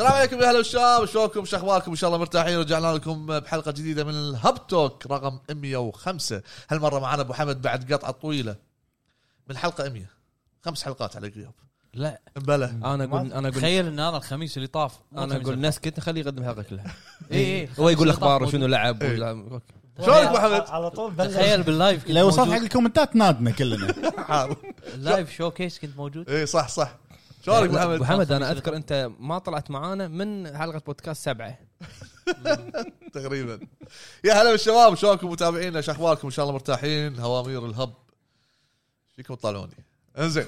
عليكم يا اهلا وشباب شلونكم شو اخباركم ان شاء الله مرتاحين رجعنا لكم بحلقه جديده من الهب توك رقم 105 هالمره معنا ابو حمد بعد قطعه طويله من حلقه 100 خمس حلقات على قياب لا بلى انا اقول انا اقول تخيل ان انا الخميس اللي طاف إيه، مو انا الخميس اقول اللي ناس كنت خليه يقدم الحلقه كلها طاف. اي اي هو يقول اخباره الاخبار شنو لعب إيه. ولا أوكي. شلونك ابو حمد؟ على طول بلش تخيل باللايف كنت لو وصلت حق موجود. الكومنتات نادنا كلنا حاضر. اللايف شو كيس كنت موجود اي إيه، صح صح شلونك ابو ابو حمد؟ حمد انا اذكر انت ما طلعت معانا من حلقه بودكاست سبعه تقريبا يا هلا بالشباب شلونكم متابعينا شو اخباركم ان شاء الله مرتاحين هوامير الهب فيكم تطالعوني انزين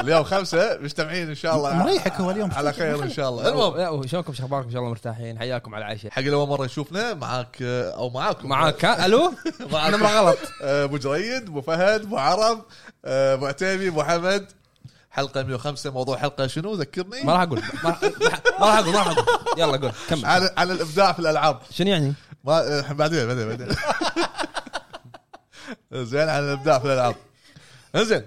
اليوم خمسه مجتمعين ان شاء الله مريحك هو اليوم على خير ان شاء الله المهم لا، وشلونكم شو اخباركم ان شاء الله مرتاحين حياكم على العشاء حق اللي اول مره يشوفنا معاك او معاكم معاك ها؟ الو انا مرة غلط ابو جريد ابو فهد ابو عرب ابو عتيبي ابو حمد حلقه 105 موضوع حلقه شنو ذكرني ما راح اقول ما راح- ما راح اقول ما راح اقول يلا قول كمل عن عن الابداع في الالعاب شنو يعني؟ ما إحنا بعدين بعدين بعدين زين عن الابداع في الالعاب زين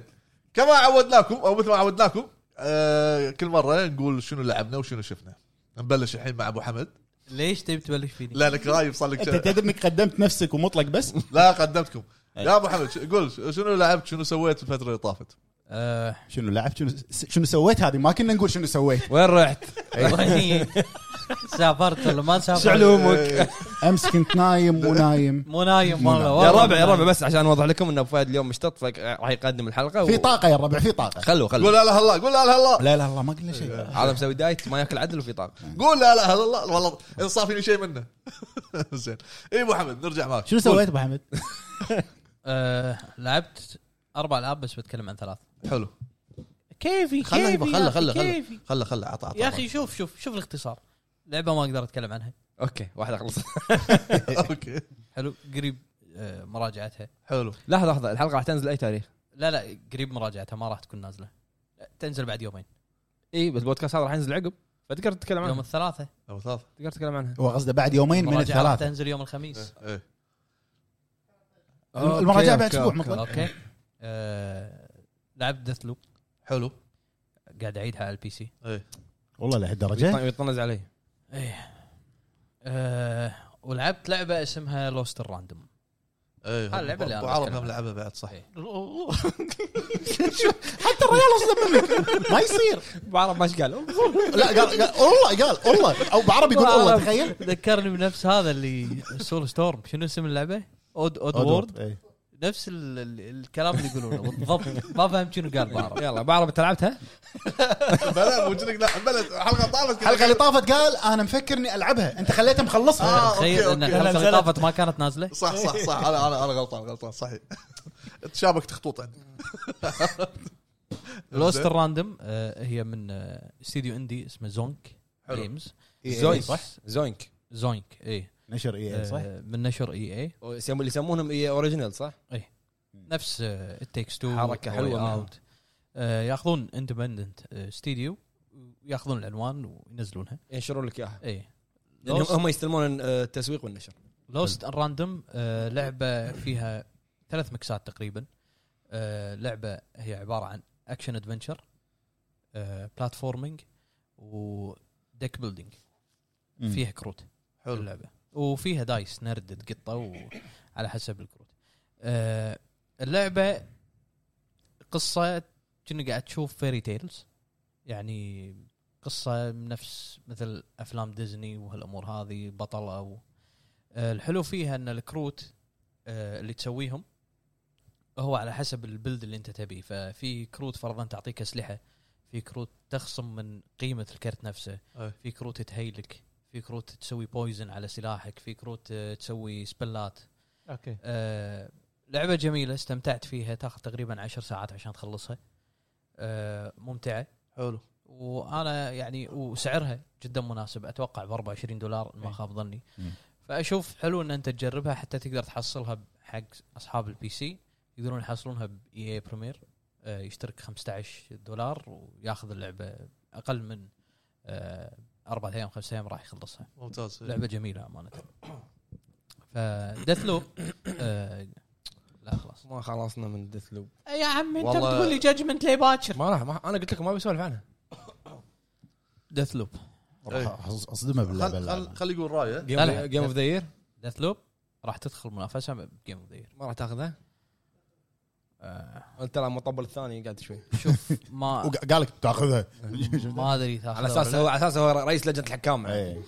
كما عودناكم او مثل ما عودناكم آه كل مره نقول شنو لعبنا وشنو شفنا نبلش الحين مع ابو حمد ليش تبي تبلش فيني؟ لانك رايب صار لك انت شيء. تدري انك قدمت نفسك ومطلق بس لا قدمتكم يا ابو حمد ش- قول ش- شنو لعبت شنو سويت الفتره اللي طافت آه، شنو لعبت شنو شنو سويت هذه ما كنا نقول شنو سويت وين رحت؟ وين سافرت ولا ما سافرت؟ علومك امس كنت نايم ونايم مو نايم والله يا والله ربع يا ربع بس عشان اوضح لكم ان ابو فهد اليوم مشتط فراح يقدم الحلقه و- في طاقه يا الربع في طاقه خلوه خلوه قول لا اله الا الله قول لا اله الا الله لا لا الله ما قلنا شيء هذا مسوي دايت ما ياكل عدل وفي طاقه قول لا اله الا الله والله انصافني شيء منه زين اي ابو حمد نرجع معك شنو سويت ابو حمد؟ آه، لعبت اربع العاب بس بتكلم عن ثلاث حلو كيفي خله كيفي يبا، يا خله أخي، خله كيفي خله خله خله عطى عطى يا اخي شوف شوف شوف الاختصار لعبه ما اقدر اتكلم عنها اوكي واحده خلص اوكي حلو قريب آه، مراجعتها حلو لحظه لحظه الحلقه راح تنزل اي تاريخ؟ لا لا قريب مراجعتها ما راح تكون نازله تنزل بعد يومين اي بس البودكاست هذا راح ينزل عقب فتقدر تتكلم يوم عنها الثلاثة ابو ثلاث تقدر تتكلم عنها هو قصده بعد يومين من المراجعة راح الثلاثه تنزل يوم الخميس إيه. أوكي، المراجعه بعد أوكي، اسبوع أوكي. مطلق اوكي آه، لعبت ديث لوب حلو قاعد اعيدها على البي سي والله لهالدرجه ويطن- ويطنز عليه ايه آه، ولعبت لعبه اسمها لوست الراندوم اي هذا اللعبة اللي ابو أنا إيه، عرب بتكلم هم عنها. لعبها بعد صح إيه. حتى الرجال اصلا منك ما يصير بعرف ما قال لا قال قال- والله قال والله او بعربي يقول والله تخيل ذكرني بنفس هذا اللي سول ستورم شنو اسم اللعبه؟ اود اود وورد إيه. نفس ال- ال- الكلام اللي يقولونه بالضبط ما فهمت شنو قال بعرف يلا بعرف انت لعبتها بلا موجود لك لا بلا حلقه طافت كذا. الحلقه اللي طافت قال انا مفكر اني العبها انت خليته مخلصها آه، أوكي، تخيل ان أوكي. الحلقه اللي نزلت. طافت ما كانت نازله صح صح صح انا انا انا غلطان غلطان صحيح تشابك تخطوط عندي لوست الراندوم آه، هي من آه، استديو اندي اسمه زونك حلو. جيمز زوينك صح زوينك زونك اي نشر إيه، إيه، اي صح من نشر اي اي يسمون- اللي يسمونهم اي اوريجينال صح؟ نفس آه، التيكس تو حركة حلوة منهم. اوت آه، ياخذون اندبندنت استديو ياخذون العنوان وينزلونها إيه. ينشرون لك اياها اي لانهم هم يستلمون آه، التسويق والنشر لوست راندوم لعبه آه، فيها ثلاث مكسات تقريبا آه، لعبه هي عباره عن آه، اكشن ادفنشر بلاتفورمينج وديك بيلدينج مم. فيها كروت حلو اللعبه وفيها دايس نردد قطه وعلى حسب الكروت آه اللعبه قصه كنا قاعد تشوف فيري تيلز يعني قصه نفس مثل افلام ديزني وهالامور هذه بطل او آه الحلو فيها ان الكروت آه اللي تسويهم هو على حسب البلد اللي انت تبيه ففي كروت فرضا تعطيك اسلحه في كروت تخصم من قيمه الكرت نفسه أي. في كروت تهيلك في كروت تسوي بويزن على سلاحك في كروت آه، تسوي سبلات اوكي آه، لعبه جميله استمتعت فيها تاخذ تقريبا عشر ساعات عشان تخلصها آه، ممتعه حلو وانا يعني وسعرها جدا مناسب اتوقع ب 24 دولار إن ما خاب ظني مم. فاشوف حلو ان انت تجربها حتى تقدر تحصلها حق اصحاب البي سي يقدرون يحصلونها باي اي بريمير آه، يشترك 15 دولار وياخذ اللعبه اقل من آه، اربع ايام خمس ايام راح يخلصها ممتاز لعبه جميله امانه فديث لوب آه لا خلاص ما خلصنا من ديث لوب إيه يا عمي والله- جاجمنت لي باكر ما راح ما انا قلت لكم ما بسولف عنها ديث لوب إيه. راح أص- اصدمه باللعبه خل اللعبة. خل خل يقول رايه لا، لا. جيم اوف ذا يير ديث لوب راح تدخل منافسه بجيم اوف ذا يير ما راح تاخذها انت ترى مطبل الثاني قاعد شوي آه، شوف ما وق- قال لك تاخذها إيه. ما ادري تاخذها على اساس ولا لا. هو على اساس هو رئيس لجنه الحكام يعني. إيه.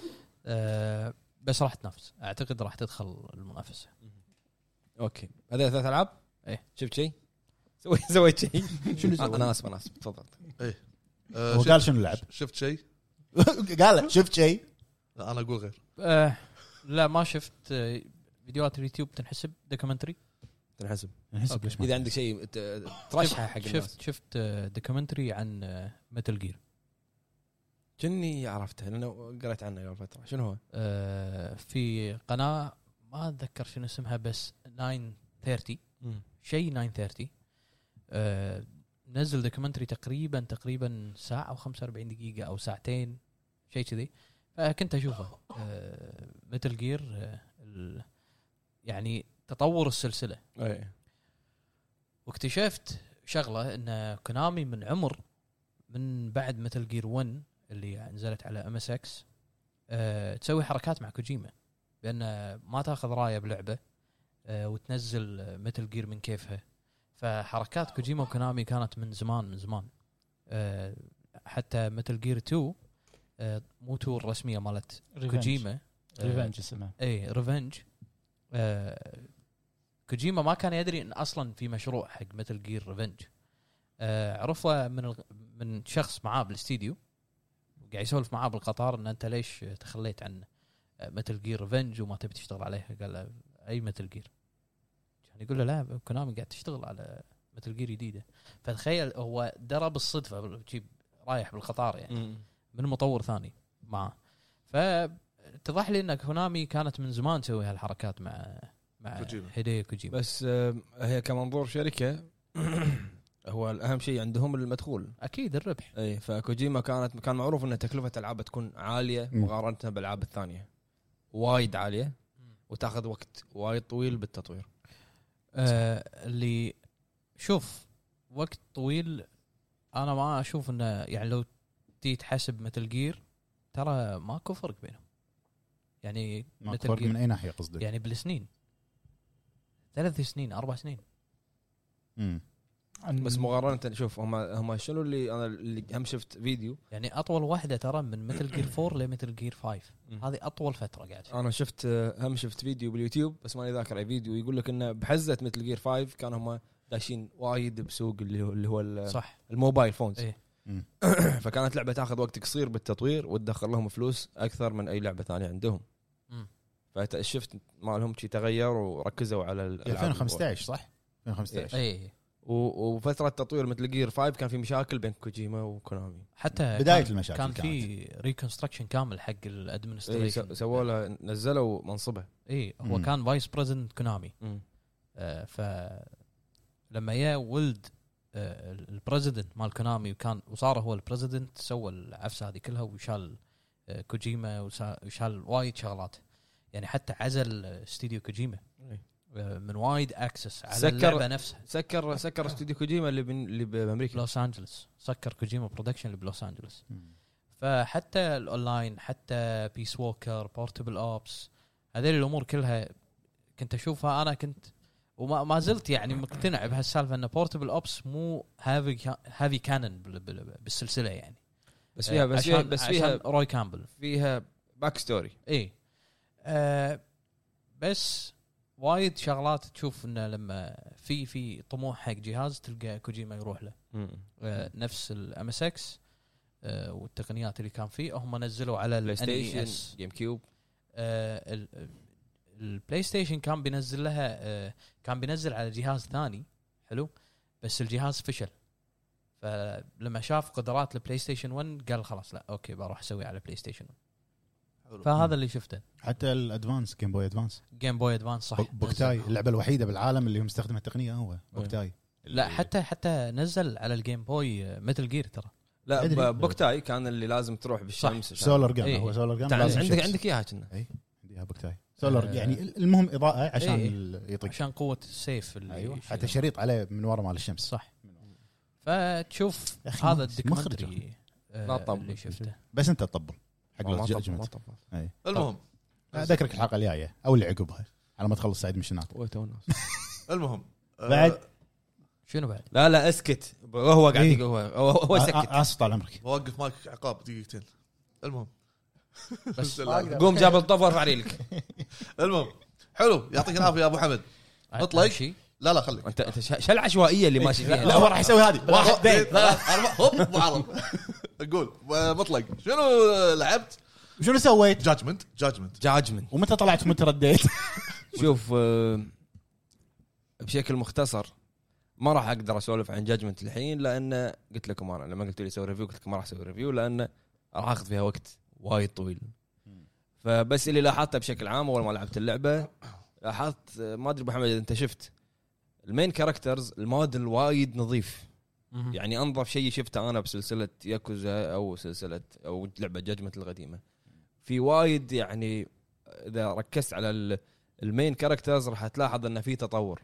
آه، بس راح تنافس اعتقد راح تدخل المنافسه اوكي هذول ثلاث العاب إيه. شفت شيء سويت سويت شيء شنو انا اسف انا اسف تفضل آه، هو شفت- قال شنو لعب شفت شيء؟ قال لك شفت شيء لا انا اقول غير آه، لا ما شفت آه، فيديوهات اليوتيوب تنحسب دوكيومنتري تنحسب نحسب ليش ما- اذا عندك شيء ت- ترشحه حق الناس شفت شفت دوكيومنتري عن آه، متل جير كني عرفته لانه قريت عنه قبل فتره شنو هو؟ آه، في قناه ما اتذكر شنو اسمها بس 930 شيء 930 آه، نزل دوكيومنتري تقريبا تقريبا ساعه و45 دقيقه او ساعتين شيء كذي فكنت آه، اشوفه متل جير آه، يعني تطور السلسله اي واكتشفت شغله ان كونامي من عمر من بعد متل جير 1 اللي نزلت على ام اس اكس آه، تسوي حركات مع كوجيما بان ما تاخذ رايه بلعبه آه، وتنزل متل جير من كيفها فحركات كوجيما وكونامي كانت من زمان من زمان آه، حتى متل جير 2 آه، مو 2 الرسميه مالت كوجيما آه، ريفنج اسمها اي ريفنج آه كوجيما ما كان يدري ان اصلا في مشروع حق متل جير ريفنج آه عرفه من الغ... من شخص معاه بالاستديو قاعد يسولف معاه بالقطار ان انت ليش تخليت آه، عن متل جير ريفنج وما تبي تشتغل عليها قال له اي متل جير يعني يقول له لا كونامي قاعد تشتغل على متل جير جديده فتخيل هو درى بالصدفه بال- شي رايح بالقطار يعني إيه. من مطور ثاني معاه فتضح لي ان كونامي كانت من زمان تسوي هالحركات مع مع كوجيما. هيديو كوجيما بس آم، هي كمنظور شركه هو الاهم شيء عندهم المدخول اكيد الربح اي فكوجيما كانت كان معروف ان تكلفه العابه تكون عاليه مم. مقارنه بالالعاب الثانيه وايد عاليه وتاخذ وقت وايد طويل بالتطوير آه اللي شوف وقت طويل انا ما اشوف انه يعني لو تي تحسب متل جير ترى ماكو فرق بينهم يعني ماكو Metal فرق Gear. من اي ناحيه قصدك؟ يعني بالسنين ثلاث سنين اربع سنين مم. عن- بس مقارنه شوف هم هم شنو اللي انا اللي هم شفت فيديو يعني اطول واحده ترى من متل جير 4 لمتل جير 5 هذه اطول فتره قاعد فيها. انا شفت آه، هم شفت فيديو باليوتيوب بس ماني ذاكر اي فيديو يقول لك انه بحزه مثل جير 5 كان هم داشين وايد بسوق اللي هو اللي هو ال- صح الموبايل فونز إيه. مم. فكانت لعبه تاخذ وقت قصير بالتطوير وتدخل لهم فلوس اكثر من اي لعبه ثانيه عندهم مم. فالشفت مالهم شي تغير وركزوا على الألعاب 2015 صح؟ 2015 اي و- وفتره تطوير مثل جير 5 كان في مشاكل بين كوجيما وكونامي حتى بداية كان- المشاكل كان كانت. في ريكونستراكشن كامل حق إيه، الادمنستريشن س- سووا له نزلوا منصبه اي إيه، هو مم. كان فايس بريزنت كونامي مم. آه، ف لما يا ولد البريزدنت مال كونامي وكان وصار هو البريزدنت سوى العفسه هذه كلها وشال آه، كوجيما وسا- وشال وايد شغلات يعني حتى عزل آه، استديو كوجيما إيه. آه، من وايد اكسس على سكر- اللعبه نفسها سكر سكر استوديو كوجيما اللي بن- اللي بامريكا بلوس انجلس سكر كوجيما برودكشن اللي بلوس انجلس مم. فحتى الاونلاين حتى بيس ووكر بورتبل اوبس هذه الامور كلها كنت اشوفها انا كنت وما ما زلت يعني مقتنع بهالسالفه ان بورتبل اوبس مو هافي كا- هافي كانن بال- بال- بالسلسله يعني بس فيها بس فيها عشان- بس فيها عشان روي كامبل فيها باك ستوري اي آه بس وايد شغلات تشوف انه لما في في طموح حق جهاز تلقى كوجيما يروح له آه، نفس الام اس اكس آه، والتقنيات اللي كان فيه هم نزلوا على بلاي ال NES. E ستيشن جيم كيوب آه، ال- ال- البلاي ستيشن كان بينزل لها آه، كان بينزل على جهاز ثاني حلو بس الجهاز فشل فلما شاف قدرات البلاي ستيشن 1 قال خلاص لا اوكي بروح اسوي على بلاي ستيشن 1 فهذا اللي شفته حتى الادفانس جيم بوي ادفانس جيم بوي ادفانس صح بوك- بوكتاي نزل. اللعبه الوحيده بالعالم اللي هو مستخدم التقنيه هو بوكتاي لا حتى حتى نزل على الجيم بوي متل جير آه، ترى أدري. لا ب- بوكتاي كان اللي لازم تروح بالشمس عشان- سولار جان إيه. هو سولار جان تعال، لازم عندك شمس. عندك اياها كنا عندها بوكتاي سولار آه. يعني المهم اضاءه عشان إيه. ال- يطق عشان قوه السيف اللي أيوة. ايوه شيء- حتى شريط عليه من ورا مال الشمس صح فتشوف يا أخي هذا مخرج الدوكيومنتري آه، لا طب. اللي شفته بس انت تطبل حق ما Lost طب- Judgment. ما طب. المهم اذكرك الحلقه الجايه او اللي عقبها على ما تخلص سعيد مشنات ويت وناس. المهم آه، بعد؟ شنو بعد؟ لا لا اسكت هو قاعد إيه. يقول- هو هو, هو سكت اسف طال عمرك بوقف مايك عقاب دقيقتين المهم بس قوم جاب الطف وارفع ريلك المهم حلو يعطيك العافيه يا ابو حمد اطلق. أمشي. لا لا خليك انت انت ش- شو العشوائيه اللي ماشي فيها لا هو راح يسوي هذه واحد واحد اثنين ثلاث اربعة هوب معرض قول آه، مطلق شنو لعبت؟ شنو سويت؟ جادجمنت جادجمنت جاجمنت ومتى طلعت متى رديت؟ شوف آه، بشكل مختصر ما راح اقدر اسولف عن جاجمنت الحين لان قلت لكم انا لما قلت لي سوي ريفيو قلت لكم ما راح اسوي ريفيو لان راح اخذ فيها وقت وايد طويل فبس اللي لاحظته بشكل عام اول ما لعبت اللعبه لاحظت آه، ما ادري ابو حمد اذا انت شفت المين كاركترز الموديل وايد نظيف مهم. يعني انظف شيء شفته انا بسلسله ياكوزا او سلسله او لعبه جاجمنت القديمه في وايد يعني اذا ركزت على ال- المين كاركترز راح تلاحظ ان في تطور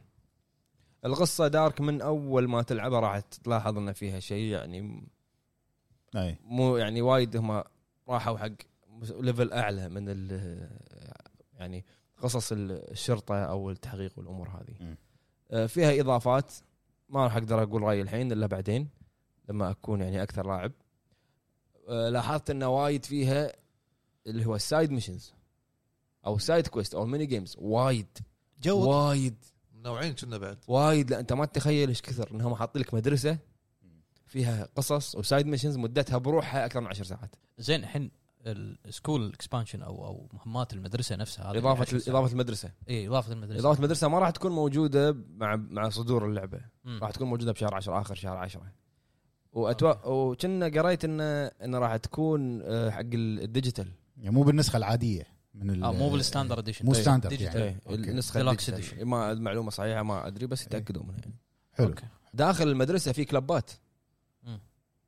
القصه دارك من اول ما تلعبها راح تلاحظ ان فيها شيء يعني اي مو يعني وايد هم راحوا حق مس- ليفل اعلى من ال يعني قصص ال- الشرطه او التحقيق والامور هذه مم. آه، فيها اضافات ما راح اقدر اقول رايي الحين الا بعدين لما اكون يعني اكثر لاعب آه، لاحظت انه وايد فيها اللي هو السايد ميشنز او سايد كويست او ميني جيمز وايد جو وايد نوعين كنا بعد وايد لا انت ما تتخيل ايش كثر انهم حاطين لك مدرسه فيها قصص وسايد ميشنز مدتها بروحها اكثر من عشر ساعات زين الحين السكول اكسبانشن او او مهمات المدرسه نفسها هذه اضافه عشر ساعات. اضافه المدرسه اي اضافه المدرسه اضافه المدرسه ما راح تكون موجوده مع مع صدور اللعبه مم. راح تكون موجوده بشهر 10 اخر شهر 10 آه. واتوا وكنا قريت ان ان راح تكون آه، حق الديجيتال يعني مو بالنسخه العاديه من ال- اه مو طيب، بالستاندرد اديشن مو ستاندرد ديجيتال. يعني. إيه، النسخه Deluxe الديجيتال. ما المعلومه صحيحه ما ادري بس يتاكدوا منها يعني. حلو أوكي. داخل المدرسه في كلبات مم.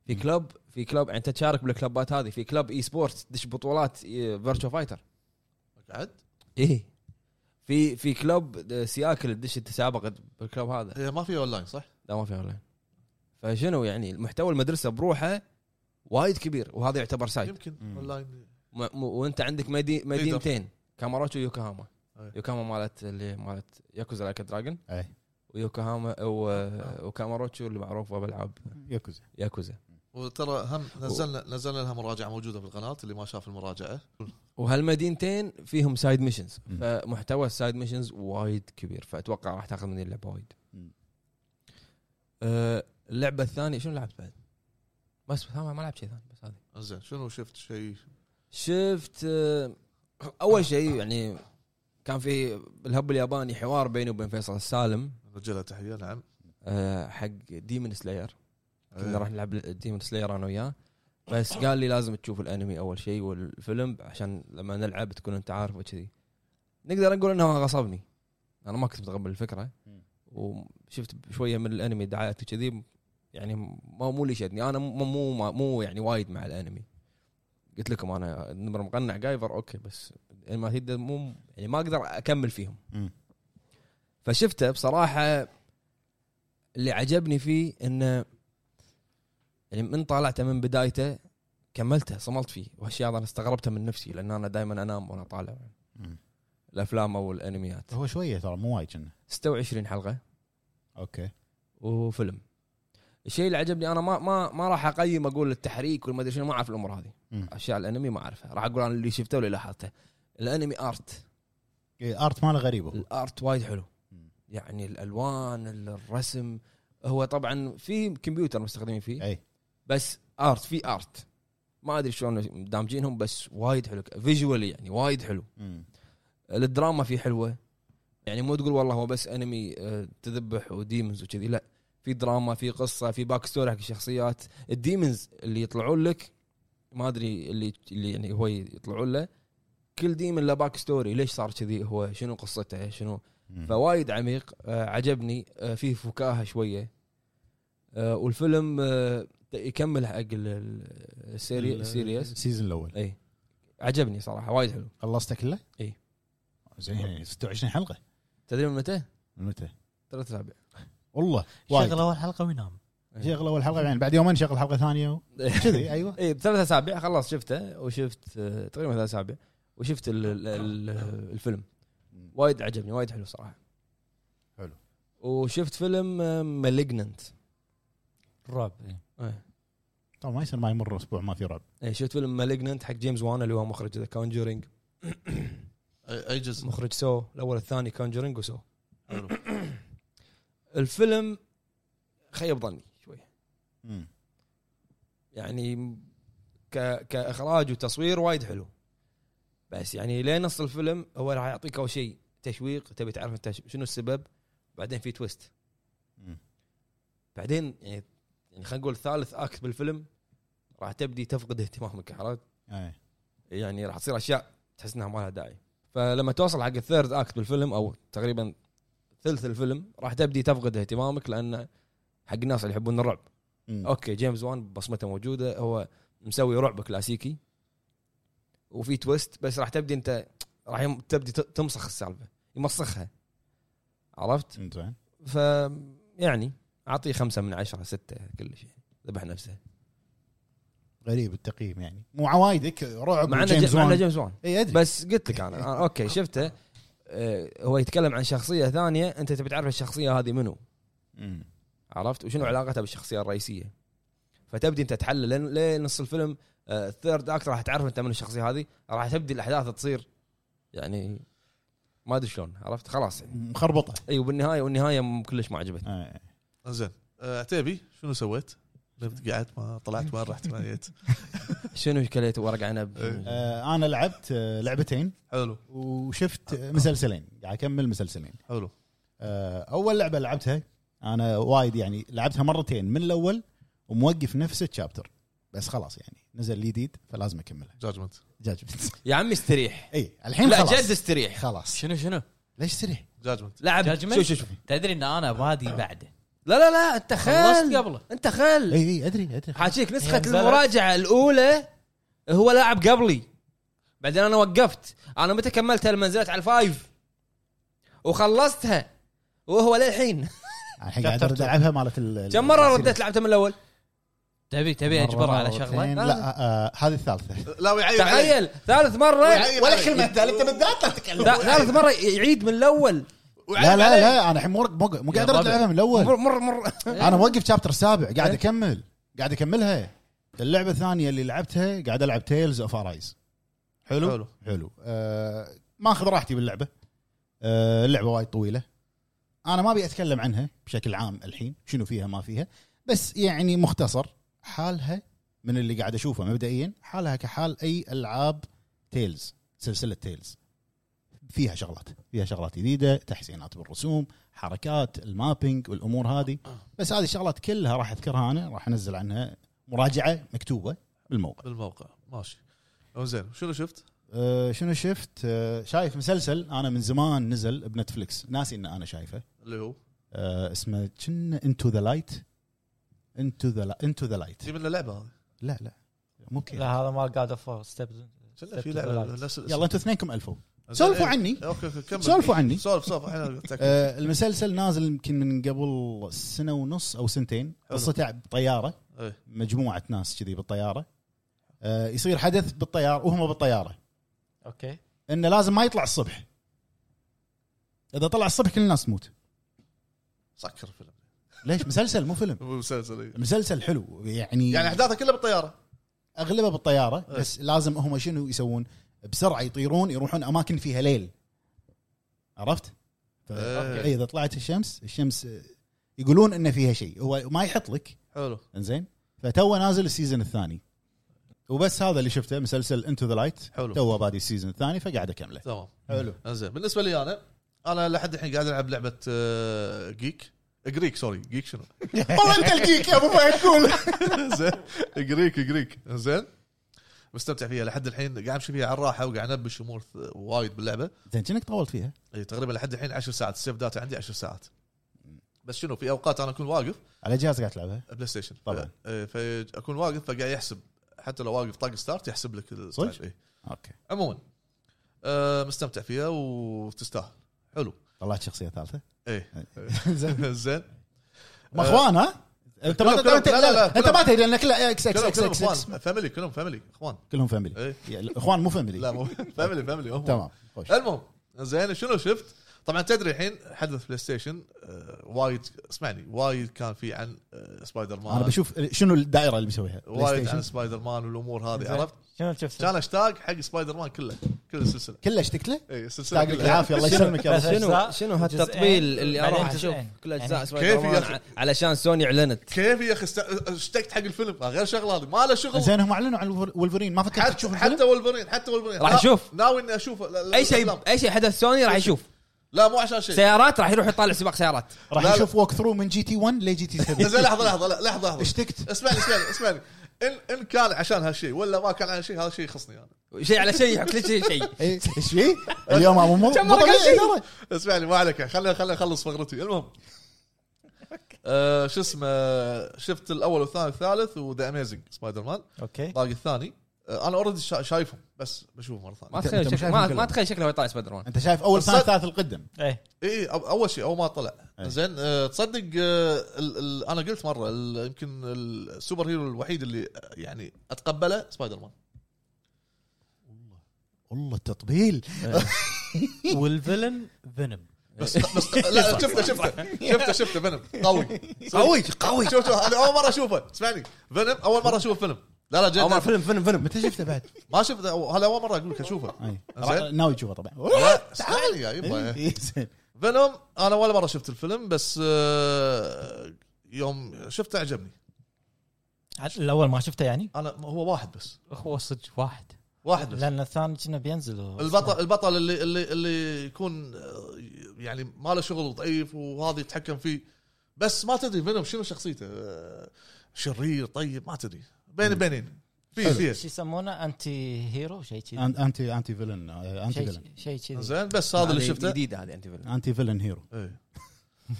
في كلب في كلب يعني انت تشارك بالكلبات هذه في كلب اي سبورت دش بطولات فيرتشو فايتر قعد ايه إيه. في في كلب آه، سياكل تدش تسابق بالكلب هذا هي ما فيها اونلاين صح؟ لا ما في اونلاين فشنو يعني المحتوى المدرسه بروحه وايد كبير وهذا يعتبر سايد يمكن مم. اونلاين م- م- وانت عندك مدي إيه، مدينتين كاماروتشي ويوكوهاما أي. يوكوهاما مالت اللي مالت ياكوزا لايك دراجون اي ويوكوهاما و- وكاماروتشي اللي معروفه بالعاب ياكوزا ياكوزا وترى هم نزلنا نزلنا لها مراجعه موجوده بالقناه اللي ما شاف المراجعه وهالمدينتين فيهم سايد ميشنز مم. فمحتوى السايد ميشنز وايد كبير فاتوقع راح تاخذ مني اللعبه وايد مم. أه اللعبه الثانيه شنو لعبت بعد؟ بس ما ما لعبت شيء ثاني بس هذه زين شنو شفت شيء شفت آه، اول شيء يعني كان في بالهب الياباني حوار بيني وبين فيصل السالم نوجه له تحيه نعم آه، حق ديمون سلاير كنا إيه. راح نلعب ديمون سلاير انا وياه بس قال لي لازم تشوف الانمي اول شيء والفيلم عشان لما نلعب تكون انت عارف وكذي نقدر نقول انه غصبني انا ما كنت متقبل الفكره مم. وشفت شويه من الانمي دعايات وكذي يعني ما مو اللي شدني انا مو مو ما- مو يعني وايد مع الانمي قلت لكم انا نمر مقنع جايفر اوكي بس ما تقدر مو يعني ما اقدر اكمل فيهم مم. فشفته بصراحه اللي عجبني فيه انه يعني من طالعته من بدايته كملته صملت فيه وهالشيء هذا انا استغربته من نفسي لان انا دائما انام وانا طالع مم. الافلام او الانميات هو شويه ترى مو وايد كنا 26 حلقه اوكي وفيلم الشيء اللي عجبني انا ما ما ما راح اقيم اقول التحريك والمدري شنو ما اعرف الامور هذه مم. اشياء الانمي ما اعرفها راح اقول انا اللي شفته واللي لاحظته الانمي ارت إيه، ارت ماله غريب هو الارت وايد حلو مم. يعني الالوان الرسم هو طبعا في كمبيوتر مستخدمين فيه اي بس ارت في ارت ما ادري شلون دامجينهم بس وايد حلو فيجوالي يعني وايد حلو مم. الدراما فيه حلوه يعني مو تقول والله هو بس انمي آه، تذبح وديمونز وكذي لا في دراما في قصه في باك ستوري حق الشخصيات الديمونز اللي يطلعون لك ما ادري اللي اللي يعني هو يطلعون له كل ديمن له باك ستوري ليش صار كذي هو شنو قصته شنو مم. فوايد عميق آه، عجبني آه، فيه فكاهه شويه آه، والفيلم آه، يكمل حق السيري السيريس السيزون الاول اي عجبني صراحه وايد حلو خلصته كله؟ إي. زين يعني 26 حلقه تدري من متى؟ من متى؟ ثلاث اسابيع والله وايد شغله اول حلقه وينام شغله اول حلقه بعدين بعد يومين شغل حلقه ثانيه و- كذي ايوه اي بثلاث اسابيع خلاص شفته وشفت آه، تقريبا ثلاث اسابيع وشفت ال ال ال الفيلم وايد عجبني وايد حلو صراحه حلو. وشفت فيلم آه، مالجننت الرعب إيه. طبعا ما يصير ما يمر اسبوع ما في رعب اي شفت فيلم مالجننت حق جيمس وان اللي هو مخرج ذا كونجورينج آه، أي أي جزء مخرج سو الاول الثاني كونجورينج وسو حلو. الفيلم خيب ظني شوي مم. يعني ك... كاخراج وتصوير وايد حلو بس يعني لين نص الفيلم هو راح يعطيك اول شيء تشويق تبي تعرف انت ش- شنو السبب بعدين في تويست مم. بعدين يعني يعني خلينا نقول ثالث اكت بالفيلم راح تبدي تفقد اهتمامك عرفت؟ أي. يعني راح تصير اشياء تحس انها ما لها داعي فلما توصل حق الثيرد اكت بالفيلم او تقريبا ثلث الفيلم راح تبدي تفقد اهتمامك لان حق الناس اللي يحبون الرعب مم. اوكي جيمس وان بصمته موجوده هو مسوي رعب كلاسيكي وفي تويست بس راح تبدي انت راح يم- تبدي ت- تمسخ السالفه يمسخها عرفت؟ زين ف يعني اعطيه خمسه من عشره سته كل شيء يعني. ذبح نفسه غريب التقييم يعني مو عوايدك رعب مع انه وجيمس ج- مع انه وان. جيمس وان اي ادري بس قلت لك انا آه، اوكي شفته آه، هو يتكلم عن شخصيه ثانيه انت تبي تعرف الشخصيه هذه منو مم. عرفت وشنو نعم. علاقتها بالشخصيه الرئيسيه فتبدي انت تحلل لين لين نص الفيلم الثيرد اكت راح تعرف انت من الشخصيه هذه راح تبدي الاحداث تصير يعني ما ادري شلون عرفت خلاص يعني مخربطه اي وبالنهايه والنهايه م- كلش ما عجبتني أي. زين آه، عتيبي شنو سويت؟ لبت قعدت ما طلعت وين رحت ما جيت شنو كليت ورق عنب إيه. آه، انا لعبت آه، لعبتين حلو وشفت مسلسلين قاعد اكمل مسلسلين حلو آه، اول لعبه لعبتها انا وايد يعني لعبتها مرتين من الاول وموقف نفس الشابتر بس خلاص يعني نزل جديد فلازم اكملها جاجمنت جاجمنت يا عمي استريح اي الحين لا خلاص جد استريح خلاص شنو شنو؟ ليش سريع جاجمنت لعب Judgment؟ شوف شوف آه. شوف تدري ان انا بادي بعده لا لا لا انت خلصت خل قبله انت خل اي اي ادري ادري حاجيك نسخة هي نزلت. المراجعة الأولى هو لاعب قبلي بعدين أنا وقفت أنا متى كملتها لما نزلت على الفايف وخلصتها وهو للحين الحين قاعد ارد العبها مالت ال- كم مرة السيريز. رديت لعبتها من الأول تبي تبي اجبره على شغله؟ مرتين. لا آه، هذه الثالثة لا ويعيب عليك. تخيل ثالث مرة ويعيب ولا عليك. كلمه ثالثه بالذات لا ثا- تتكلم ثالث مرة يعيد من الأول ويعيب لا لا عليك. لا انا الحين مو مو- مو قاعد يا ارد ربع. العبها من الاول مر مر مر إيه. انا موقف شابتر السابع قاعد اكمل قاعد اكملها اللعبه الثانيه اللي لعبتها قاعد العب تيلز اوف ارايز حلو. حلو حلو حلو آه ما اخذ راحتي باللعبه آه اللعبه وايد طويله انا ما ابي اتكلم عنها بشكل عام الحين شنو فيها ما فيها بس يعني مختصر حالها من اللي قاعد اشوفه مبدئيا حالها كحال اي العاب تيلز سلسله تيلز فيها شغلات فيها شغلات جديده تحسينات بالرسوم حركات المابينج والامور هذه بس هذه الشغلات كلها راح اذكرها انا راح انزل عنها مراجعه مكتوبه بالموقع بالموقع ماشي زين شنو شفت؟ أه شنو شفت أه شايف مسلسل انا من زمان نزل بنتفلكس ناسي ان انا شايفه اللي هو أه اسمه كنا انتو ذا لايت انتو ذا انتو ذا لايت تجيب لنا لعبه هذه لا لا مو لا كذا هذا مال جاد اوف ستيب كنا في لعبه نفس الاسم. يلا انتو اثنينكم الفوا زين، سولفوا إيه. عني اوكي اوكي كمل سولفوا عني سولف سولف احنا تك- أه المسلسل نازل يمكن من قبل سنه ونص او سنتين حلو. قصته بطياره إيه. مجموعه ناس كذي بالطياره أه يصير حدث بالطياره وهم بالطياره اوكي انه لازم ما يطلع الصبح اذا طلع الصبح كل الناس تموت سكر الفيلم ليش مسلسل مو فيلم مو مسلسل إيه. مسلسل حلو يعني يعني احداثه كلها بالطياره اغلبه بالطياره إيه. بس لازم هم شنو يسوون بسرعه يطيرون يروحون اماكن فيها ليل عرفت ف- إيه. إي، اذا طلعت الشمس الشمس آه، يقولون ان فيها شيء هو ما يحط لك حلو انزين فتو نازل السيزون الثاني وبس هذا اللي شفته مسلسل انتو ذا لايت حلو. تو بادي السيزون الثاني فقاعد اكمله تمام حلو زين بالنسبه لي انا انا لحد الحين قاعد العب لعبه آه، جيك جريك سوري جيك شنو والله انت الجيك يا ابو فهد زين جريك جريك زين مستمتع فيها لحد الحين قاعد امشي فيها على الراحه وقاعد انبش امور ث- وايد باللعبه زين كأنك طولت فيها إي، تقريبا لحد الحين 10 ساعات السيف داتا عندي 10 ساعات بس شنو في اوقات انا اكون واقف على جهاز قاعد تلعبها بلاي ستيشن طبعاً. إيه، فاكون واقف فقاعد يحسب حتى لو واقف طق ستارت يحسب لك ال- صدق؟ إيه. اوكي عموما آه، مستمتع فيها وتستاهل حلو إيه. طلعت شخصيه ثالثه ايه زين زين ما اخوان ها انت ما كلهم- تدري انت لا، لا، لا، لا، انت ما تدري لانك لا اكس اكس كلهم اكس كلهم اكس, إكس. اخوان فاميلي كلهم فاميلي اخوان كلهم فاميلي إيه. يعني اخوان مو لا فاميلي مو فاميلي فاميلي هم تمام خوش. المهم زين شنو شفت؟ طبعا تدري الحين حدث بلاي ستيشن آه، وايد اسمعني وايد كان في عن آه، سبايدر مان انا بشوف شنو الدائره اللي مسويها بلاي وايد عن ستيشن سبايدر مان والامور هذه زين. عرفت؟ شنو شفت؟ كان اشتاق حق سبايدر مان كله كل السلسله كله اشتقت له اي السلسله يعطيك كلها العافيه الله يسلمك يا بس- رب. أجزاء، شنو شنو هالتطبيل إيه. جزئين، اللي بعدين اروح اشوف جزئين. كل اجزاء يعني سبايدر كيف يا أخي؟ مان علشان سوني اعلنت كيف يا اخي است- اشتقت حق الفيلم آه، غير شغله هذه ما له شغل زين هم اعلنوا عن ولفرين ما فكرت حتى تشوف حتى الفيلم ولفرين حتى ولفرين راح نا- أشوف. ناوي اني اشوفه لا- لا- اي شيء لا. اي شيء حدث سوني إيه. راح يشوف لا مو عشان شيء سيارات راح يروح يطالع سباق سيارات لا، راح لا. نشوف ووك ثرو من جي تي 1 لجي تي 7 زين لحظه لحظه لا، لحظه لحظه اشتقت اسمعني اسمعني اسمعني ان ان كان عشان هالشيء ولا ما كان عشان شيء هذا الشيء يخصني انا شيء على شيء يحط لك شيء شيء إيه، ايش فيه؟ اليوم ابو مو مو كم مرة قال طبيعي شيء؟ ترى. اسمعني ما عليك خلينا خلينا نخلص فقرتي المهم آه شو اسمه شفت الاول والثاني والثالث وذا اميزنج سبايدر مان اوكي باقي الثاني آه انا اوريدي شايفهم بس بشوفه مره ما ثانيه أنت- تخيل أنت مش شكله عارف ما, مكلم. ما تخيل شكله هو يطالع سبايدر مان انت شايف اول ثاني الصدق. ثالث القدم ايه اي اول إيه، شيء اول ما طلع أي. زين آه تصدق آه ال ال انا قلت مره ال يمكن السوبر هيرو الوحيد اللي آه، يعني اتقبله سبايدر مان والله التطبيل والفيلن فينوم بس بس لا شفته شفته شفته شفته فيلم قوي قوي قوي شوف شوف انا اول مره اشوفه اسمعني فيلم اول مره اشوف فيلم لا لا او جد فيلم فيلم فيلم متى شفته بعد؟ ما شفته أو- هلا اول مره اقول لك اشوفه أي. زين. ناوي تشوفه طبعا لا، اسمعني يا يبا آه. إيه، زين. فينوم انا ولا مره شفت الفيلم بس آه، يوم شفته عجبني الاول ما شفته يعني انا هو واحد بس هو صدق واحد واحد بس لان الثاني كنا بينزل هو. البطل البطل اللي اللي اللي يكون آه، يعني ما له شغل ضعيف وهذا يتحكم فيه بس ما تدري منهم شنو شخصيته آه، شرير طيب ما تدري بين بينين في شو في يسمونه انتي هيرو شيء كذي أن- انتي انتي فيلن آه، انتي فيلن شيء شيء كذي زين بس هذا اللي هذه شفته جديده هذه انت فيلم انتي فيلن هيرو إيه.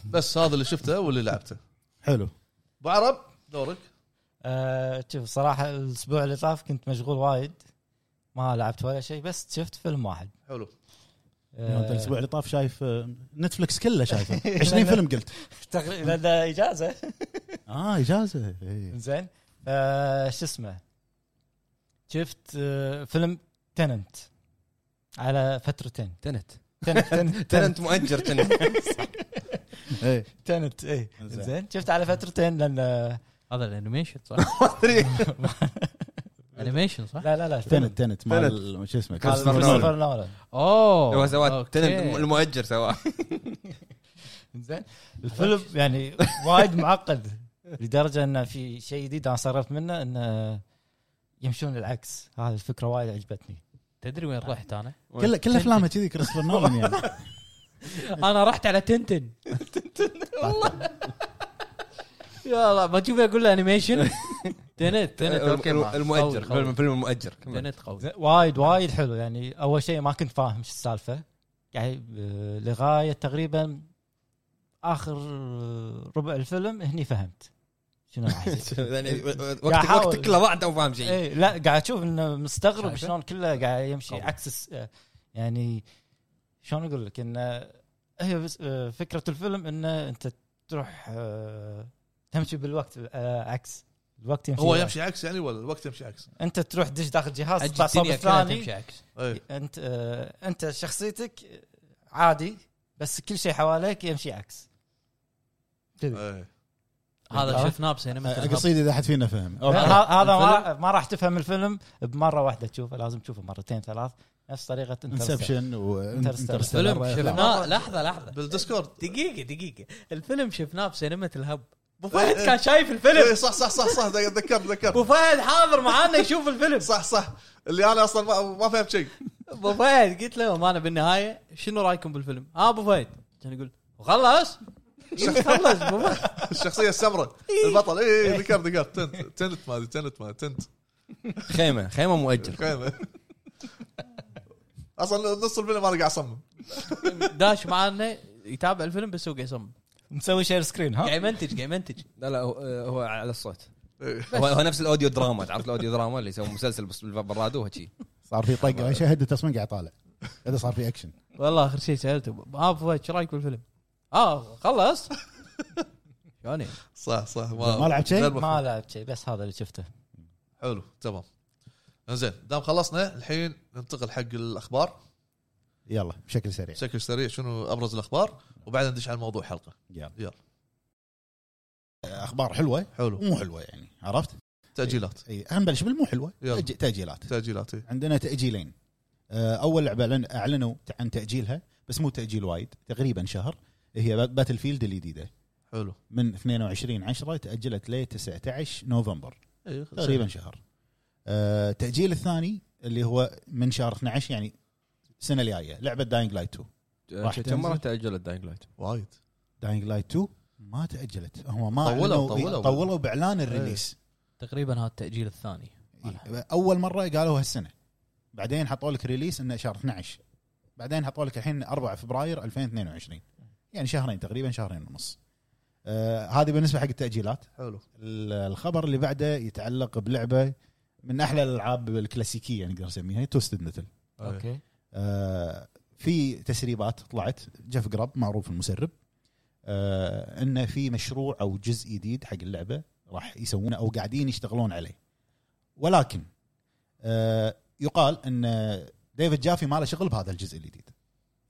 بس هذا اللي شفته واللي لعبته حلو ابو عرب دورك آه، شوف صراحه الاسبوع اللي طاف كنت مشغول وايد ما لعبت ولا شيء بس شفت فيلم واحد حلو آه، أنت الاسبوع اللي طاف شايف آه، نتفلكس كله شايفه 20 فيلم قلت تقريبا لأنه اجازه اه اجازه إيه. زين آه، شو اسمه شفت آه، فيلم تننت على فترتين تنت تننت تننت تنت مؤجر تنت إيه. تننت اي زين. زين شفت على فترتين لان آه، هذا الانيميشن صح؟ انيميشن صح؟ لا لا لا فيلم. تنت تنت مال شو اسمه مال كريستوفر كريستوفر نولان اوه هو سواه أوكي. تنت المؤجر سواه زين الفيلم يعني وايد معقد لدرجه انه في شيء جديد انا صرفت منه انه يمشون العكس هذه الفكره وايد عجبتني تدري وين رحت انا؟ كل كل افلامه كذي كريستوفر نولان يعني انا رحت على تنتن يا الله ما تشوف اقول له انيميشن تنت تنت اوكي الم- معك. المؤجر خوي، خوي. فيلم فيلم المؤجر كمل. تنت قوي زين، وايد وايد حلو يعني اول شيء ما كنت فاهم شو السالفه يعني آه، لغايه تقريبا اخر آه، ربع الفيلم هني فهمت شنو راح يصير. يعني وقت أحاول. وقت كله ضاع تو فاهم شيء اي إيه، لا قاعد اشوف انه مستغرب شايفه؟ شلون كله قاعد يمشي قوي. عكس الس- آه، يعني شلون اقول لك انه هي بس آه، فكره الفيلم انه انت تروح آه، تمشي بالوقت آه، عكس الوقت يمشي هو بالعكس. يمشي عكس يعني ولا الوقت يمشي عكس انت تروح دش داخل جهاز أجل تطلع صوب الدنيا كلها الثاني تمشي عكس اي انت آه، انت شخصيتك عادي بس كل شيء حواليك يمشي عكس كذي اي هذا شفناه أه، بسينما قصيدي اذا احد فينا فهم ه- أوكي. هذا ما الفيلم- راح- ما راح تفهم الفيلم بمره واحده تشوفه لازم تشوفه مرتين ثلاث نفس طريقه انسبشن انسبشن Interstellar. الفيلم وانترستيلر شفناه لحظه لحظه بالديسكورد دقيقه دقيقه الفيلم شفناه بسينما الهب ابو فهد كان شايف الفيلم اي إيه، صح صح صح صح تذكرت تذكرت ابو فهد حاضر معانا يشوف الفيلم صح صح اللي انا اصلا ما, ما فهمت شيء ابو فهد قلت له ما انا بالنهايه شنو رايكم بالفيلم؟ ها ابو فهد كان يقول خلص خلص ابو فهد الشخصيه السمراء البطل اي إي، ذكرت ذكرت تنت تنت ما أدري، تنت ما تنت خيمه خيمه مؤجر خيمه اصلا نص الفيلم انا قاعد اصمم داش معانا يتابع الفيلم بس هو قاعد يصمم مسوي شير سكرين ها قاعد يمنتج قاعد يمنتج لا لا هو- هو على الصوت إي. هو, هو نفس الاوديو دراما تعرف الاوديو دراما اللي يسوي مسلسل بس بالراديو وهيجي صار في طقه شيء هدي تصميم قاعد طالع هذا صار في اكشن "آه، والله اخر شيء سالته ها ابو فهد شو رايك بالفيلم؟ اه خلص شلون يعني؟ صح صح ما لعبت شيء؟ غير مفهوم. ما لعبت شيء بس هذا اللي شفته حلو تمام زين دام خلصنا الحين ننتقل حق الاخبار يلا بشكل سريع بشكل سريع شنو ابرز الاخبار وبعدين ندش على موضوع حلقه يلا يلا. اخبار حلوه حلو مو حلوه يعني عرفت؟ تاجيلات اي خلينا نبلش بالمو حلوه يلا. تأج- تاجيلات تاجيلات إي. عندنا تاجيلين آه، اول لعبه أعلن- اعلنوا عن تاجيلها بس مو تاجيل وايد تقريبا شهر هي بات- باتل فيلد الجديده حلو من 22 10 تاجلت ل 19 نوفمبر اي تقريبا شهر آه، تاجيل الثاني اللي هو من شهر 12 يعني السنه الجايه لعبه داينج لايت 2 راح كم مره تنزل. تاجلت داينج لايت؟ وايد داينج لايت 2 ما تاجلت هم ما طولوا- أعلنوا- طولوا. إيه. طولوا باعلان الريليس تقريبا هذا التاجيل الثاني إيه. اول مره قالوا هالسنه بعدين حطوا لك ريليس انه شهر 12 بعدين حطوا لك الحين 4 فبراير 2022 يعني شهرين تقريبا شهرين ونص آه هذه بالنسبه حق التاجيلات حلو ال- الخبر اللي بعده يتعلق بلعبه من احلى الالعاب الكلاسيكيه يعني نقدر نسميها توستد متل اوكي آه، في تسريبات طلعت جيف جراب معروف المسرب آه، انه في مشروع او جزء جديد حق اللعبه راح يسوونه او قاعدين يشتغلون عليه ولكن آه، يقال ان ديفيد جافي ما له شغل بهذا الجزء الجديد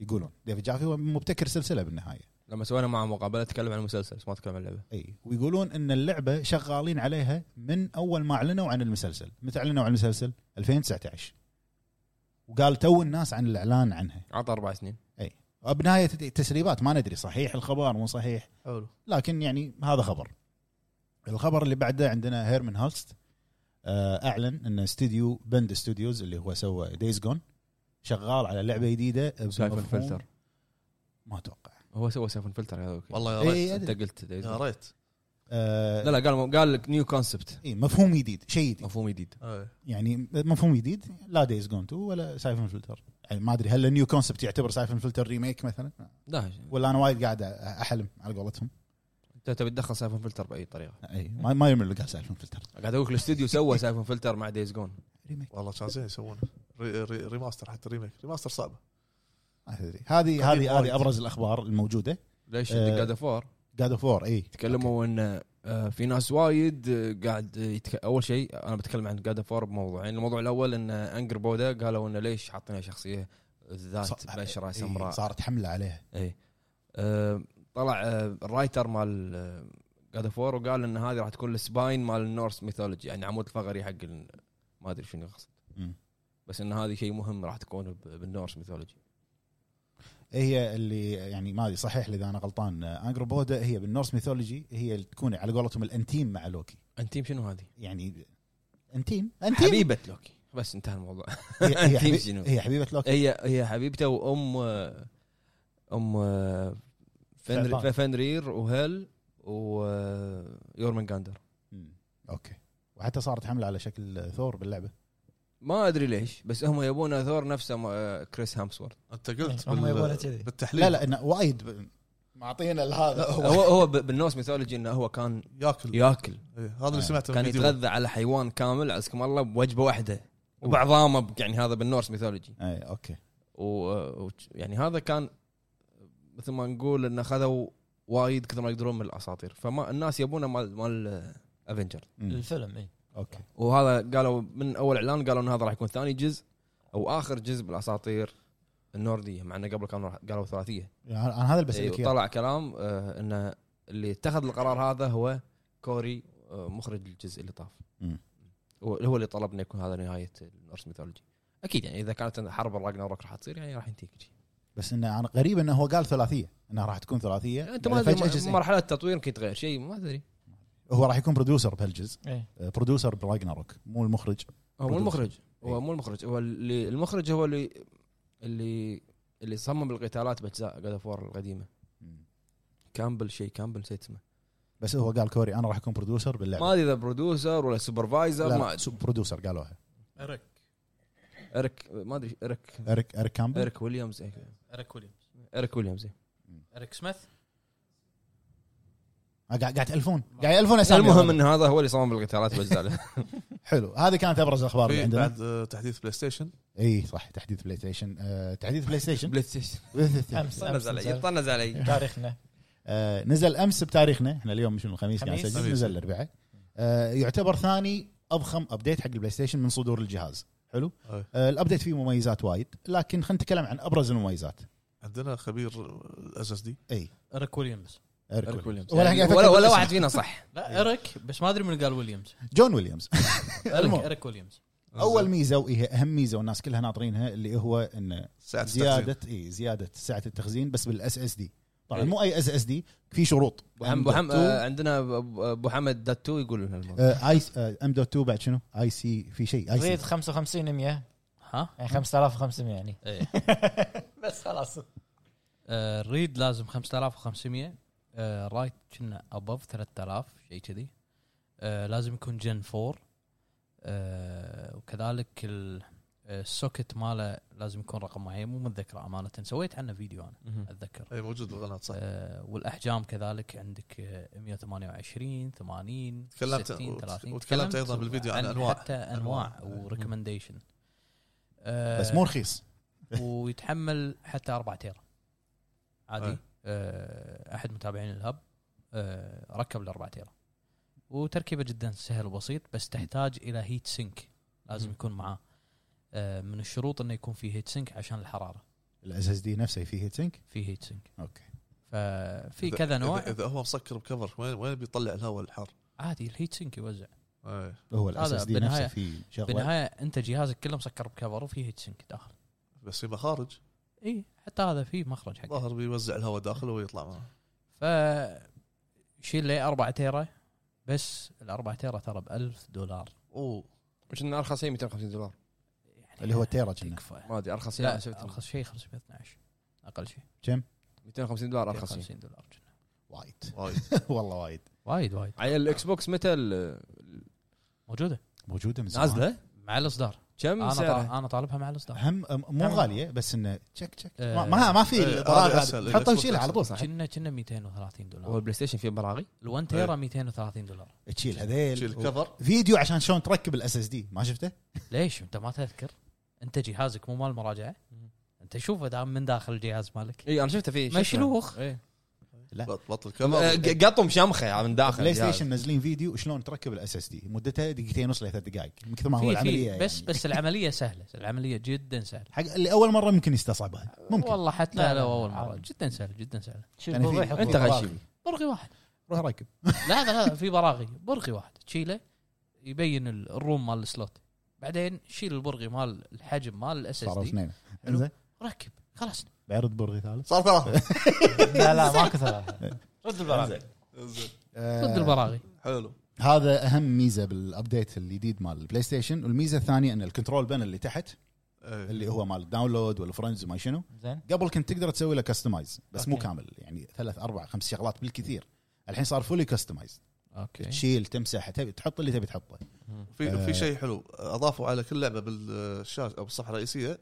يقولون ديفيد جافي هو مبتكر سلسله بالنهايه لما سوينا معه مقابله تكلم عن المسلسل بس ما تكلم عن اللعبه اي ويقولون ان اللعبه شغالين عليها من اول ما اعلنوا عن المسلسل متى اعلنوا عن المسلسل 2019 وقال تو الناس عن الاعلان عنها عطى اربع سنين بنهايه التسريبات ما ندري صحيح الخبر مو صحيح حلو لكن يعني هذا خبر الخبر اللي بعده عندنا هيرمن هالست آه، اعلن ان استوديو بند ستوديوز اللي هو سوى دايز جون شغال على لعبه جديده سايفون بمفهوم- فلتر ما اتوقع هو سوى سايفون فلتر هذا اوكي والله يا إي، ريت إي، انت قلت يا لا ريت آه، لا قال قال لك نيو كونسبت إيه، مفهوم جديد شيء جديد مفهوم جديد إي. يعني مفهوم جديد لا دايز جون 2 ولا سايفون فلتر يعني ما ادري هل النيو كونسبت يعتبر سايفون فلتر ريميك مثلا لا ولا انا وايد قاعد احلم على قولتهم انت تبي تدخل سايفون فلتر باي طريقه اي ما ما يمل قاعد سايفون فلتر قاعد اقول لك الاستوديو سوى سايفون فلتر مع دايز جون ريميك والله كان زين يسوونه ري- ري- ريماستر حتى ريميك ريماستر صعبه ما أدري. هذه قديم هذه وايد. هذه ابرز الاخبار الموجوده ليش آه. جاد فور جاد اوف وور اي تكلموا ان آه، في ناس وايد آه، قاعد يتك... اول شيء انا بتكلم عن جاد فور بموضوعين يعني الموضوع الاول ان انجر بودا قالوا انه ليش حاطينها شخصيه إيه، ذات بشره سمراء صارت حمله عليها اي أه، طلع أه، الرايتر مال آه، جاد فور وقال ان هذه راح تكون السباين مال النورس ميثولوجي يعني عمود فقري حق ال- ما ادري شنو قصد مم. بس ان هذه شيء مهم راح تكون ب- بالنورس ميثولوجي إيه، هي اللي يعني ما ادري صحيح لي اذا انا غلطان انجر بودا هي بالنورس ميثولوجي هي اللي تكون على قولتهم الانتيم مع لوكي انتيم شنو هذه؟ يعني انتيم انتيم حبيبه لوكي بس انتهى الموضوع هي, هي, أنتيم حبي- شنو؟ هي حبيبه لوكي هي هي حبيبته وام آه، ام آه، فنر- ثعبان. فنرير وهيل ويورمن جاندر مم. اوكي وحتى صارت حمله على شكل ثور باللعبه ما ادري ليش بس هم يبون ثور نفسه آه، كريس هامسورث انت قلت هم يبونه بال... كذي بالتحليل لا لا انه وايد ب- معطينا هذا هو هو ب- بالنورس ميثولوجي انه هو كان ياكل ياكل إي، هذا اللي سمعته كان يتغذى على حيوان كامل عزكم الله بوجبه واحده وبعظامه ب- يعني هذا بالنورس ميثولوجي اي اوكي و- و- يعني هذا كان مثل ما نقول انه خذوا وايد كثر ما يقدرون من الاساطير فما الناس يبونه مال مال افنجر مم. الفيلم إيه. اي اوكي وهذا قالوا من اول اعلان قالوا ان هذا راح يكون ثاني جزء او اخر جزء بالاساطير النورديه مع انه قبل كانوا راح- قالوا ثلاثيه يعني انا هذا اللي بسالك إيه، اياه طلع كلام آه، انه اللي اتخذ القرار هذا هو كوري آه، مخرج الجزء اللي طاف مم. هو هو اللي طلب انه يكون هذا نهايه النورس ميثولوجي اكيد يعني اذا كانت حرب الراجناروك راح تصير يعني راح ينتهي كل شيء بس انه أنا غريب انه هو قال ثلاثيه انها راح تكون ثلاثيه انت ما بعدين تدري جزئين. م- مرحله التطوير يمكن تغير شيء ما ادري إيه، هو راح يكون برودوسر بهالجزء إيه. آه، برودوسر براجناروك مو المخرج هو مو برودوسر. المخرج إيه. هو مو المخرج هو اللي المخرج هو اللي اللي اللي صمم القتالات باجزاء جاد اوف القديمه كامبل شيء كامبل نسيت اسمه بس هو قال كوري انا راح اكون برودوسر باللعبه ما ادري اذا برودوسر ولا سوبرفايزر لا ما لا سو- برودوسر قالوها اريك اريك ما ادري اريك اريك اريك كامبل اريك ويليامز إيه. اريك ويليامز اريك ويليامز إيه. اريك سميث آه، قاعد قاعد تالفون قاعد يالفون اسامي المهم هذا. ان هذا هو اللي صمم القتالات باجزاء حلو هذه كانت ابرز الاخبار اللي في عندنا بعد آه، تحديث بلاي ستيشن اي صح تحديث بلاي ستيشن آه، تحديث بلاي ستيشن بلاي ستيشن امس امس طنز علي تاريخنا آه، نزل امس بتاريخنا احنا اليوم شنو الخميس قاعد خميس. نسجل خميس. نزل الاربعاء آه، يعتبر ثاني اضخم ابديت حق البلاي ستيشن من صدور الجهاز حلو أي. آه، الابديت فيه مميزات وايد لكن خلينا نتكلم عن ابرز المميزات عندنا خبير الاس اس دي اي اريك ويليامز إيريك إيريك ويليامز. ولا يعني قاعد أفكر ولا, ولا بالاسم. واحد فينا صح لا اريك بس ما ادري من قال ويليامز جون ويليامز اريك اريك ويليامز اول ميزه وهي اهم ميزه والناس كلها ناطرينها اللي هو انه ساعه التخزين. زياده اي زياده سعه التخزين بس بالاس اس دي طبعا مو اي اس اس دي في شروط ابو محمد آه، عندنا أبو- ابو حمد دات تو يقول لنا الموضوع. اي ام دوت 2 بعد شنو؟ اي سي في شيء اي ريد سي 55 100 ها يعني 5500 يعني إيه. بس خلاص آه، الريد لازم 5500 آه، رايت كنا ابف 3000 شيء كذي آه، لازم يكون جن 4 آه، وكذلك ال- السوكت ماله لازم يكون رقم معين مو متذكره امانه سويت عنه فيديو انا مهم. اتذكر اي موجود بالقناه صح آه، والاحجام كذلك عندك آه، 128 80 تكلمت- 60 وت- 30 وتكلمت تكلمت أيضاً بالفيديو عن أنواع. حتى انواع وريكومنديشن بس آه، مو رخيص ويتحمل حتى 4 تيرا عادي أي. آه، احد متابعين الهب آه، ركب ال 4 تيرا وتركيبه جدا سهل وبسيط بس تحتاج الى هيت سينك لازم مم. يكون معاه آه، من الشروط انه يكون في هيت سينك عشان الحراره الاس اس دي نفسه فيه هيت سينك في هيت سينك اوكي ففي إذا- كذا نوع إذا, اذا هو مسكر بكفر وين وين بيطلع الهواء الحار؟ عادي الهيت سينك يوزع اي هو الاس هذا اس دي بالنهاية- نفسه فيه شغله بالنهايه انت جهازك كله مسكر بكفر وفي هيت سينك داخل بس في مخارج اي حتى هذا في مخرج حقه ظاهر بيوزع الهواء داخل ويطلع معه ف شيل لي 4 تيرا بس ال 4 تيرا ترى ب 1000 دولار اوه كنا ارخص شيء 250 دولار يعني اللي هو تيرا كنا تكفى ما ادري ارخص شيء لا أنا شفت ارخص شيء 512 اقل شيء 250 دولار ارخص شيء 50 دولار جنة. وايد وايد والله وايد وايد وايد عيل الاكس بوكس متى ال- موجوده موجوده من زمان نازله مع الاصدار كم انا طالب سعرها؟ انا طالبها مع الاصدار هم مو هم- غاليه بس انه تشك تشك آه. ما ما, ما في آه، الضرائب هذا هذه. أسهل. تحطها الإكس وتشيلها على طول صح كنا كنا 230 هو دولار البلاي ستيشن فيه براغي ال1 تيرا 230 دولار تشيل هذيل شيل الكفر فيديو عشان شلون تركب الاس اس دي ما شفته؟ ليش انت ما تذكر انت جهازك مو مال مراجعه انت شوفه دام من داخل الجهاز مالك اي انا شفته فيه شفته. مشلوخ إيه. بط- بطل آه، الكفر ق- قطم شمخه يعني من داخل بلاي الجهاز. ستيشن نازلين فيديو شلون تركب الاس اس دي مدته دقيقتين ونص لثلاث دقائق من كثر ما هو في العمليه في يعني. بس بس العمليه سهله العمليه جدا سهله حق اللي اول مره ممكن يستصعبها ممكن والله حتى لا، لو لا، اول عادي. مره جدا سهله جدا سهله شوف يعني في- بوضيح انت الضوء. غشيم برغي واحد روح راكب لا هذا هذا في براغي برغي واحد تشيله يبين ال- الروم مال السلوت بعدين شيل البرغي مال الحجم مال الاس اس صاروا نعم. دي اثنين حلو. انزين ركب خلاص بعرض برغي ثالث صار ثلاثة لا لا ماكو ثلاثه رد البراغي إنزين. رد آه البراغي حلو هذا اهم ميزه بالابديت الجديد مال البلاي ستيشن والميزه الثانيه ان الكنترول بان اللي تحت إيه. اللي هو مال الداونلود والفرندز وما شنو زين قبل كنت تقدر تسوي له كستمايز بس مو أوكي. كامل يعني ثلاث اربع خمس شغلات بالكثير الحين صار فولي كستمايز اوكي تشيل تمسح تبي تحط اللي تبي تحطه في آه. في شيء حلو اضافوا على كل آه، لعبه بالشاشه او بالصفحه الرئيسيه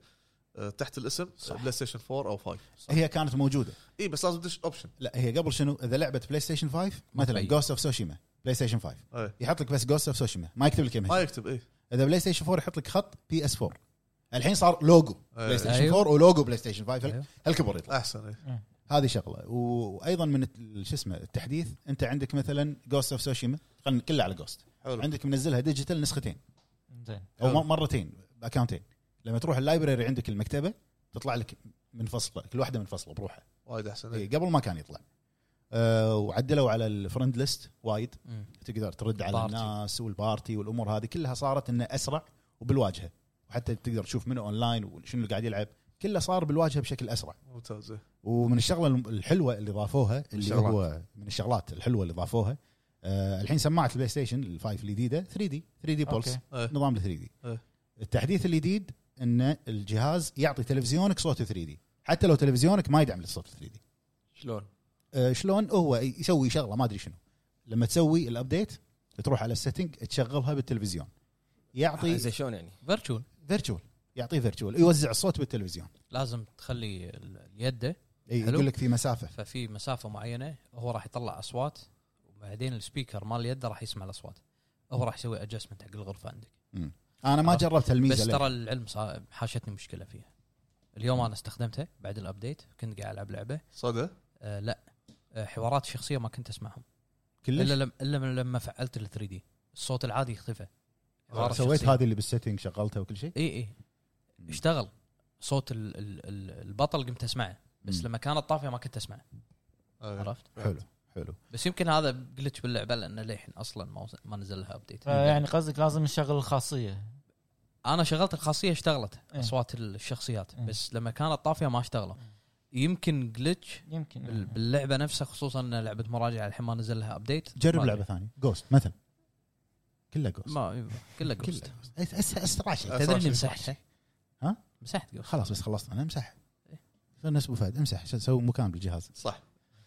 آه، تحت الاسم بلاي ستيشن 4 او 5 هي كانت موجوده اي بس لازم تدش اوبشن لا هي قبل شنو اذا لعبه بلاي ستيشن 5 مثلا مخيم. جوست اوف سوشيما بلاي ستيشن 5 إيه. يحط لك بس جوست اوف سوشيما ما يكتب لك ما إيمج. يكتب اي اذا بلاي ستيشن 4 يحط لك خط بي اس 4 الحين صار لوجو بلاي ستيشن أيوه. 4 ولوجو بلاي ستيشن 5 هل- أيوه. هالكبر يطلع احسن اي هذه شغله و- وايضا من الت- شو اسمه التحديث انت عندك مثلا جوست اوف سوشيما خلينا كله على جوست حلو عندك منزلها ديجيتال نسختين زين او حلو. م- مرتين باكونتين لما تروح اللايبرري عندك المكتبه تطلع لك منفصله كل واحده منفصله بروحها وايد احسن إيه، اي قبل ما كان يطلع أه وعدلوا على الفرند ليست وايد مم. تقدر ترد على بارتي. الناس والبارتي والامور هذه كلها صارت انه اسرع وبالواجهه وحتى تقدر تشوف منه اونلاين وشنو اللي قاعد يلعب كله صار بالواجهه بشكل اسرع ممتاز إيه. ومن الشغله الم- الحلوه اللي ضافوها اللي الشغلات. هو من الشغلات الحلوه اللي ضافوها أه الحين سماعه البلاي ستيشن الفايف الجديده 3 دي 3 دي بولس أوكي. إيه. نظام ال 3 دي إيه. التحديث الجديد ان الجهاز يعطي تلفزيونك صوت 3 دي حتى لو تلفزيونك ما يدعم الصوت 3 دي شلون؟ آه، شلون هو يسوي شغله ما ادري شنو لما تسوي الابديت تروح على السيتنج تشغلها بالتلفزيون يعطي زي شلون يعني؟ فيرتشوال فيرتشوال يعطيه فيرتشوال يوزع الصوت بالتلفزيون لازم تخلي ال- اليد إي، حلو. يقول لك في مسافه ففي مسافه معينه هو راح يطلع اصوات وبعدين السبيكر مال اليد راح يسمع الاصوات هو راح يسوي ادجستمنت حق الغرفه عندك انا ما عرفت. جربت بس الميزه ترى ليه. العلم صار حاشتني مشكله فيها اليوم انا استخدمتها بعد الابديت كنت قاعد العب لعبه صدى آه لا آه، حوارات شخصيه ما كنت اسمعهم كلش الا لما الا من لما فعلت ال 3 دي الصوت العادي اختفى حوارات سويت شخصية. هذه اللي بالسيتنج شغلتها وكل شيء اي اي اشتغل صوت ال ال ال البطل قمت اسمعه بس مم. لما كانت طافيه ما كنت اسمعه آه، عرفت حلو حلو بس يمكن هذا جلتش باللعبه لان للحين اصلا ما وص- ما نزل لها ابديت يعني قصدك لازم نشغل الخاصيه انا شغلت الخاصيه اشتغلت إيه. اصوات الشخصيات إيه. بس لما كانت طافيه ما اشتغلوا يمكن جلتش يمكن باللعبه نفسها خصوصا ان لعبه مراجعه الحين ما نزل لها ابديت جرب ما لعبه ثانيه جوست مثلا كلها أدري. جوست ما كله جوست أس- أس- اسرع شيء أسرع تدري شيء. إني- تدري مسحت ها؟ مسحت جوست خلاص بس خلصت انا امسح نفس ابو فهد امسح عشان سوي مكان بالجهاز إيه. صح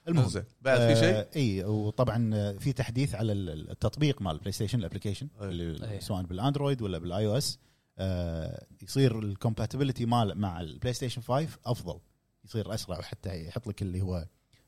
المهم زين بعد في شيء آه، اي وطبعا آه، في تحديث على ال- التطبيق مال بلاي ستيشن الابلكيشن أي. اللي- أي. سواء بالاندرويد ولا بالاي او اس يصير الكومباتيبلتي مال مع البلاي ستيشن 5 افضل يصير اسرع وحتى يحط لك اللي هو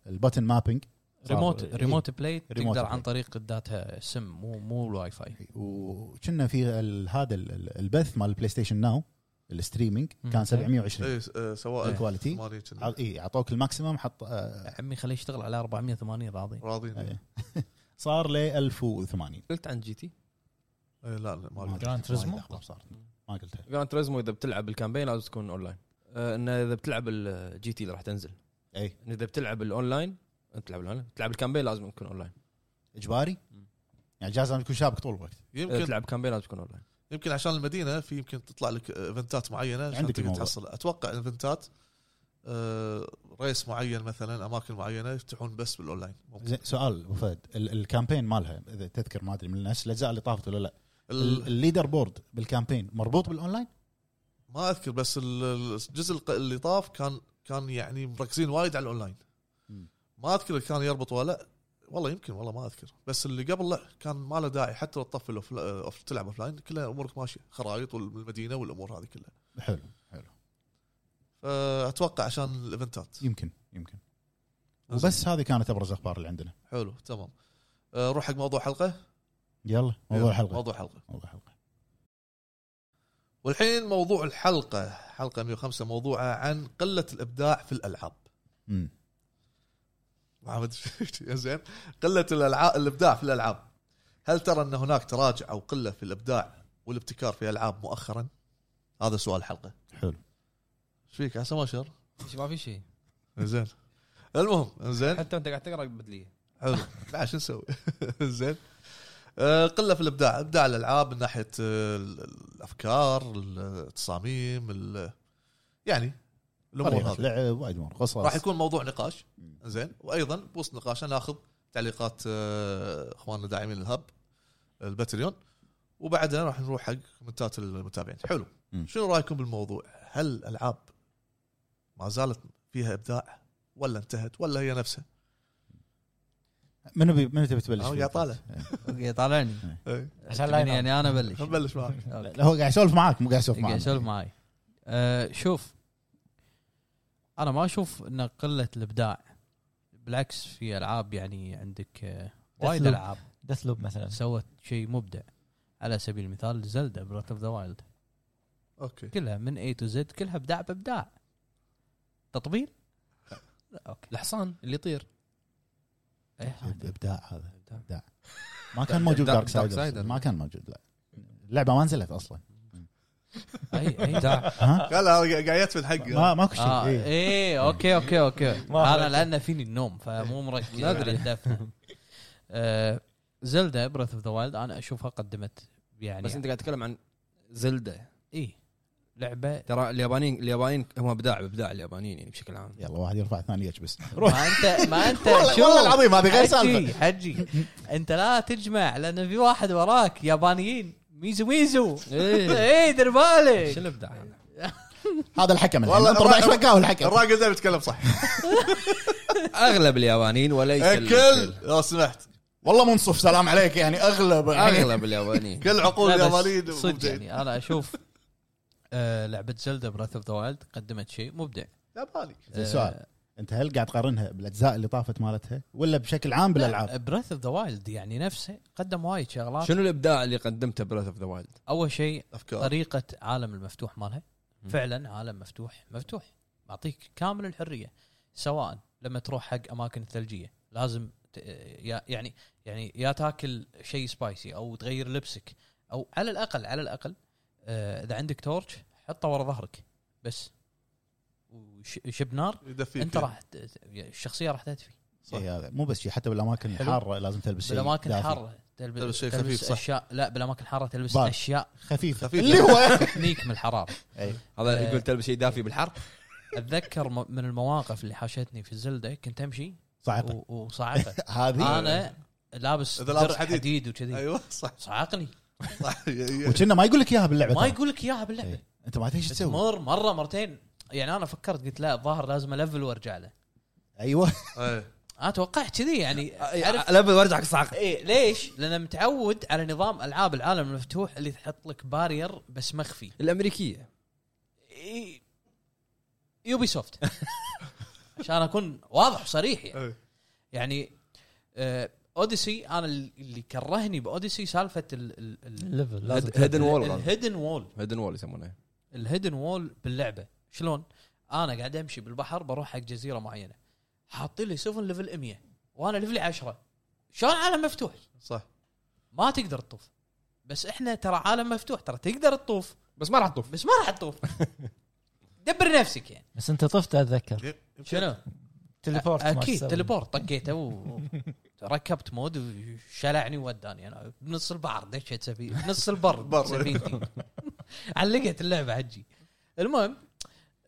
البتن مابينج ريموت إيه. ريموت بلاي ريموت تقدر عن بلاي. طريق داتا سم مو مو الواي فاي إيه. وكنا في ال- هذا ال- ال- البث مال البلاي ستيشن ناو الستريمينج مم. كان 720 اي إيه، آه، سواء الكواليتي. ثمانية كنا. اي اعطوك الماكسيمم حط آه، عمي خليه يشتغل على 480 راضي راضين أي. إيه، صار ل 1080 قلت عن جي تي إيه، لا لا ما أدري. Gran Turismo؟ صار ما قلتها جراند تريزمو اذا بتلعب الكامبين لازم تكون اونلاين آه، انه اذا بتلعب الجي تي اللي راح تنزل اي إن اذا بتلعب الاونلاين انت تلعب الاونلاين تلعب الكامبين لازم تكون اونلاين اجباري مم. يعني جاز لازم تكون شابك طول الوقت اذا يمكن تلعب كامبين لازم تكون اونلاين يمكن عشان المدينه في يمكن تطلع لك ايفنتات معينه عشان عندك تقدر الموضوع. تحصل اتوقع ايفنتات آه، ريس معين مثلا اماكن معينه يفتحون بس بالاونلاين ممكن. زين، سؤال ابو فهد ال- الكامبين مالها اذا تذكر ما ادري من الناس الاجزاء اللي طافت ولا لا ال- ال- الليدر بورد بالكامبين مربوط بالاونلاين ما اذكر بس ال- ال- الجزء الق- اللي طاف كان كان يعني مركزين وايد على الاونلاين مم. ما اذكر كان يربط ولا والله يمكن والله ما اذكر بس اللي قبل لا كان ما له داعي حتى لو تطفل أوف- أوف- تلعب اوف لاين كلها امورك ماشيه خرايط والمدينه والامور هذه كلها حلو حلو فاتوقع عشان الايفنتات يمكن يمكن وبس هذه كانت ابرز الاخبار اللي عندنا حلو تمام آه، نروح حق موضوع حلقه يلا موضوع يلا، الحلقه موضوع حلقه موضوع الحلقه والحين موضوع الحلقه حلقه 105 موضوعها عن قله الابداع في الالعاب امم محمد يا زين قله الالعاب الابداع في الالعاب هل ترى ان هناك تراجع او قله في الابداع والابتكار في الالعاب مؤخرا؟ هذا سؤال الحلقه حلو ايش فيك عسى ما شر ما في شيء زين المهم زين حتى انت قاعد تقرا بدليه حلو بعد شو نسوي؟ زين آه، قله في الابداع، ابداع الالعاب من ناحيه آه، ال- الافكار، التصاميم، ال- يعني الامور طريقة هذه طيب، لعب وايد امور قصص راح يكون موضوع نقاش مم. زين وايضا بوسط نقاشنا ناخذ تعليقات آه، اخواننا داعمين الهب الباتريون وبعدها راح نروح حق كومنتات المتابعين حلو مم. شنو رايكم بالموضوع هل الالعاب ما زالت فيها ابداع ولا انتهت ولا هي نفسها منو بي... منو تبي تبلش؟ أو فيه؟ يا طالع. إيه. اوكي طالعني إيه، عشان لا تبيني ينام. يعني انا ابلش نبلش معك أوكي. لا هو قاعد يسولف معاك مو قاعد يسولف قاعد معاك يسولف معاي أه شوف انا ما اشوف ان قله الابداع بالعكس في العاب يعني عندك أه، وايد Deathloop. العاب دث لوب مثلا سوت شيء مبدع على سبيل المثال زلدا براث اوف ذا وايلد اوكي كلها من اي تو زد كلها ابداع بابداع تطبيل لا اوكي الحصان اللي يطير إيه، ابداع هذا إبداع. ابداع ما كان موجود دارك دارك سايدر سايدر. ما كان موجود لا اللعبه ما نزلت اصلا اي اي ابداع ها لا لا قاعد يتفل حقه ما ماكو شيء آه إيه. ايه اوكي اوكي اوكي ما انا لان فيني النوم فمو مركز ما أدري. على الدفن. آه، زلدا براث اوف ذا وايلد انا اشوفها قدمت يعني إيه. بس انت قاعد تتكلم عن زلدة اي لعبه ترى اليابانيين اليابانيين هم ابداع ابداع اليابانيين يعني بشكل عام يلا واحد يرفع الثاني يكبس روح ما انت ما انت والله- شوف. والله العظيم هذه غير حجي حجي انت لا تجمع لان في واحد وراك يابانيين ميزو ميزو اي دير بالك شنو الابداع هذا؟ هذا الحكم الحين والله انطر الراجل- بعد شوي قاهو الحكم الراجل ده بيتكلم صح اغلب اليابانيين وليس إيه، ال- الكل لو سمحت والله منصف سلام عليك يعني آه، اغلب يعني اغلب اليابانيين كل عقول لا، بس اليابانيين صدق مبدعين. يعني انا اشوف آه، لعبه زلدا براث اوف ذا وايلد قدمت شيء مبدع ياباني زين، سؤال انت هل قاعد تقارنها بالاجزاء اللي طافت مالتها ولا بشكل عام بالالعاب؟ براث اوف ذا وايلد يعني نفسه قدم وايد شغلات شنو الابداع اللي قدمته براث اوف ذا وايلد؟ اول شيء افكار طريقه عالم المفتوح مالها مم. فعلا عالم مفتوح مفتوح معطيك كامل الحريه سواء لما تروح حق اماكن الثلجيه لازم ت- يا- يعني يعني يا تاكل شيء سبايسي او تغير لبسك او على الاقل على الاقل آه، اذا عندك تورش حطه ورا ظهرك بس وشب نار يدفيك انت راح ت- ت- الشخصيه راح تدفي إي إيه، هذا مو بس شيء حتى بالاماكن حلو. الحاره لازم تلبس شيء بالاماكن دافي. الحاره تلبس تلبس, تلبس, شيء تلبس خفيف، صح. اشياء لا بالاماكن الحاره تلبس بارد. اشياء خفيف خفيف. اللي هو تحميك من الحراره إي. هذا آه. يقول تلبس شيء دافي بالحر اتذكر م- من المواقف اللي حاشتني في الزلده كنت امشي صاعقه و- وصاعقه هذه انا لابس إذا لابس درع حديد. حديد وكذي ايوه صح صعقني صح إيه، ي- ي- وكنا ما يقول لك اياها باللعبه ما ترى. يقول لك اياها باللعبه إيه. إي. انت ما تدري ايش تسوي تمر مره مرتين يعني انا فكرت قلت لا الظاهر لازم الفل وارجع له ايوه إيه. انا توقعت كذي يعني تعرف لبل وارجعك صعق ايه ليش؟ لان متعود على نظام العاب العالم المفتوح اللي تحط لك بارير بس مخفي الامريكيه إيه يوبي سوفت عشان اكون واضح وصريح يعني إيه. يعني آه، اوديسي انا اللي كرهني باوديسي سالفه ال- ال- ال- الليفل لازم هيدن وول الهيدن وول هيدن وول يسمونه الهيدن وول باللعبه شلون؟ انا قاعد امشي بالبحر بروح حق جزيره معينه حاطين لي سفن ليفل 100 وانا ليفلي 10 شلون عالم مفتوح؟ صح ما تقدر تطوف بس احنا ترى عالم مفتوح ترى تقدر تطوف بس ما راح تطوف بس ما راح تطوف دبر نفسك يعني بس انت طفت اتذكر شنو؟ تليبورت ما اكيد تسوي. تليبورت طقيته و- وركبت مود وشلعني وداني انا بنص البحر دشيت سفينة بنص البر بر. سفينتي علقت اللعبه حجي المهم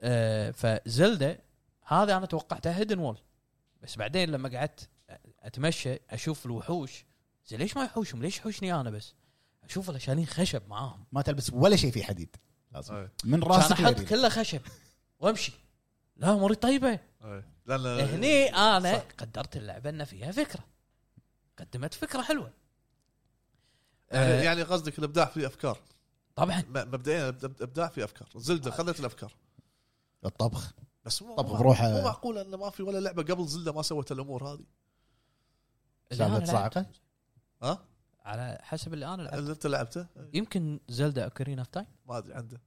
آه فزلدة هذا انا توقعته هيدن وول بس بعدين لما قعدت اتمشى اشوف الوحوش زين ليش ما يحوشهم؟ ليش يحوشني انا بس؟ اشوف الاشانين خشب معاهم ما تلبس ولا شيء فيه حديد لازم إيه. من كان راسك احط لرجلك. كله خشب وامشي لا اموري طيبه إيه. لان هني انا قدرت اللعبه ان فيها فكره قدمت فكره حلوه يعني- آه يعني قصدك الابداع في افكار طبعا م- مبدئيا الإبد- الابداع في افكار آه. زلده خذت الافكار الطبخ بس مو طب مو- بروحه. مو معقول ان ما في ولا لعبه قبل زلده ما سوت الامور هذه اللي أنا سالفة لعبت- صاعقة؟ ها على حسب اللي انا لعبت اللي انت لعبته يمكن زلدا اوكرين اوف تايم ما ادري عنده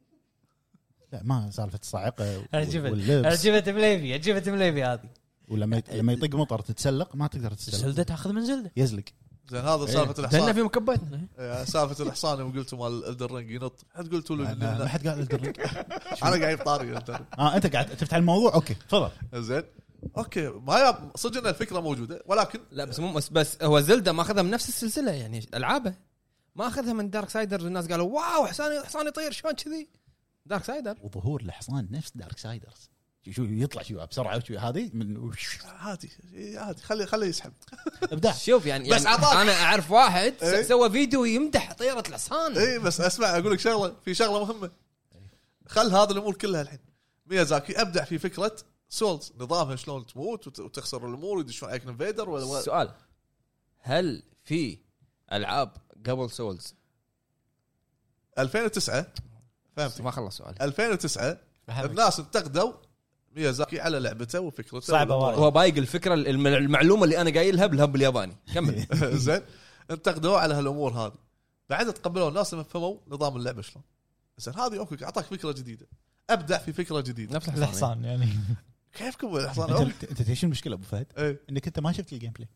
لا ما سالفه الصاعقه و- عجبت. واللبس عجبت مليفي عجبت مليفي هذه ولما يت- لما يطق مطر تتسلق ما تقدر زلدا تتسلق تاخذ من زلدا يزلق زين إيه، هذا سالفه دنا الاحصان في مكباتنا إيه، سالفه الاحصان يوم قلتوا مال الدرنج ينط حد قلتوا له ما- ما ما إنه- حد قال الدرنج انا قاعد طاري الدرنج. اه انت قاعد تفتح الموضوع اوكي تفضل زين اوكي ما ياب صدق ان الفكره موجوده ولكن لا بس مو بس, بس هو زلدا ما اخذها من نفس السلسله يعني العابه ما اخذها من دارك سايدر الناس قالوا واو حسان حسان يطير شلون كذي دارك سايدر وظهور الحصان نفس دارك سايدرز شو يطلع شو بسرعه شو هذه من وش- عادي عادي خليه خليه يسحب ابداع شوف يعني بس يعني عطاك. انا اعرف واحد إيه. س- سوى فيديو يمدح طيره الحصان اي إيه، بس اسمع اقول لك شغله في شغله مهمه خل هذه الامور كلها الحين ميازاكي ابدع في فكره سولز نظامها شلون تموت وت- وتخسر الامور يدشون عليك انفيدر ولا ولا- السؤال هل في العاب قبل سولز 2009 فهمت ما خلص سؤالي 2009 الناس انتقدوا ميازاكي على لعبته وفكرته صعبة والأمور. وايد هو بايق الفكره الم- المعلومه اللي انا قايلها بالهب الياباني كمل زين انتقدوا على هالامور هذه بعدها تقبلوا الناس لما فهموا نظام اللعبه شلون زين هذه اوكي اعطاك فكره جديده ابدع في فكره جديده نفس الحصان الحصان يعني كيفكم الحصان أوكي. انت انت تدري شنو المشكله ابو فهد؟ إيه. انك انت ما شفت الجيم بلاي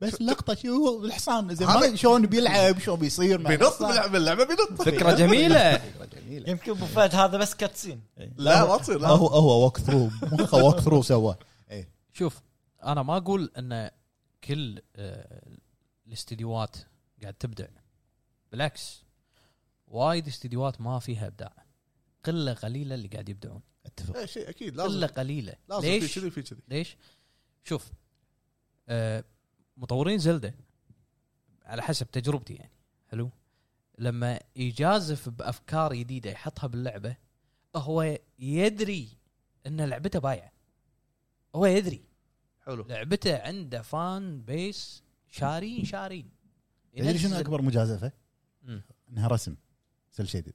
بس لقطه شو الحصان زين هذا- ما شلون بيلعب شلون بيصير مع بينط الحصان. باللعبه اللعبه بينط فكره جميله جميلة. يمكن ابو فهد هذا بس كاتسين لا ما تصير لا هو هو ووك ثرو مخه ووك ثرو سواه شوف انا ما اقول ان كل آه، الاستديوهات قاعد تبدع بالعكس وايد استديوهات ما فيها ابداع قله قليله اللي قاعد يبدعون اتفق إيه، شيء اكيد قله لازم قليله لازم في ليش؟ كذي في كذي ليش؟ شوف آه مطورين زلدة على حسب تجربتي يعني حلو لما يجازف بافكار جديده يحطها باللعبه هو يدري ان لعبته بايعه هو يدري حلو لعبته عنده فان بيس شارين شارين تدري شنو ينزل- اكبر مجازفه؟ مم. انها رسم سل شديد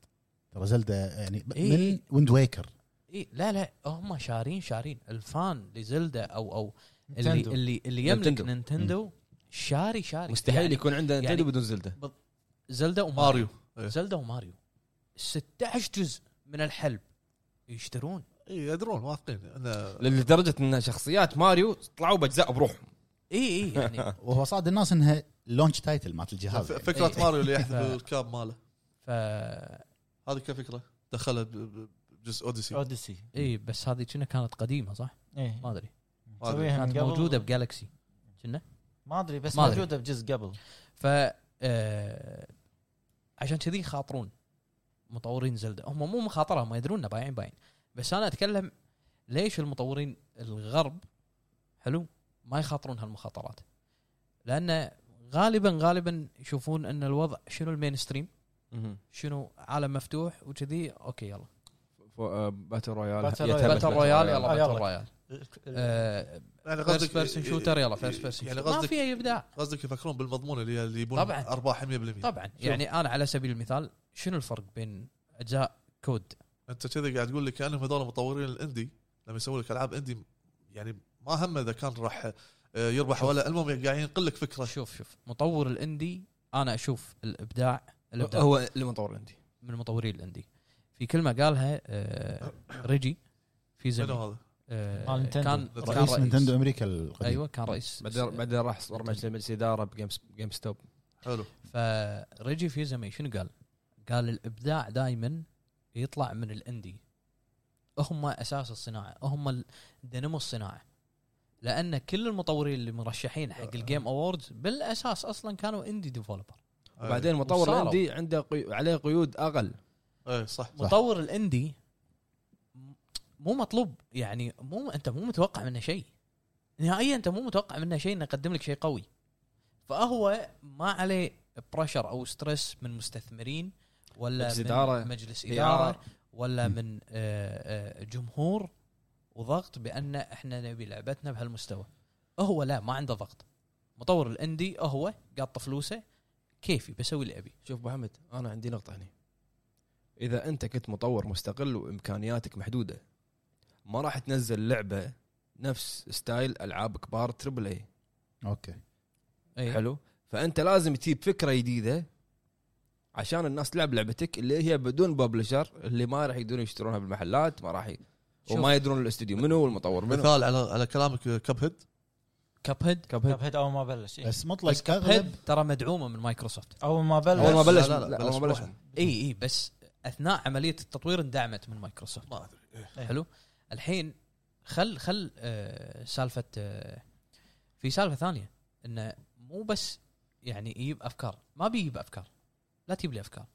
ترى زلدة يعني ب- إيه. من ويند ويكر إيه لا لا هم شارين شارين الفان لزلدة او او اللي نينتندو. اللي اللي يملك نينتندو. نينتندو شاري شاري مستحيل يعني يكون عنده يعني- نتندو بدون زلده زلدة وماريو ماريو إيه. زلدا وماريو 16 جزء من الحلب يشترون إيه، يدرون واثقين انه لدرجه ان شخصيات ماريو طلعوا باجزاء بروحهم اي اي يعني وهو صاد الناس انها لونش تايتل مالت الجهاز يعني. ف- فكره إيه. ماريو اللي يحذف ف- الكاب ماله ف هذه كفكره دخلها ب- ب- بجزء اوديسي اوديسي اي بس هذه كنا كانت قديمه صح؟ ايه ما ادري هذه. مسويها من كانت إيه، يعني قبل. موجوده بجالكسي ما ادري بس ما أدري. موجوده بجزء قبل ف آه، عشان كذي خاطرون مطورين زلدة هم مو مخاطرة هم يدرون بايعين باين بس انا اتكلم ليش المطورين الغرب حلو ما يخاطرون هالمخاطرات لان غالبا غالبا يشوفون ان الوضع شنو المين ستريم مهم. شنو عالم مفتوح وكذي اوكي يلا ف- آه، باتل رويال باتل يعتمد رويال. باتل رويال آه، يلا يلا. باتل رويال آه، يعني فيرست بيرسون شوتر يلا فيرست بيرسون يعني يعني ما قصدك فيها ابداع قصدك يفكرون بالمضمون اللي اللي يبون طبعاً. ارباح 100% طبعا يعني انا على سبيل المثال شنو الفرق بين اجزاء كود انت كذا قاعد تقول لي كانهم هذول مطورين الاندي لما يسوون لك العاب اندي يعني ما همه اذا كان راح آه، يربح ولا المهم قاعدين ينقل لك فكره شوف شوف مطور الاندي انا اشوف الابداع الابداع هو هو اللي مطور عندي من مطوري الاندي في كلمه قالها آه، ريجي في منو زمن هذا؟ آه، مال كان نينتندو. كان رئيس رئيس. رئيس نينتندو امريكا القديم ايوه كان رئيس بعدين بعدين راح صار مجلس مجلس اداره بجيم جيم ستوب حلو فريجي فيوزامي شنو قال؟ قال الابداع دائما يطلع من الاندي هم اساس الصناعه هم دينامو الصناعه لان كل المطورين اللي مرشحين حق الجيم اووردز بالاساس اصلا كانوا اندي ديفلوبر آه. وبعدين مطور وصاروا. عندي عنده قي... عليه قيود اقل اي إيه، صح صح. مطور الاندي م- مو مطلوب يعني مو انت مو متوقع منه شيء نهائيا انت مو متوقع منه شيء انه يقدم لك شيء قوي فهو ما عليه بريشر او ستريس من مستثمرين ولا مجلس من إدارة، مجلس PR. اداره ولا من آه، آه، جمهور وضغط بان احنا نبي لعبتنا بهالمستوى هو لا ما عنده ضغط مطور الاندي هو قاط فلوسه كيفي بسوي اللي ابي شوف ابو حمد انا عندي نقطه هنا اذا انت كنت مطور مستقل وامكانياتك محدوده ما راح تنزل لعبه نفس ستايل العاب كبار تربل اي اوكي أي. حلو فانت لازم تجيب فكره جديده عشان الناس تلعب لعبتك اللي هي بدون ببلشر اللي ما راح يقدرون يشترونها بالمحلات ما راح ي... شوف. وما يدرون الاستوديو منو والمطور منو مثال على على كلامك آه، كاب هيد كاب هيد كاب هيد اول ما بلش إيه. بس مطلق بس كاب اغلب هيد ترى مدعومه من مايكروسوفت اول ما اول ما بلش بس- بلش لا، لا، لا، بلش اول ما بلش بواحد. اي اي بس اثناء عمليه التطوير اندعمت من مايكروسوفت ما ادري إيه. حلو الحين خل خل آه سالفه آه في سالفه ثانيه انه مو بس يعني يجيب افكار ما بيجيب افكار لا تجيب لي افكار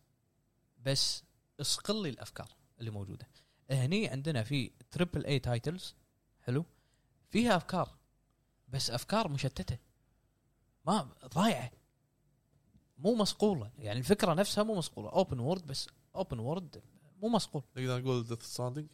بس اسقل لي الافكار اللي موجوده هني عندنا في تريبل اي تايتلز حلو فيها افكار بس افكار مشتته ما ضايعه مو مصقوله يعني الفكره نفسها مو مصقوله اوبن وورد بس اوبن وورد مو مصقول نقدر نقول ديث ستاندينج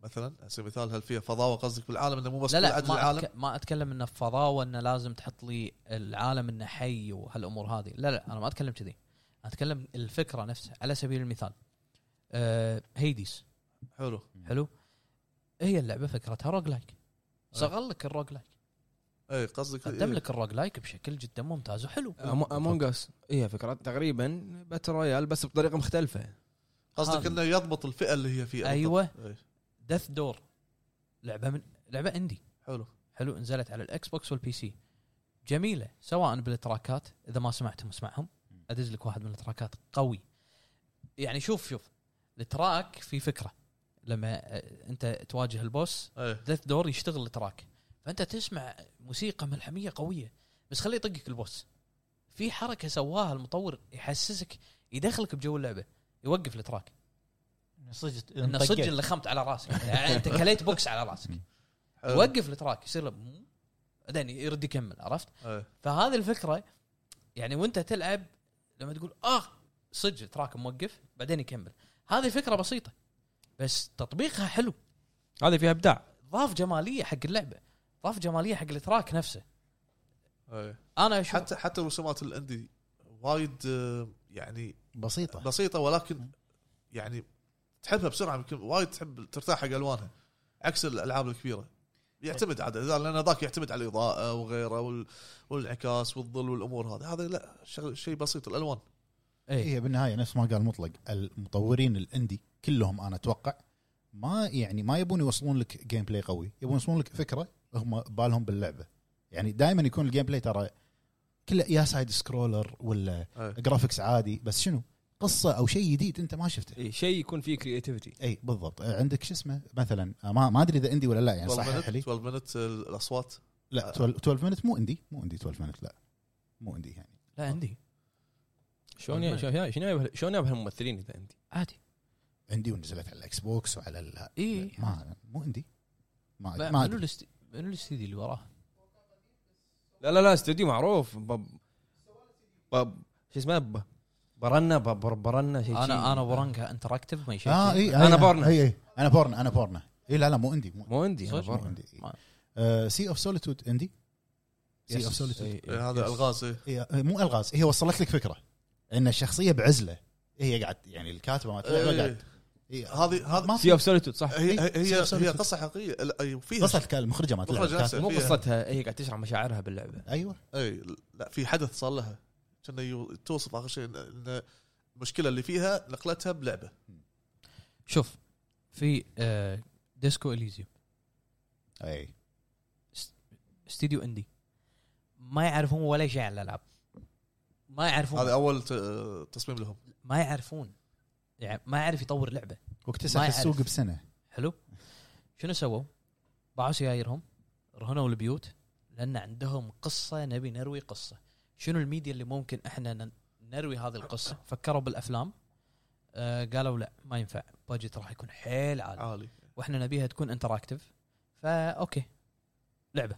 مثلا على سبيل المثال هل فيها فضاوه قصدك بالعالم انه مو بس لا كل لا عدل ما, العالم أتك... ما اتكلم انه فضاوه انه لازم تحط لي العالم انه حي وهالامور هذه لا لا انا ما اتكلم كذي اتكلم الفكره نفسها على سبيل المثال أه هيديس حلو حلو هي اللعبه فكرتها روج لايك صغر لك الروج لايك اي قصدك قدم إيه. لك الروج لايك بشكل جدا ممتاز وحلو امونج اس هي فكره تقريبا باتل رويال بس بطريقه مختلفه قصدك هذا. انه يضبط الفئه اللي هي فيها أيوة. بالضبط. إيه. دث دور لعبه من لعبه اندي حلو حلو نزلت على الاكس بوكس والبي سي جميله سواء بالتراكات اذا ما سمعتهم اسمعهم ادز لك واحد من التراكات قوي يعني شوف شوف التراك في فكره لما آه، انت تواجه البوس اي ديث دور يشتغل التراك فانت تسمع موسيقى ملحميه قويه بس خليه يطقك البوس في حركه سواها المطور يحسسك يدخلك بجو اللعبه يوقف التراك يعني صدق انه صدق اللي خمت على راسك يعني انت كليت بوكس على راسك حلو. يوقف التراك يصير له مم. بعدين يرد يكمل عرفت إيه. فهذه الفكره يعني وانت تلعب لما تقول اه صدق تراك موقف بعدين يكمل هذه فكره بسيطه بس تطبيقها حلو هذه فيها ابداع ضاف جماليه حق اللعبه ضاف جماليه حق التراك نفسه إيه. انا اشوف حتى حتى رسومات الاندي وايد آه، يعني طيب. بسيطه بسيطه ولكن يعني تحبها بسرعه يمكن وايد تحب ترتاح حق الوانها عكس الالعاب الكبيره يعتمد عاد إذا- لان ذاك يعتمد على الاضاءه وغيره وال- والانعكاس والظل والامور هذه هذا لا شغل- شيء بسيط الالوان إيه. هي بالنهايه نفس ما قال مطلق المطورين الاندي كلهم انا اتوقع ما يعني ما يبون يوصلون لك جيم بلاي قوي يبون يوصلون لك فكره هم بالهم باللعبه يعني دائما يكون الجيم بلاي ترى كله يا سايد سكرولر ولا إيه. أي. جرافيكس عادي بس شنو قصه او شيء جديد انت ما شفته إيه، شيء يكون فيه كرياتيفيتي اي بالضبط آه، عندك شو اسمه مثلا آه، ما ما ادري اذا اندي ولا لا يعني 12 صحح لي منت 12 منت الاصوات إيه، آه. لا 12 12 منت مو اندي مو اندي 12 منت لا مو اندي يعني لا عندي شلون يا- شلون شلون يا- شلون يا بهالممثلين اذا انت عادي اندي ونزلت على الاكس بوكس وعلى ال... اي ما مو اندي ما لا، ما منو أدري. الاست- منو الاستديو اللي وراه؟ لا لا لا استوديو معروف بب بب شو اسمه ب- برنا ب- بر- برنا شيء شيء. انا انا ورانكا انتراكتيف ما شيء اه اي أنا بورنا. اي اي انا بورنا انا بورنا اي لا لا مو اندي مو مو عندي مو أنا برا. اندي ما- سي اوف سوليتود اندي سي اوف سوليتود إيه، إيه. إيه، هذا الغاز إيه. مو الغاز هي وصلت لك فكره ان الشخصيه بعزله هي قاعد يعني الكاتبه ما تلعب إيه، قاعد إيه. هي- هذه هذه ما سي في اوف سوليتود صح هي هي- إيه، هي سي- هي سي- قصه حقيقيه لا، أي، وفيها قصه الك- المخرجه ما تلعب مخرج الكاتبة. نفسه مو فيها. قصتها هي إيه، قاعد تشرح مشاعرها باللعبه ايوه اي لا في حدث صار لها كنا يو- توصف اخر شيء إن- ان المشكله اللي فيها نقلتها بلعبه شوف في آه، ديسكو اليزيوم اي استديو اندي ما يعرفون ولا شيء عن الالعاب ما هذا يعرفون اول ت- تصميم لهم ما يعرفون يعني ما يعرف يطور لعبه ما واكتسح يعرف. السوق بسنه حلو شنو سووا؟ باعوا سيايرهم رهنوا البيوت لان عندهم قصه نبي نروي قصه شنو الميديا اللي ممكن احنا ن- نروي هذه القصه فكروا بالافلام آه قالوا لا ما ينفع بادجت راح يكون حيل عالي عالي واحنا نبيها تكون انتراكتيف فا اوكي لعبه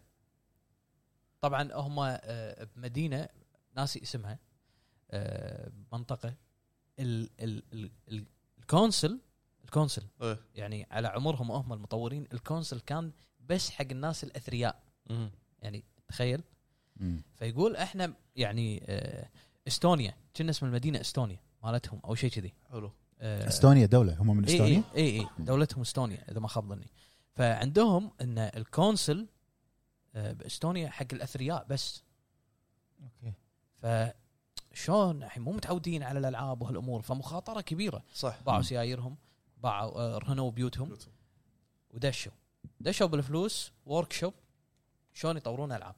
طبعا هم آه، بمدينه ناسي اسمها آه، منطقه ال ال ال ال الكونسل الكونسل إيه. يعني على عمرهم هم المطورين الكونسل كان بس حق الناس الاثرياء يعني تخيل مم. فيقول احنا يعني آه، استونيا كنا اسم المدينه استونيا مالتهم او شيء كذي حلو آه، استونيا دوله هم من إيه، استونيا اي اي, إي, إي دولتهم استونيا اذا ما خاب ظني فعندهم ان الكونسل آه، باستونيا حق الاثرياء بس اوكي فشلون الحين مو متعودين على الالعاب وهالامور فمخاطره كبيره صح باعوا سيايرهم باعوا آه، رهنوا طيب. بيوتهم ودشوا دشوا بالفلوس ورك شوب شلون يطورون العاب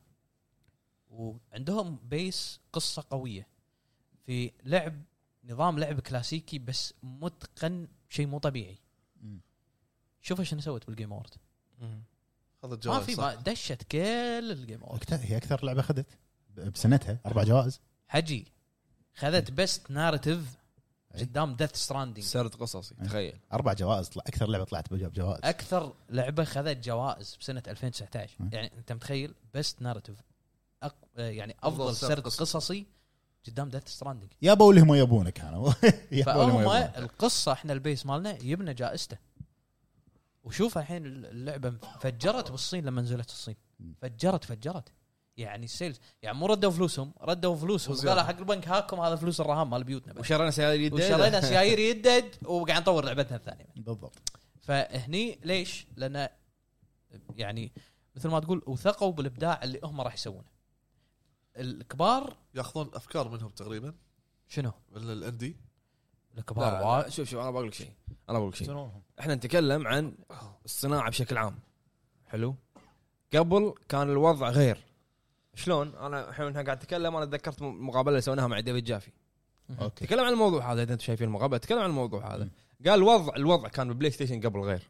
وعندهم بيس قصه قويه في لعب نظام لعب كلاسيكي بس متقن شيء مو طبيعي مم. شوف شنو سوت بالجيم اورد هذا الجواب ما في ما دشت كل الجيم اورد أكت- هي اكثر لعبه اخذت ب- بسنتها اربع جوائز حجي خذت بيست ناريتيف أي. قدام ديث ستراندينج سرد قصصي تخيل اربع جوائز طلع اكثر لعبه طلعت بجوائز اكثر لعبه خذت جوائز بسنه 2019 أي. يعني انت متخيل بيست ناريتيف أق... آه، يعني افضل أفضل سرد سرد قصص. قصصي قدام ديث ستراندينج يابوا اللي هم يبونه كانوا يابوا اللي هم فهم يبونه. القصه احنا البيس مالنا يبنى جائزته وشوف الحين اللعبه فجرت بالصين لما نزلت الصين فجرت فجرت يعني السيلز يعني مو ردوا فلوسهم ردوا فلوسهم وزيادة. قالوا حق البنك هاكم هذا فلوس الرهان مال بيوتنا بس وشرينا سيارة جديدة. وشرينا سيايير يدد وقاعد نطور لعبتنا الثانيه بالضبط فهني ليش؟ لان يعني مثل ما تقول وثقوا بالابداع اللي هم راح يسوونه الكبار ياخذون افكار منهم تقريبا شنو؟ من يعني الاندي لا، الكبار لا، وايد لا، شوف شوف انا بقول لك شيء انا بقول لك إيه. شيء شنو احنا نتكلم عن الصناعه بشكل عام حلو قبل كان الوضع غير شلون انا الحين وإحنا قاعد اتكلم انا تذكرت المقابله اللي سويناها مع ديفيد جافي اوكي تكلم عن الموضوع هذا اذا انتم شايفين المقابله تكلم عن الموضوع هذا قال الوضع الوضع كان بالبلاي ستيشن قبل غير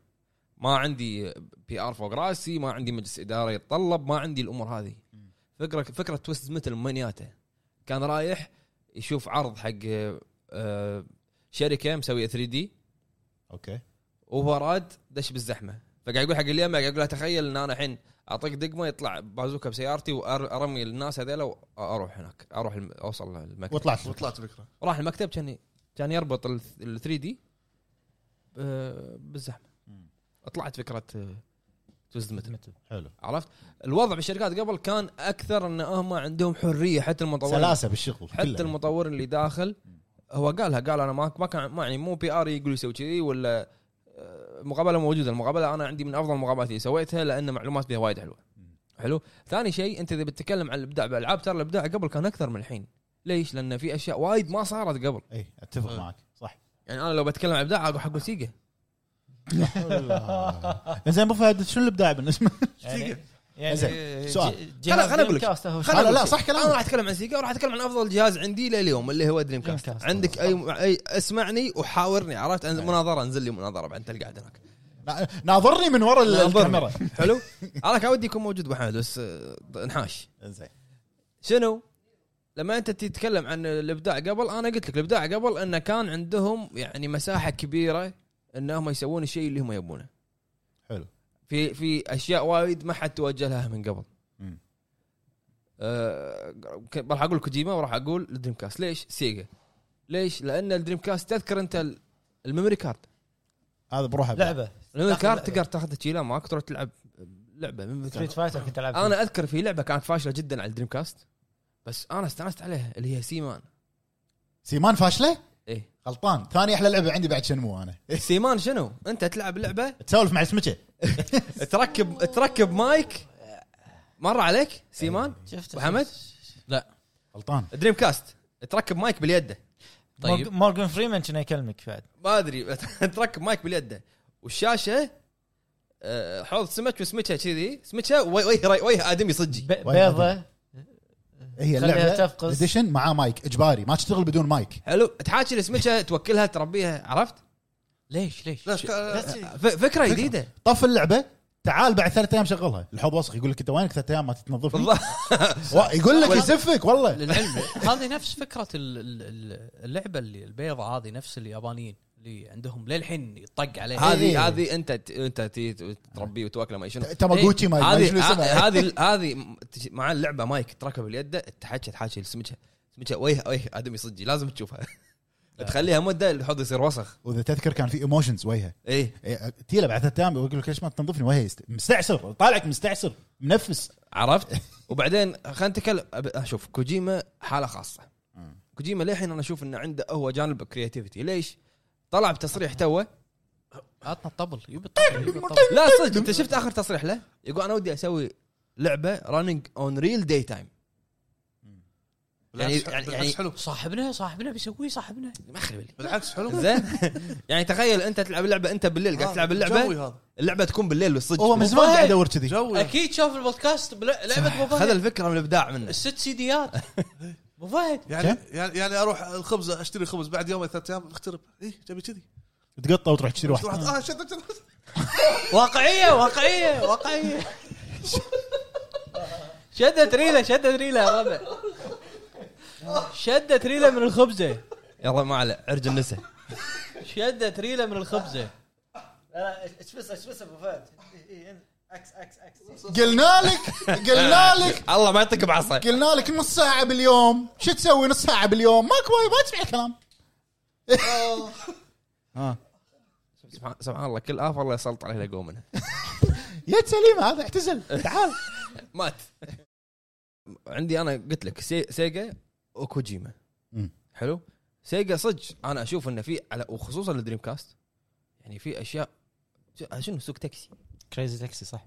ما عندي بي ار فوق راسي ما عندي مجلس اداره يتطلب ما عندي الامور هذه فكره فكره تويست متل منياته كان رايح يشوف عرض حق آه، شركه مسويه 3 دي اوكي وهو راد دش بالزحمه فقاعد يقول حق اليمة قاعد يقول له تخيل ان انا الحين اعطيك دقمه يطلع بازوكا بسيارتي وارمي الناس هذيلا واروح هناك اروح الم... اوصل المكتب وطلعت وطلعت فكره راح المكتب كان كان يربط ال 3 دي بالزحمه مم. طلعت فكره توزد متل حلو عرفت الوضع بالشركات قبل كان اكثر ان هم عندهم حريه حتى المطورين سلاسه بالشغل حتى كله. المطور اللي داخل هو قالها قال انا ما ما كان ما يعني مو بي ار يقول يسوي كذي ولا آه، مقابله موجوده المقابله انا عندي من افضل المقابلات اللي سويتها لان معلومات فيها وايد حلوه حلو ثاني شيء انت اذا بتتكلم عن الابداع بالالعاب ترى الابداع قبل كان اكثر من الحين ليش لان في اشياء وايد ما صارت قبل اي اتفق أه. آه. إيه، معك صح يعني انا لو بتكلم عن ابداع راح اقول سيجا زين ابو فهد شنو الابداع بالنسبه يعني إيه، زين، سؤال. خلا- خلا أقول لك. خلا لا أقول لا شيء. صح كلامك. انا راح اتكلم عن سيجا وراح اتكلم عن افضل جهاز عندي لليوم اللي هو دريم كاست Dreamcast. عندك اي اي اسمعني وحاورني عرفت أنزل مناظره انزل لي مناظره بعد انت اللي قاعد هناك نا- ناظرني من ورا ال- ناظرني. الكاميرا حلو انا كان ودي يكون موجود بحمد بس آه، انحاش زين شنو؟ لما انت تتكلم عن الابداع قبل انا قلت لك الابداع قبل انه كان عندهم يعني مساحه كبيره انهم يسوون الشيء اللي هم يبونه. حلو. في في اشياء وايد ما حد توجه لها من قبل. مم. أه ك- راح اقول كوجيما وراح اقول الدريم كاست، ليش؟ سيجا. ليش؟ لان الدريم كاست تذكر انت ال- الميموري كارد، هذا بروحه لعبه الميموري تاخذ كارد لعبة. تقدر تاخذ تشيله معك تروح تلعب لعبه من ستريت فايتر كنت العب انا اذكر في لعبه كانت فاشله جدا على الدريم كاست بس انا استانست عليها اللي هي سيمان سيمان فاشله؟ إيه. غلطان ثاني احلى لعبه عندي بعد شنمو انا سيمان شنو؟ انت تلعب لعبه تسولف مع سمكه تركب تركب مايك أيوه. مر عليك سيمان شفت محمد غلطان دريم كاست تركب مايك باليده طيب. طيب مورجن فريمان كان يكلمك بعد ما ادري تركب مايك باليده والشاشه آه، حوض سمك وسمكها كذي سمكها وي- ويه ري- ويه ادمي صجي ب- بيضه هي خليها اللعبه تفقس اديشن مع مايك اجباري ما تشتغل بدون مايك حلو تحاكي لسمكها توكلها تربيها عرفت؟ ليش ليش؟ لا شك- ف- فكره جديده طف اللعبه تعال بعد ثلاث ايام شغلها الحوض وسخ يقول لك انت وينك ثلاث ايام ما تتنظف لي؟ بالضبط. وا- يقول لك يسفك والله للعلم هذه نفس فكره ال- ال- ال- اللعبه اللي البيضة هذه نفس اليابانيين اللي عندهم للحين يطق عليها إيه. هذه هذه انت ت- انت تي- تربيه وتواكله ما شنو إيه. تاماجوتشي ما ما شنو هذه اسمه. ه- هذه هذه م- تج- مع اللعبه مايك تركب اليد تحكي تحكي لسمكها سمكها ويه ويه ادمي صجي لازم تشوفها تخليها مده الحوض يصير وسخ واذا تذكر كان في ايموشنز وجهه ايه إيه، تيلا بعد ثلاث ايام يقول لك ليش ما تنظفني وجهي يست- مستعسر طالعك مستعسر منفس عرفت وبعدين خلينا نتكلم أب- شوف كوجيما حاله خاصه مم. كوجيما للحين انا اشوف انه عنده هو جانب كرياتيفيتي ليش طلع بتصريح توه عطنا الطبل يبي الطبل يبي الطبل. لا صدق انت شفت اخر تصريح له يقول انا ودي اسوي لعبه رانينج اون ريل داي تايم يعني- بالعكس- يعني- بالعكس حلو صاحبنا صاحبنا بيسويه صاحبنا ما خرب لي بالعكس حلو آه، زين يعني تخيل انت تلعب لعبه انت بالليل قاعد تلعب اللعبه جوي هذا اللعبه تكون بالليل بالصدق هو من زمان والله. قاعد ادور كذي جوي هذا. اكيد شاف البودكاست بل- لعبه ابو خذ فهد الفكره من الابداع منه الست سيديات ابو فهد يعني كم؟ يعني يعني اروح الخبز اشتري خبز بعد يوم ثلاث ايام اخترب اي تبي كذي تقطه وتروح تشتري واحد واحد اه شد شد- شد. واقعيه واقعيه واقعيه شدت ريله شدت ريله يا ربع شدت ريله من الخبزه يلا ما عليه عرج النسا شدت ريله من الخبزه لا اشبسه اشبسه ابو فهد اكس اكس اكس قلنا لك قلنا لك الله ما يعطيك بعصا قلنا لك نص ساعه باليوم شو تسوي نص ساعه باليوم ماكو ما تسمع الكلام ها سبحان- سبحان الله كل افه الله يسلط عليه لقوه منها يا سليم هذا اعتزل تعال مات عندي انا قلت لك سي... سيجا وكوجيما مم. حلو سيجا صدق انا اشوف انه في على وخصوصا الدريم كاست يعني في اشياء ش- شنو سوق تاكسي كريزي تاكسي صح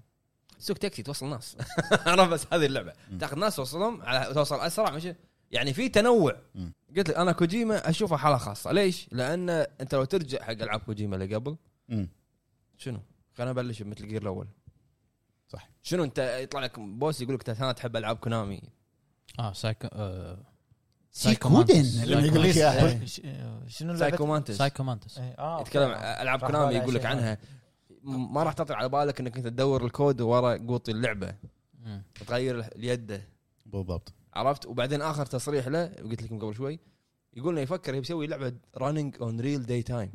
سوق تاكسي توصل ناس انا بس هذه اللعبه تاخذ ناس توصلهم على توصل اسرع مش يعني في تنوع مم. قلت لك انا كوجيما اشوفه حاله خاصه ليش؟ لان انت لو ترجع حق العاب كوجيما اللي قبل مم. شنو؟ خلينا نبلش بمثل جير الاول صح. شنو انت يطلع لك بوس يقول لك انت أنا تحب العاب كونامي اه سايكو سايكو سيكودن مانتس. لما يقول لك إياها. ش- شنو سايكو لعبه مانتس سايكو مانتس Eh, إيه، آه، أوكي. يتكلم عن العاب راح كونامي بالي يقول لك شيء. عنها م- ما راح تطلع على بالك انك انت تدور الكود ورا قوطي اللعبه مم. تغير ال- اليده بالضبط عرفت وبعدين اخر تصريح له قلت لكم قبل شوي يقول انه يفكر يبي يسوي لعبه رانينج اون ريل داي تايم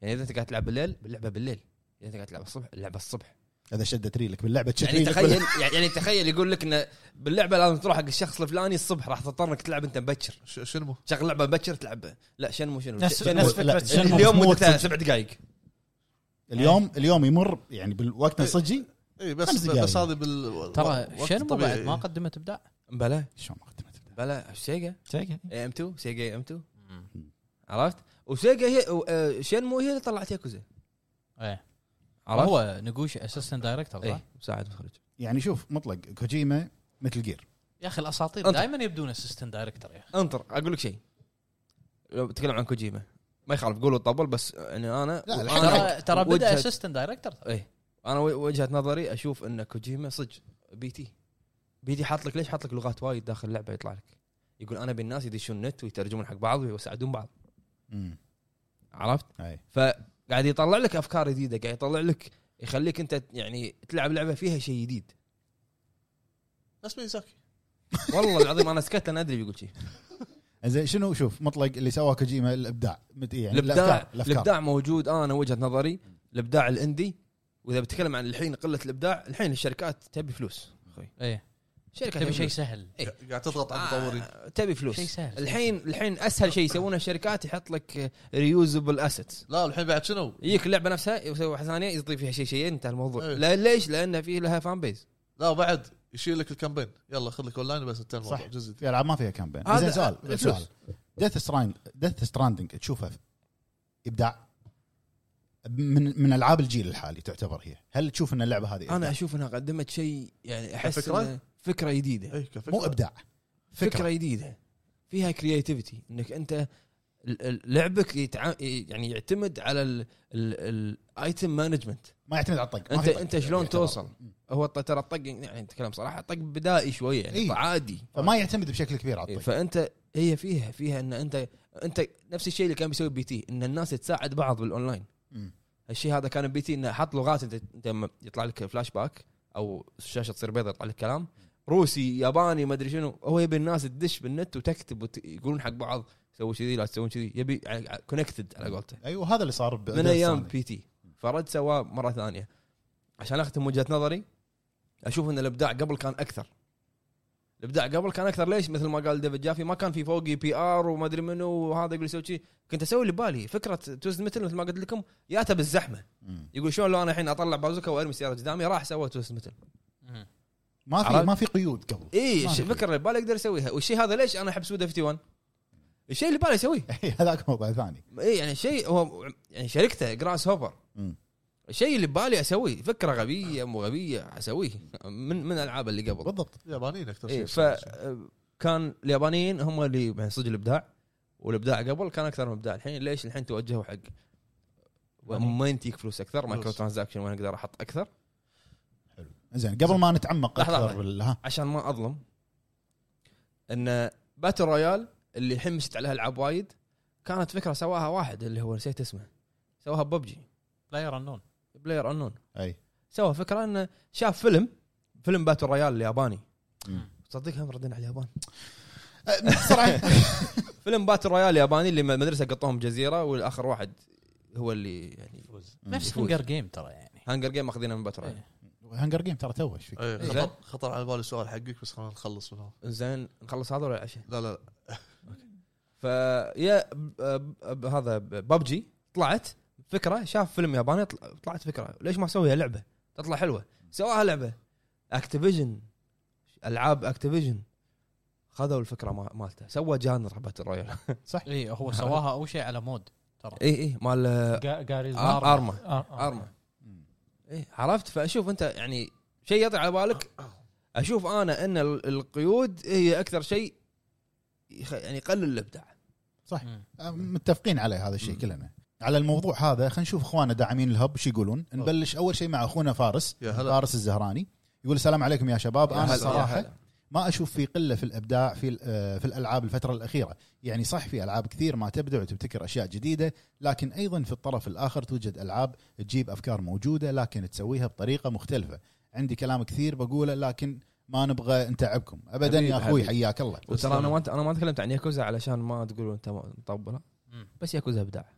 يعني اذا انت قاعد تلعب بالليل باللعبه بالليل اذا انت قاعد تلعب الصبح اللعبه الصبح اذا شدت ريلك باللعبه تشد يعني ريلك تخيل يعني تخيل يقول لك انه باللعبه لازم تروح حق الشخص الفلاني الصبح راح تضطر انك تلعب انت مبكر ش- شنو شغل لعبه مبكر تلعب لا شنو شنو نفس شنمو- نفس لا، فكره شنمو. شنو اليوم مو مدتها وقت. سبع دقائق اليوم اليوم يمر يعني بالوقت الصجي اي إيه، بس خمس بس دقايق. هذه بال وقت ترى شنو طبيعي. بعد ما قدمت ابداع بلا شلون ما قدمت البداية؟ بلا سيجا اي ام 2 سيجا ام 2 مم. عرفت وسيجا هي و- آه، شنمو هي اللي طلعت ياكوزا ايه عرفت؟ إيه. هو نقوشي اسيستنت دايركتور اي صح؟ مساعد مخرج يعني شوف مطلق كوجيما مثل جير يا اخي الاساطير أنت. دائما يبدون اسيستنت دايركتور يا اخي انطر اقول لك شيء لو بتكلم عن كوجيما ما يخالف قولوا الطبل بس يعني انا لا، الحين انا ترى ترى بدا وجهة- اسيستنت دايركتور انا و- وجهه نظري اشوف ان كوجيما صدق بي تي بي تي حاط لك ليش حاط لك لغات وايد داخل اللعبه يطلع لك يقول انا بالناس يدشون نت ويترجمون حق بعض ويساعدون بعض مم. عرفت؟ أي. فقاعد يطلع لك افكار جديده قاعد يطلع لك يخليك انت يعني تلعب لعبه فيها شيء جديد نفس ميزاكي والله العظيم انا سكت انا ادري بيقول شيء زين شنو شوف مطلق اللي سواه كوجيما الابداع مت- يعني الابداع الأفكار- الأفكار. الابداع موجود انا وجهه نظري الابداع الاندي واذا بتكلم عن الحين قله الابداع الحين الشركات تبي فلوس اخوي ايه شركه تبي شيء فلوس. سهل قاعد تضغط على المطورين آه، تبي فلوس شيء سهل. الحين الحين اسهل شيء يسوونه الشركات يحط لك ريوزبل اسيتس لا الحين بعد شنو؟ يجيك اللعبه نفسها يسوي واحده ثانيه يضيف فيها شيء شيئين انتهى الموضوع إيه. لا ليش؟ لان في لها فان بيز لا بعد يشيل لك الكامبين يلا خذ لك اونلاين بس انتهى الموضوع صح. جزء في العاب ما فيها كامبين هذا- زين الفلوس. سؤال سؤال ديث ستراند ديث ستراندنج تشوفه ابداع من من العاب الجيل الحالي تعتبر هي هل تشوف ان اللعبه هذه إبداع؟ انا اشوف انها قدمت شيء يعني احس فكرة؟ إنه فكره جديده اي كفكرة مو ابداع فكره, فكرة. جديده فيها كرياتيفيتي انك انت ال- ال- لعبك يتع... يعني يعتمد على الايتم مانجمنت ما يعتمد على الطق ما انت في طق. انت شلون يعتبر. توصل هو الط- ترى الطق يعني نتكلم صراحه طق بدائي شويه يعني إيه. عادي فما يعتمد بشكل كبير إيه، على الطق فانت هي فيها فيها ان انت انت نفس الشيء اللي كان بيسوي بي تي ان الناس تساعد بعض بالاونلاين مم. الشيء هذا كان بي تي انه حط لغات انت انت لما يطلع لك فلاش باك او الشاشه تصير بيضاء يطلع لك كلام روسي ياباني ما ادري شنو هو يبي الناس تدش بالنت وتكتب وت- يقولون حق بعض سووا كذي لا تسوون كذي يبي كونكتد على قولته ايوه هذا اللي صار ب- من ايام Death Stranding. بي تي فرد سواه مره ثانيه عشان اختم وجهه نظري اشوف ان الابداع قبل كان اكثر الابداع قبل كان اكثر ليش مثل ما قال ديفيد جافي ما كان في فوقي بي ار وما ادري منو وهذا يقول يسوي شيء كنت اسوي اللي بالي فكره توز متل مثل ما قلت لكم ياته بالزحمه مم. يقول شلون لو انا الحين اطلع بازوكا وارمي السياره قدامي راح سوى توز متل ما عرفت؟ في ما في قيود قبل اي إيه، ما ش- في. فكره اللي بالي اقدر اسويها والشيء هذا ليش انا احب سودا 51 الشيء اللي بالي اسويه إيه، هذاك موضوع ثاني اي يعني شيء هو يعني شركته جراس هوبر مم. الشيء اللي ببالي اسويه فكره غبيه مو غبيه اسويه من من الالعاب اللي قبل بالضبط يابانيين اكثر إيه شيء ف كان اليابانيين هم اللي يعني صدق الابداع والابداع قبل كان اكثر من الابداع الحين ليش الحين توجهوا حق ما ينتيك فلوس اكثر مايكرو أمم. فلوس. ترانزاكشن وين اقدر احط اكثر زين قبل ما نتعمق لحظة اكثر واحدة. بال- ها عشان ما اظلم ان باتل رويال اللي الحين مشت عليها العاب وايد كانت فكره سواها واحد اللي هو نسيت اسمه سواها ببجي بلاير انون بلاير انون اي سوى فكره انه شاف فيلم فيلم باتل رويال الياباني مم. تصدق هم ردينا على اليابان بسرعه فيلم باتل رويال الياباني اللي مدرسه قطوهم جزيره والاخر واحد هو اللي يعني نفس يفوز. هنجر جيم ترى يعني هانجر جيم ماخذينه من باتل رويال إيه. هانجر جيم ترى تو ايش فيك؟ إيه، إيه. خطر خطر على بالي سؤال حقك بس خلينا نخلص منه زين نخلص هذا ولا العشاء لا لا لا فيا ب- ب- ب- هذا ببجي طلعت فكره شاف فيلم ياباني طل- طلعت فكره ليش ما سويها لعبه تطلع حلوه سواها لعبه اكتيفيجن العاب اكتيفيجن خذوا الفكره ما- مالته سوى جانر باتل رويال اي إيه، هو سواها اول شيء على مود ترى اي اي مال آه، جا- جاريز آه، آر- ارما آر- ارما إيه عرفت فاشوف انت يعني شيء يطلع على بالك اشوف انا ان ال- القيود هي اكثر شيء يخ- يعني يقلل الابداع متفقين عليه هذا الشيء كلنا على الموضوع هذا خلينا نشوف اخواننا داعمين الهب شو يقولون نبلش اول شيء مع اخونا فارس يا هلا فارس الزهراني يقول السلام عليكم يا شباب يا هلا- انا يا صراحه هلا. ما اشوف في قله في الابداع في ال- آه، في الالعاب الفتره الاخيره يعني صح في العاب كثير ما تبدع وتبتكر اشياء جديده لكن ايضا في الطرف الاخر توجد العاب تجيب افكار موجوده لكن تسويها بطريقه مختلفه عندي كلام كثير بقوله لكن ما نبغى نتعبكم ابدا حبيب- يا اخوي حبيب. حياك الله وترى انا ما انا ما تكلمت عن ياكوزا علشان ما تقولوا انت ما- مطبله مم. بس ياكوزا ابداع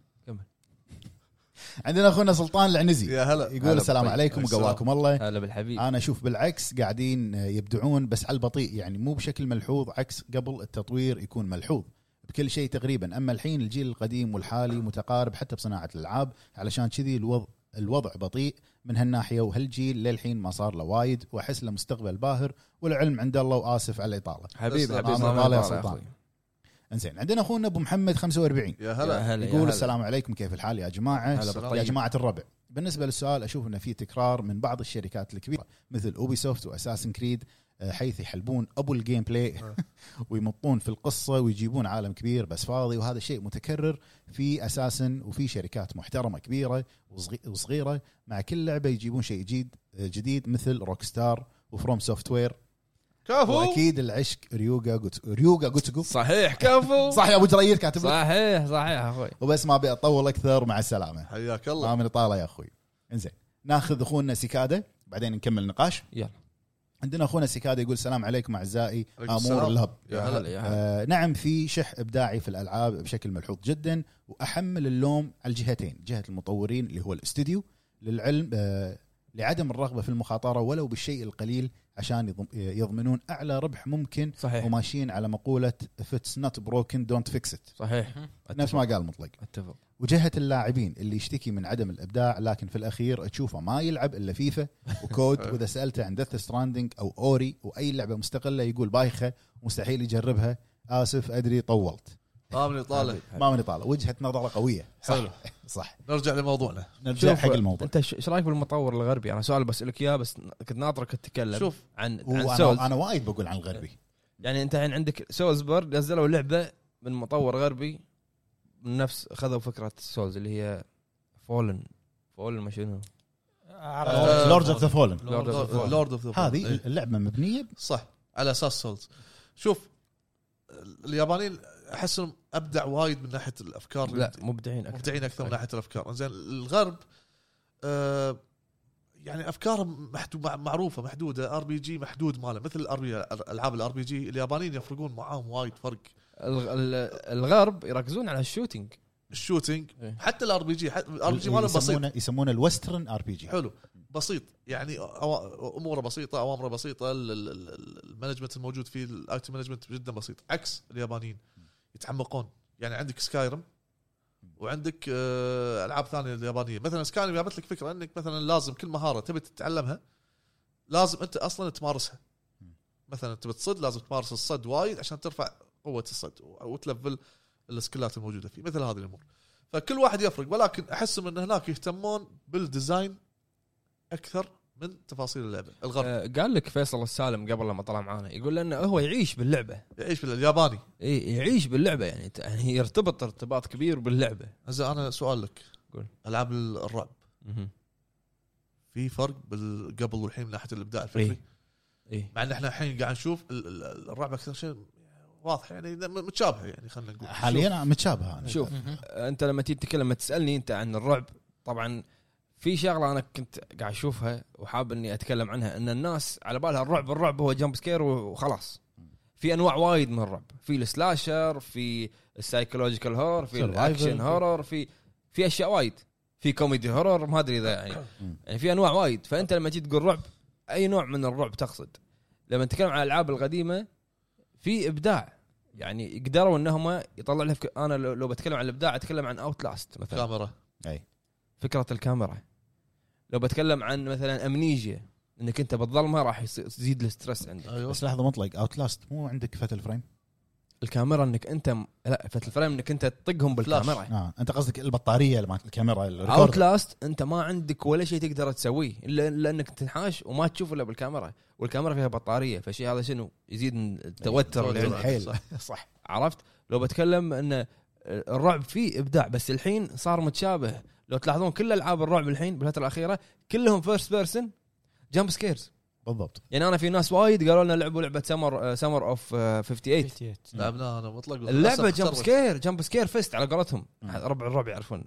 عندنا اخونا سلطان العنزي يا هلا طيب. يقول هلا السلام بالطيب. عليكم السلام. وقواكم الله هلا بالحبيب انا اشوف بالعكس قاعدين يبدعون بس على البطيء يعني مو بشكل ملحوظ عكس قبل التطوير يكون ملحوظ بكل شيء تقريبا اما الحين الجيل القديم والحالي متقارب حتى بصناعه الالعاب علشان كذي الوضع الوضع بطيء من هالناحيه وهالجيل للحين ما صار له وايد واحس له مستقبل باهر والعلم عند الله واسف على الاطاله حبيب بس- حبيب أنا ما طالع طالع سلطان. أخوي. انزين عندنا اخونا ابو محمد 45 يا يا هلا هلا، يا يقول هلا. السلام عليكم كيف الحال يا جماعه هلا السلام. يا بالطيب جماعه الربع بالنسبه للسؤال اشوف انه في تكرار من بعض الشركات الكبيره مثل اوبي سوفت واساسن كريد آه، حيث يحلبون ابو الجيم بلاي آه. ويمطون في القصه ويجيبون عالم كبير بس فاضي وهذا الشيء متكرر في اساسن وفي شركات محترمه كبيره وصغي- وصغيره مع كل لعبه يجيبون شيء جديد آه، جديد مثل روكستار وفروم سوفت وير كفو واكيد العشق ريوغا جوتسو ريوغا جوتسو صحيح كفو صح يا ابو جريد كاتب لك. صحيح صحيح اخوي وبس ما ابي اطول اكثر مع السلامه حياك الله ما من طالع يا اخوي انزين ناخذ اخونا سيكادا بعدين نكمل النقاش يلا. عندنا اخونا سيكادا يقول السلام عليكم اعزائي عليكم امور السلام. الهب يا هلا يا هلا آه نعم في شح ابداعي في الالعاب بشكل ملحوظ جدا واحمل اللوم على الجهتين جهه المطورين اللي هو الاستوديو للعلم آه لعدم الرغبه في المخاطره ولو بالشيء القليل عشان يضم- آه، يضمنون اعلى ربح ممكن صحيح وماشيين على مقوله فتس نوت بروكن دونت فيكس ات صحيح نفس ما قال مطلق اتفق وجهه اللاعبين اللي يشتكي من عدم الابداع لكن في الاخير تشوفه ما يلعب الا فيفا وكود واذا سالته عن ديث ستراندنج او اوري واي لعبه مستقله يقول بايخه ومستحيل يجربها اسف ادري طولت طامني طالع ما من طالع وجهه نظره قويه حلو صح نرجع لموضوعنا نرجع حق الموضوع انت ايش رايك بالمطور الغربي؟ انا سؤال بسالك اياه بس كنت ناطرك تتكلم شوف. عن عن سولز وانا انا وايد بقول عن الغربي يعني انت الحين عندك سولزبرج نزلوا لعبه من مطور غربي من نفس خذوا فكره سولز اللي هي فولن فولن ما شنو آه، لورد اوف ذا فولن Lord of the Fallen. إيه. لورد اوف ذا هذه اللعبه مبنيه إيه. صح على اساس سولز شوف اليابانيين احس انهم ابدع وايد من ناحيه الافكار لا مبدعين اكثر مبدعين اكثر من ناحيه الافكار زين الغرب آه يعني افكارهم محدو- مع- معروفه محدوده ار بي جي محدود ماله مثل الار بي العاب الار بي جي اليابانيين يفرقون معاهم وايد فرق الغ- ال- الغرب يركزون على الشوتينج الشوتينج إيه. حتى الار بي جي الار بي جي ماله بسيط يسمونه يسمونه الوسترن ار بي جي حلو بسيط يعني أوا- اموره بسيطه اوامره بسيطه ال- ال- ال- المانجمنت الموجود فيه الايتم مانجمنت جدا بسيط عكس اليابانيين يتعمقون يعني عندك سكايرم وعندك آه، العاب ثانيه اليابانيه مثلا سكايرم جابت لك فكره انك مثلا لازم كل مهاره تبي تتعلمها لازم انت اصلا تمارسها مثلا تبي تصد لازم تمارس الصد وايد عشان ترفع قوه الصد و- وتلفل السكلات الموجوده فيه مثل هذه الامور فكل واحد يفرق ولكن احسهم ان هناك يهتمون بالديزاين اكثر من تفاصيل اللعبه الغرب آه، قال لك فيصل السالم قبل لما طلع معانا يقول انه هو يعيش باللعبه يعيش بالياباني اي يعيش باللعبه يعني ت- يعني يرتبط ارتباط كبير باللعبه زين انا سؤال لك قول. العاب الرعب في فرق بال- قبل والحين من ناحيه الابداع الفكري إيه. اي مع ان احنا الحين قاعد نشوف ال- ال- الرعب اكثر شيء واضح يعني م- متشابه يعني خلينا نقول حاليا أنا متشابهه انا شوف انت لما تيجي تتكلم لما تسالني انت عن الرعب طبعا في شغله انا كنت قاعد اشوفها وحاب اني اتكلم عنها ان الناس على بالها الرعب الرعب هو جمب سكير وخلاص في انواع وايد من الرعب في السلاشر في السايكولوجيكال هورر في Survival. الاكشن هورر في في اشياء وايد في كوميدي هورر ما ادري اذا يعني يعني في انواع وايد فانت لما تيجي تقول رعب اي نوع من الرعب تقصد لما نتكلم عن الالعاب القديمه في ابداع يعني قدروا انهم يطلع لها فك... انا لو لو بتكلم عن الابداع اتكلم عن اوت لاست مثلا كاميرا فكره الكاميرا لو بتكلم عن مثلا امنيجيا انك انت بالظلمه راح يصير- يزيد الستريس عندك ايوه بس لحظه مطلق اوت لاست مو عندك فتل فريم الكاميرا انك انت م... لا فت الفريم انك انت تطقهم بالكاميرا اه انت قصدك البطاريه مالت الكاميرا الريكورد اوت لاست انت ما عندك ولا شيء تقدر تسويه الا الا انك تنحاش وما تشوف الا بالكاميرا والكاميرا فيها بطاريه فشيء هذا شنو يزيد من التوتر اللي التوتر. عندك حيل صح. صح عرفت لو بتكلم ان الرعب فيه ابداع بس الحين صار متشابه لو تلاحظون كل العاب الرعب الحين بالفتره الاخيره كلهم فيرست بيرسون جامب سكيرز بالضبط يعني انا في ناس وايد قالوا لنا لعبوا آه، لعبه سمر سمر اوف 58 لعبناها انا مطلق اللعبه للأسف جامب خسرت. سكير جامب سكير فيست على قولتهم مم. ربع الربع يعرفون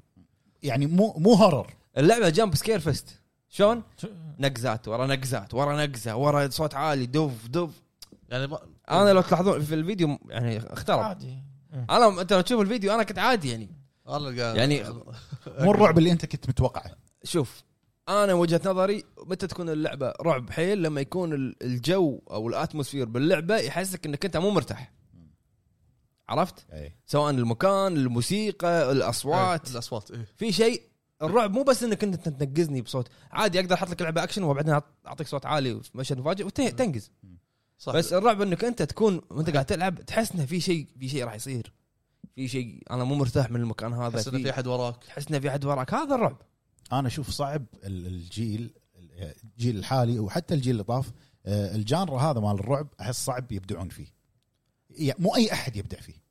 يعني مو مو هورر اللعبه جامب سكير فيست شلون؟ نقزات ورا نقزات ورا نقزه ورا صوت عالي دف دف يعني ما انا لو تلاحظون في الفيديو يعني اخترب عادي انا انت لو تشوف الفيديو انا كنت عادي يعني انا قاعد يعني- مو الرعب اللي انت كنت متوقعه شوف انا وجهه نظري متى تكون اللعبه رعب حيل لما يكون ال- الجو او الاتموسفير باللعبه يحسسك انك انت مو مرتاح عرفت اي سواء المكان الموسيقى الاصوات إيه، الاصوات ايه في شيء الرعب مو بس انك انت تنقزني بصوت عادي اقدر احط لك لعبه اكشن وبعدين أعط- اعطيك صوت عالي في مشهد مفاجئ وتنقز صح بس الرعب انك انت تكون وانت قاعد تلعب تحس انه في شيء في شيء راح يصير في شيء انا مو مرتاح من المكان هذا تحس ان في في- احد وراك تحس انه في احد وراك هذا الرعب انا اشوف صعب ال- الجيل الجيل الحالي وحتى الجيل اللي طاف آه، الجانر هذا مال الرعب احس صعب يبدعون فيه يعني مو اي احد يبدع فيه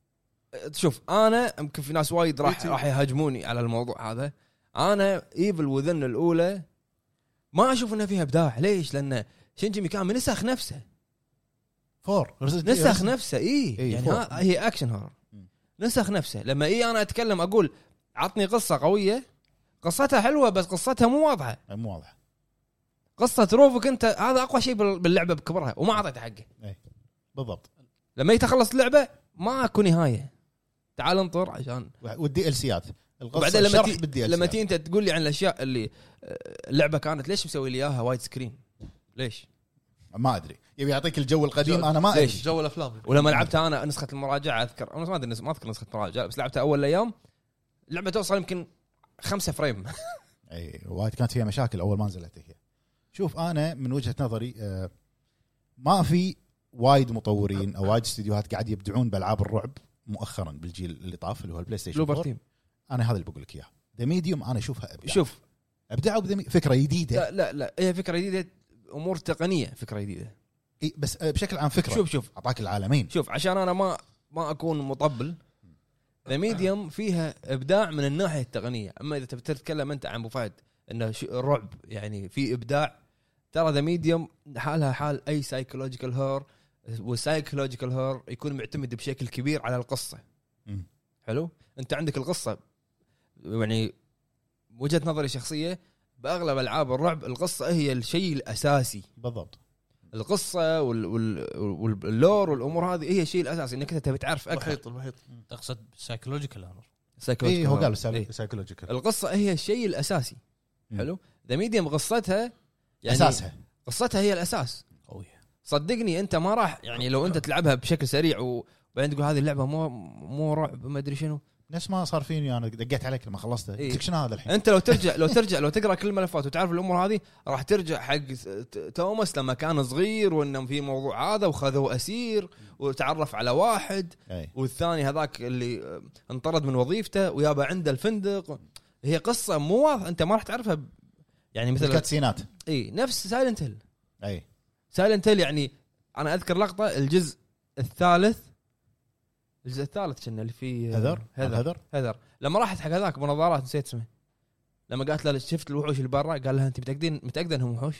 شوف انا يمكن في ناس وايد راح YouTube. راح يهاجموني على الموضوع هذا انا ايفل وذن الاولى ما اشوف انها فيها ابداع ليش؟ لان شينجي ميكامي نسخ نفسه فور إيه، Resident Evil. نسخ نفسه اي إي، يعني فور. ها- هي اكشن هورر مم. نسخ نفسه لما إيه اي انا اتكلم اقول عطني قصه قويه قصتها حلوه بس قصتها مو واضحه أي، مو واضح قصه روفك انت هذا اقوى شيء بال- باللعبه بكبرها وما اعطيته حقه بالضبط لما يتخلص اللعبه ماكو نهايه تعال انطر عشان والدي ال سيات وبعدين لما شرح تي... بالدي ال لما تي انت تقول لي عن الاشياء اللي آه، اللعبه كانت ليش مسوي لي اياها وايد سكرين ليش ما ادري يبي يعطيك الجو القديم انا ما ادري ليش جو الافلام ولما لعبتها انا نسخه المراجعه اذكر انا ما ادري ما اذكر نسخه مراجعه بس لعبتها اول ايام اللعبه توصل يمكن خمسة فريم اي وايد كانت فيها مشاكل اول ما نزلت هي شوف انا من وجهه نظري آه، ما في وايد مطورين او وايد استديوهات قاعد يبدعون بالعاب الرعب مؤخرا بالجيل اللي طاف اللي هو البلاي ستيشن بلوبر 4 تيم انا هذا اللي بقول لك اياه ذا ميديوم انا اشوفها ابداع شوف شوف ابدعوا بذا مي- فكره جديده لا لا لا هي فكره جديده امور تقنيه فكره جديده إي، بس آه، بشكل عام فكره شوف شوف شوف اعطاك العالمين شوف عشان انا ما ما اكون مطبل ذا ميديوم فيها ابداع من الناحيه التقنيه اما اذا تبي تتكلم انت عن ابو فهد انه ش- رعب يعني في ابداع ترى ذا ميديوم حالها حال اي سايكولوجيكال هور والسايكولوجيكال هور يكون معتمد بشكل كبير على القصه مم. حلو انت عندك القصه يعني وجهه نظري شخصيه باغلب العاب الرعب القصه هي الشيء الاساسي بالضبط القصه وال وال وال- واللور والامور هذه هي الشيء الاساسي انك انت تبي تعرف اكثر المحيط المحيط تقصد سايكولوجيكال هورر اي هو قال إيه. سايكولوجيكال القصه هي الشيء الاساسي مم. حلو ذا ميديم قصتها يعني اساسها قصتها هي الاساس قويه صدقني انت ما راح يعني لو انت تلعبها بشكل سريع وبعدين تقول هذه اللعبه مو مو رعب ما ادري شنو نفس ما صار فيني انا دقيت عليك لما خلصته إي. قلت لك شنو هذا الحين انت لو ترجع لو ترجع لو تقرا كل الملفات وتعرف الامور هذه راح ترجع حق ت- توماس لما كان صغير وانه في موضوع هذا وخذوه اسير وتعرف على واحد اي والثاني هذاك اللي آه، انطرد من وظيفته ويابا عنده الفندق هي قصه مو واضحه انت ما راح تعرفها ب- يعني مثل الكاتسينات اي نفس سايلنت هيل اي سايلنت هيل يعني انا اذكر لقطه الجزء الثالث الجزء الثالث كنا اللي فيه آه، هذر هذر هذر هذر لما راحت حق هذاك بنظارات نسيت اسمه لما قالت له شفت الوحوش اللي برا قال لها انت متاكدين متاكده انهم وحوش؟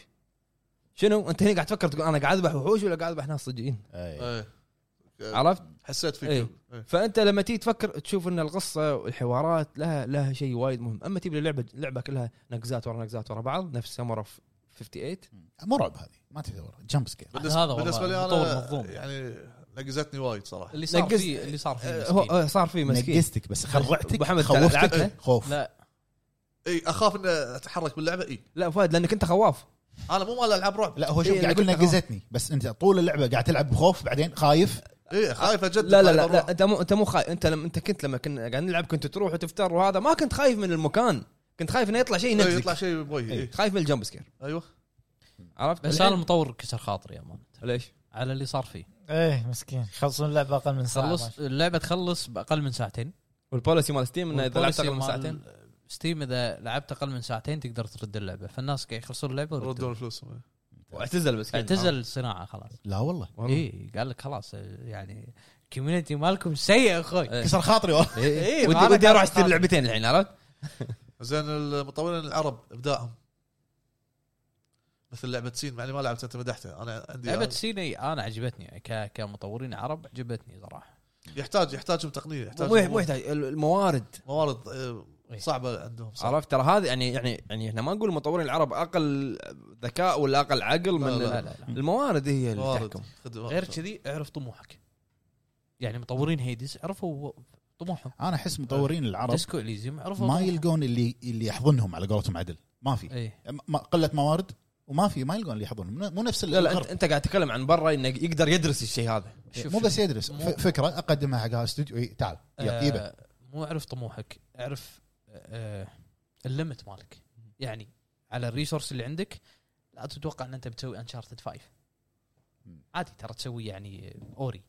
شنو انت هنا قاعد تفكر تقول انا قاعد اذبح وحوش ولا قاعد اذبح ناس صجيين اي إيه. عرفت؟ حسيت فيك إيه. إيه. فانت لما تيجي تفكر تشوف ان القصه والحوارات لها لها شيء وايد مهم اما تجيب لي لعبه لعبه كلها نقزات ورا نقزات ورا بعض نفس سمر اوف 58 مو رعب هذه ما تدور جمب سكير بالنسبه, هذا والله بالنسبة لي مطور انا مظلوم. يعني نقزتني وايد صراحه اللي صار نقز- فيه اللي صار فيه آه، هو مسكين. آه، صار في مسكين نقزتك بس خرعتك أبو حمد، لعبتها؟ خوفتك خوف لا آه، اي اخاف ان اتحرك باللعبه اي لا فهد لانك انت خواف انا إيه. مو مال العاب رعب لا هو شوف إيه، قاعد أنا يقول قلت نقزتني بس انت طول اللعبه قاعد تلعب بخوف بعدين خايف اي إيه، خايف اجدد لا لا لا, خايف لا أروح. انت مو انت مو خايف انت لما انت كنت لما كنا قاعد نلعب كنت تروح وتفتر وهذا ما كنت خايف من المكان كنت خايف انه يطلع شيء إيه، يطلع ينقزك شيء بوجهي إيه. خايف من الجمب سكير ايوه عرفت بس انا الحين- المطور كسر خاطري امانه ليش؟ على اللي صار فيه ايه مسكين يخلصون اللعبه اقل من ساعه ما شاء خلص اللعبه تخلص باقل من ساعتين والبوليسي مال ستيم انه اذا لعبت والبوليسي اقل من مال ساعتين ستيم اذا لعبت اقل من ساعتين تقدر ترد اللعبه فالناس قاعد يخلصون اللعبه يردون ويردون فلوسهم واعتزل بس اعتزل الصناعه خلاص لا والله اي قال لك خلاص يعني كوميونتي مالكم سيء يا اخوي إيه. كسر خاطري والله إيه، إيه، ودي ما ودي أنا اروح اشتري خاطر. لعبتين الحين عرفت؟ زين المطورين العرب ابداعهم مثل لعبه سين مع اني ما لعبت انت مدحتها انا عندي لعبه سيني انا عجبتني ك... كمطورين عرب عجبتني صراحه يحتاج يحتاجهم تقنيه يحتاج مو مو يحتاج الموارد موارد آه، صعبه عندهم صعبة. عرفت ترى هذه يعني يعني يعني احنا ما نقول مطورين العرب اقل ذكاء ولا اقل عقل من لا، لا، لا لا لا الموارد هي اللي موارد. تحكم خدمات. غير كذي اعرف طموحك يعني مطورين هيدس عرفوا طموحهم انا احس مطورين العرب ديسكو اليزيوم عرفوا ما طموحهم. يلقون اللي اللي يحضنهم على قولتهم عدل ما في ايه ما- قله موارد وما في ما يلقون اللي يحضنهم مو نفس لا لا انت, الغرب انت قاعد تتكلم عن برا انه يقدر يدرس الشيء هذا شوف مو بس يدرس مو- ف- فكره اقدمها حق هذا الاستوديو إي، تعال يلا، يبا آه مو اعرف طموحك اعرف آه الليمت مالك يعني على الريسورس اللي عندك لا تتوقع ان انت بتسوي انشارتد 5 عادي ترى تسوي يعني اوري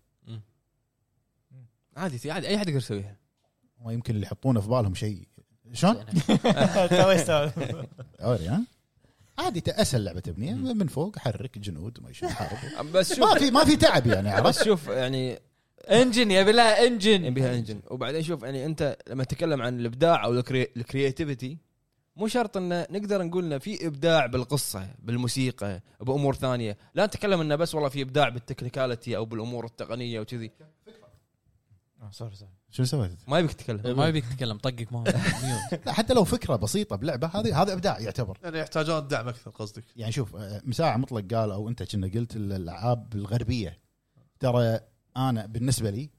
عادي عادي اي احد يقدر يسويها ما يمكن اللي يحطونه في بالهم شيء شلون؟ يعني الله اوري ها عادي ت- اسهل لعبه تبنيها من فوق حرك جنود ما شنو حارب بس شوف ما في ما في تعب يعني عرفت؟ بس شوف يعني انجن يبي لها انجن إيه، بها انجن وبعدين شوف يعني انت لما تتكلم عن الابداع او الكري- الكرياتيفيتي مو شرط انه نقدر نقول انه في ابداع بالقصه بالموسيقى بامور ثانيه لا نتكلم انه بس والله في ابداع بالتكنيكاليتي او بالامور التقنيه وكذي آه، سوري سوري شنو سويت؟ ما يبيك تتكلم إيه، ما يبيك تتكلم طقك ما ميوت. لا حتى لو فكره بسيطه بلعبه هذه هذا ابداع يعتبر يعني يحتاجون دعم اكثر قصدك يعني شوف آه، مساع مطلق قال او انت كنا قلت الالعاب الغربيه ترى انا بالنسبه لي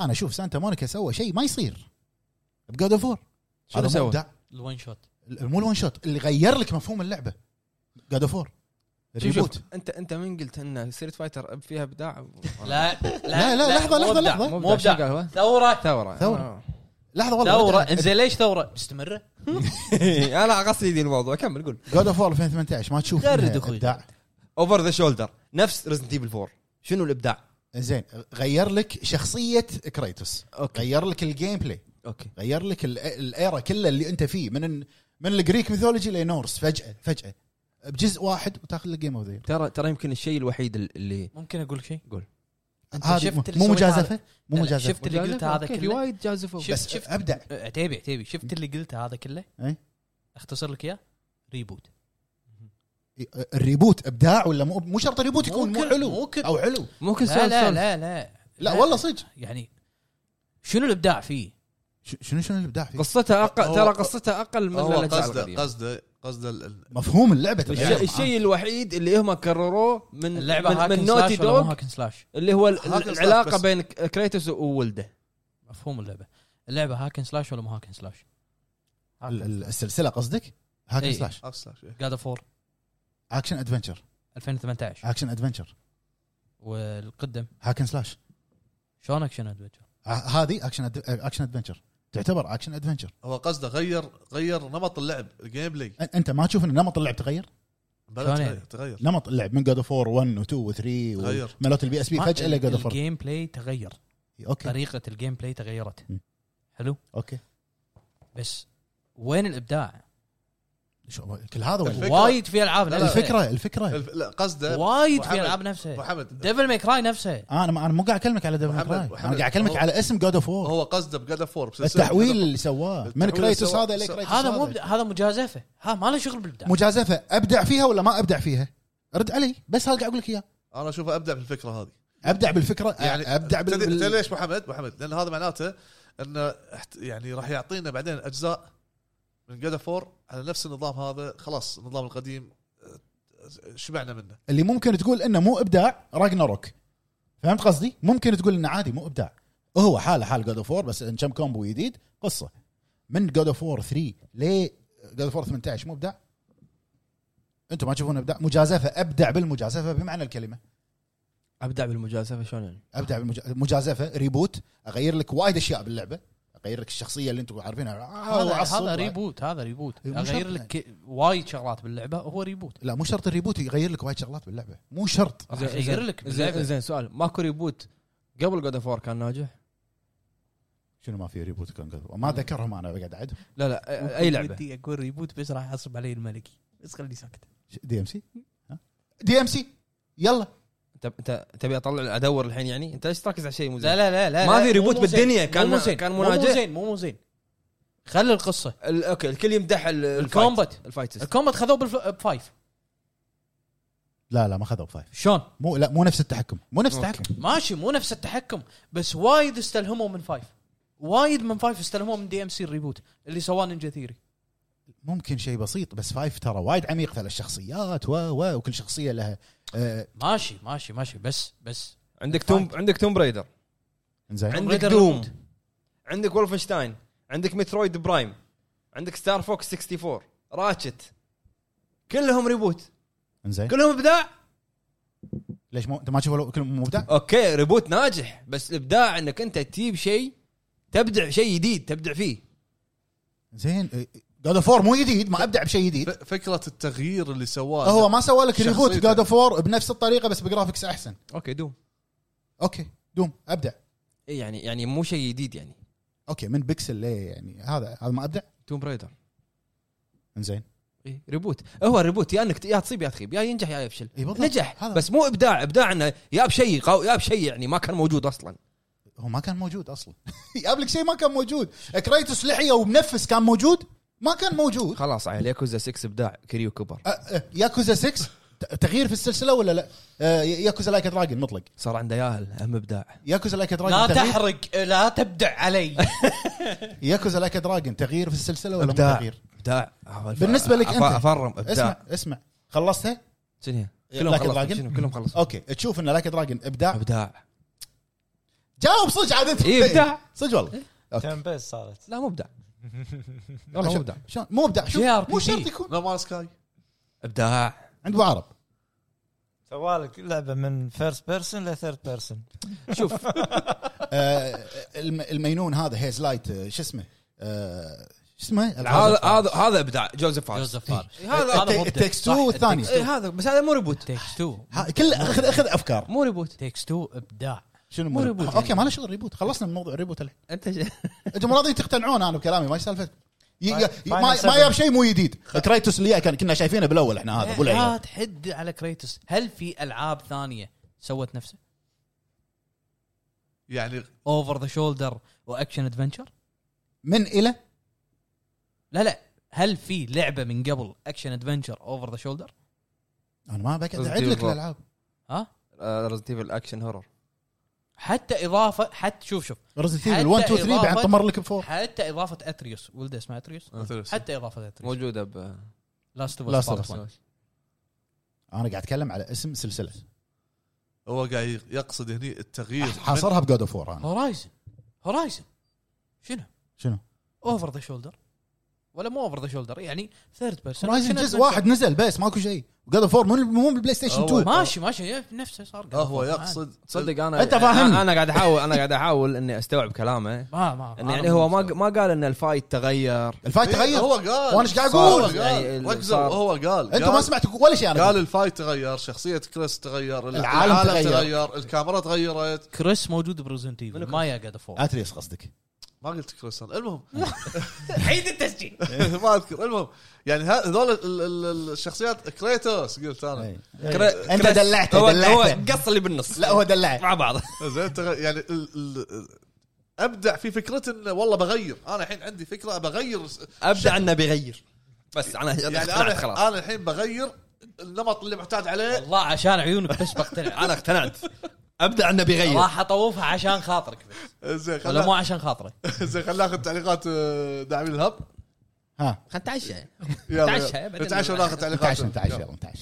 انا اشوف سانتا مونيكا سوى شيء ما يصير بجود اوف شنو سوى؟ الون شوت مو الون شوت اللي غير لك مفهوم اللعبه جاد اوف وور شوف شوف انت انت من قلت ان ستريت فايتر فيها ابداع لا لا، لا، لحظة، مو لحظة، إبداع، لحظة. مو شو ابداع قال هو؟ ثوره ثوره ثورة. آه. لحظه ثوره والله انزين ليش ثوره مستمره انا قصدي ذي الموضوع كمل قول جاد اوف وور 2018 ما تشوف غرد إنها أخوي. ابداع اوفر ذا شولدر نفس ريزنت ايفل 4 شنو الابداع؟ زين غير لك شخصيه كريتوس اوكي غير لك الجيم بلاي اوكي غير لك ال- الايرا كله اللي انت فيه من من الجريك ميثولوجي لنورس فجاه فجاه بجزء واحد وتاخذ لك جيم اوف ذا ترى ترى يمكن الشيء الوحيد اللي ممكن اقول شيء أنت شفت هذه اللي مو سويته مجازفه هذا؟ مو لا، لا، مجازفه شفت اللي قلته هذا أوكي، كله وايد جازفوا شفت- بس شفت- ابدع أه، عتيبي عتيبي شفت اللي قلته هذا كله إيه. اختصر لك اياه ريبوت الريبوت ابداع ولا مو مو شرط الريبوت يكون مو ممكن- حلو ممكن. او حلو مو كل لا سؤال لا سؤال. لا لا لا والله صدق يعني شنو الابداع فيه؟ ش- شنو شنو الابداع فيه؟ قصتها اقل هو- ترى قصتها اقل من هو الأجزاء قصده القديمة. قصده قصده ال- ال- مفهوم اللعبه ترى. الشيء الشيء الوحيد اللي هم كرروه من اللعبه من, هاكن من نوتي سلاش ولا دوغ مو هاكن سلاش اللي هو ال- هاكن سلاش العلاقه بس. بين ك- كريتوس وولده مفهوم اللعبه اللعبه هاكن سلاش ولا مو هاكن سلاش؟ ال- ال- السلسله قصدك؟ هاكن إيه. سلاش أصلاً شيء. جاد اوف 4 اكشن ادفنشر 2018 اكشن ادفنشر والقدم هاكن سلاش شلون اكشن ادفنتشر؟ ه- هذه اكشن أد- اكشن ادفنشر تعتبر اكشن ادفنشر هو قصده غير غير نمط اللعب الجيم بلاي أن- انت ما تشوف ان نمط اللعب تغير؟ بلا شلون تغير- يعني؟ تغير نمط اللعب من جود اوف 4 1 و 2 و 3 و- تغير. مالوت البي اس بي فجاه لجود اوف 4 الجيم بلاي تغير اوكي طريقه الجيم بلاي تغيرت م. حلو اوكي بس وين الابداع؟ شو- كل هذا ولا- الفكرة- وايد في العاب لا، لا، نفسها. الفكره الفكره الف- لا قصده وايد أبو في حمد. العاب ابو نفسها حمد ديفل ماي كراي نفسه انا ما- انا مو قاعد اكلمك على ديفل محمد- انا محمد، قاعد اكلمك هو- على اسم جود اوف 4 هو قصده بجاد اوف وور التحويل اللي سواه من التحويل اللي كريتوس سواه- هذا الى سواه- كريتوس هذا مو ابداع هذا مجازفه ها ما له شغل بالابداع مجازفه ابدع فيها ولا ما ابدع فيها؟ رد علي بس هذا قاعد اقول لك اياه انا اشوفه ابدع بالفكره هذه ابدع بالفكره يعني يعني ابدع بال... تدري- بال... تدري ليش ابو حمد ابو حمد لان هذا معناته انه احت- يعني راح يعطينا بعدين اجزاء من جاد اوف وور على نفس النظام هذا خلاص النظام القديم آه، شبعنا منه اللي ممكن تقول انه مو ابداع راجناروك فهمت قصدي؟ ممكن تقول انه عادي مو ابداع هو حاله حال جود اوف 4 بس إن كم كومبو جديد قصه من جود اوف 4 3 ليه جود اوف 4 18 مو ابداع؟ انتم ما تشوفون ابداع مجازفه ابدع بالمجازفه بمعنى الكلمه ابدع بالمجازفه شلون يعني؟ ابدع بالمجازفه ريبوت اغير لك وايد اشياء باللعبه اغير لك الشخصيه اللي انتم عارفينها آه، هذا وعصب. هذا ريبوت هذا ريبوت مو شرط اغير لك ك- وايد شغلات باللعبه هو ريبوت لا مو شرط الريبوت يغير لك وايد شغلات باللعبه مو شرط راح يغير لك زين باللعبة. زين سؤال ماكو ريبوت قبل جود اوف كان ناجح؟ شنو ما في ريبوت كان قبل ما ذكرهم انا قاعد اعدهم لا لا اي لعبه ودي اقول ريبوت بس راح يعصب علي الملكي بس خليني ساكت دي ام سي دي ام سي يلا انت انت تبي اطلع ادور الحين يعني انت ليش تركز على شيء مو زين؟ لا لا لا لا ما لا، في مو- ريبوت مو زين. بالدنيا، كان- مو زين. كان مو- مو مناجح. زين مو مو زين خلي القصه ال- اوكي الكل يمدح ال- الفايت. الكومبات الفايت سيستم. الكومبات خذوه بالف- بفايف لا لا ما خذوا فايف شلون مو لا مو نفس التحكم مو نفس أوكي. التحكم ماشي مو نفس التحكم بس وايد استلهموا من فايف وايد من فايف استلهموا من دي ام سي الريبوت اللي سواه نينجا ثيري ممكن شيء بسيط بس فايف ترى وايد عميق ثلاث شخصيات و و وكل شخصيه لها آه ماشي ماشي ماشي بس بس عندك توم عندك توم بريدر زين عندك Raider دوم ريموت. عندك ولفنشتاين عندك مترويد برايم عندك ستار فوكس 64 راتشت كلهم ريبوت زين كلهم ابداع ليش مو انت ما تشوف ولا- كل مو مبدع اوكي ريبوت ناجح بس الابداع انك انت تجيب شيء تبدع شيء جديد تبدع فيه زين جاد اوف مو جديد ما ابدع بشيء جديد ف- فكره التغيير اللي سواه هو ما سوى لك ريبوت شخصيته. جاد اوف بنفس الطريقه بس بجرافكس احسن اوكي دوم اوكي دوم ابدع إيه يعني يعني مو شيء جديد يعني اوكي من بيكسل ليه يعني هذا هذا ما ابدع توم برايدر زين إيه ريبوت هو ريبوت يا انك يا تصيب يا تخيب يا ينجح يا يفشل إيه بالضبط. نجح هذا. بس مو ابداع ابداع انه يا بشيء قو- يا بشيء يعني ما كان موجود اصلا هو ما كان موجود اصلا يقابلك شيء ما كان موجود كريتوس لحيه ومنفس كان موجود ما كان موجود خلاص يعني عيل ياكوزا 6 ابداع كريو كبر أه، أه، ياكوزا 6 ت- تغيير في السلسله ولا لا؟ أه، ياكوزا لايك دراجون مطلق صار عنده ياهل اهم ابداع ياكوزا لايك لا دراجون تغيير تحرق لا تبدع علي ياكوزا لايك دراجون تغيير في السلسله ولا مو إبداع. تغيير؟ ابداع بالنسبة لك أف- أنت. افرم اسمع إيه، ابداع اسمع خلصتها؟ شنو هي؟ كلهم لايك خلصوا دراجون شنو؟ كلهم خلصوا اوكي تشوف ان لايك دراجون ابداع ابداع جاوب صدق عاد انت اي ابداع صدق والله تنبس صارت إيه، لا مو ابداع والله مو ابداع شلون مو ابداع شوف JRPG. مو شرط يكون نو مان سكاي ابداع عند ابو عرب سوالك لعبه من فيرست بيرسون لثيرد بيرسون آه، الم- المينون هذا هيز لايت آه، شو اسمه؟ آه، شو اسمه؟ العاب هذا هذا هذا ابداع جوزيف فارس جوزيف فار هذا هذا مو الت- التكست تو صح، والثاني. التكست إيه، تو. هذا بس هذا مو ريبوت تيكس تو ها- كل اخذ اخذ افكار مو ريبوت تيكس تو ابداع شنو مو مو ريبوت ريبوت اوكي ما له شغل ريبوت خلصنا من موضوع الريبوت الحين انت انتم مو راضيين تقتنعون انا بكلامي ما سالفه ي- ي- Final ما ما Seven. جاب شيء مو جديد كريتوس اللي إياه كان كنا شايفينه بالاول احنا هذا ابو لا العيال تحد على كريتوس هل في العاب ثانيه سوت نفسه يعني اوفر ذا شولدر واكشن ادفنشر من الى لا لا هل في لعبه من قبل اكشن ادفنشر اوفر ذا شولدر انا ما بقعد Resident اعد لك Evil. الالعاب ها ريزنت ايفل اكشن هورر حتى اضافه حتى شوف شوف ريزنت حتى ايفل 1 2 3 بعد إضافة- طمر لك بفور حتى اضافه اتريوس ولده اسمه اتريوس حتى اضافه اتريوس موجوده ب لاست Last of اوف Us. انا قاعد اتكلم على اسم سلسله هو قاعد يقصد هني التغيير حاصرها بجود اوف وور انا هورايزن هورايزن شنو شنو؟ اوفر ذا شولدر ولا مو اوفر ذا شولدر يعني ثيرد بيرسون رايزن جزء واحد نزل بس ماكو شيء جود اوف وور مو مو بالبلاي ستيشن هو- 2 ماشي ماشي نفسه صار من- آه، هو يقصد تصدق انا أنت فاهمني. أنا- انا قاعد احاول انا قاعد احاول اني استوعب كلامه ما ما انه يعني هو ما ما قال ان الفايت تغير الفايت إيه، تغير هو قال وأنا إيش قاعد صار- أقول؟ هو قال. يعني ركزوا صار- هو قال انتم قال- ما سمعتوا ولا شيء انا قال قلت. الفايت تغير شخصيه كريس تغير العالم تغير. الكاميرا تغيرت كريس موجود بريزنت ايفل ما يا قاعد فوق اتريس قصدك ما قلت كريس أنا. المهم عيد التسجيل ما اذكر المهم يعني ه- هذول ال- ال- الشخصيات كريتوس قلت انا إيه. كرا- أنت كراس- دلعته، هو- هو دلعته. قص اللي بالنص لا هو دلع مع بعض زين تغ- يعني ال- ال- ابدع في فكره انه والله بغير انا الحين عندي فكره بغير س- ابدع انه بيغير بس انا يعني اقتنعت انا خلاص انا الحين بغير النمط اللي معتاد عليه والله عشان عيونك بس بقتنع انا اقتنعت ابدع انه أيوه. بيغير راح اطوفها عشان خاطرك بس زين ولا خلنا مو عشان خاطرك زين خلنا ناخذ تعليقات آه، داعمين الهب ها خلنا نتعشى يعني. يلا نتعشى، يلا. بعدين نتعشى وناخذ تعليقات 11 11 يلا 11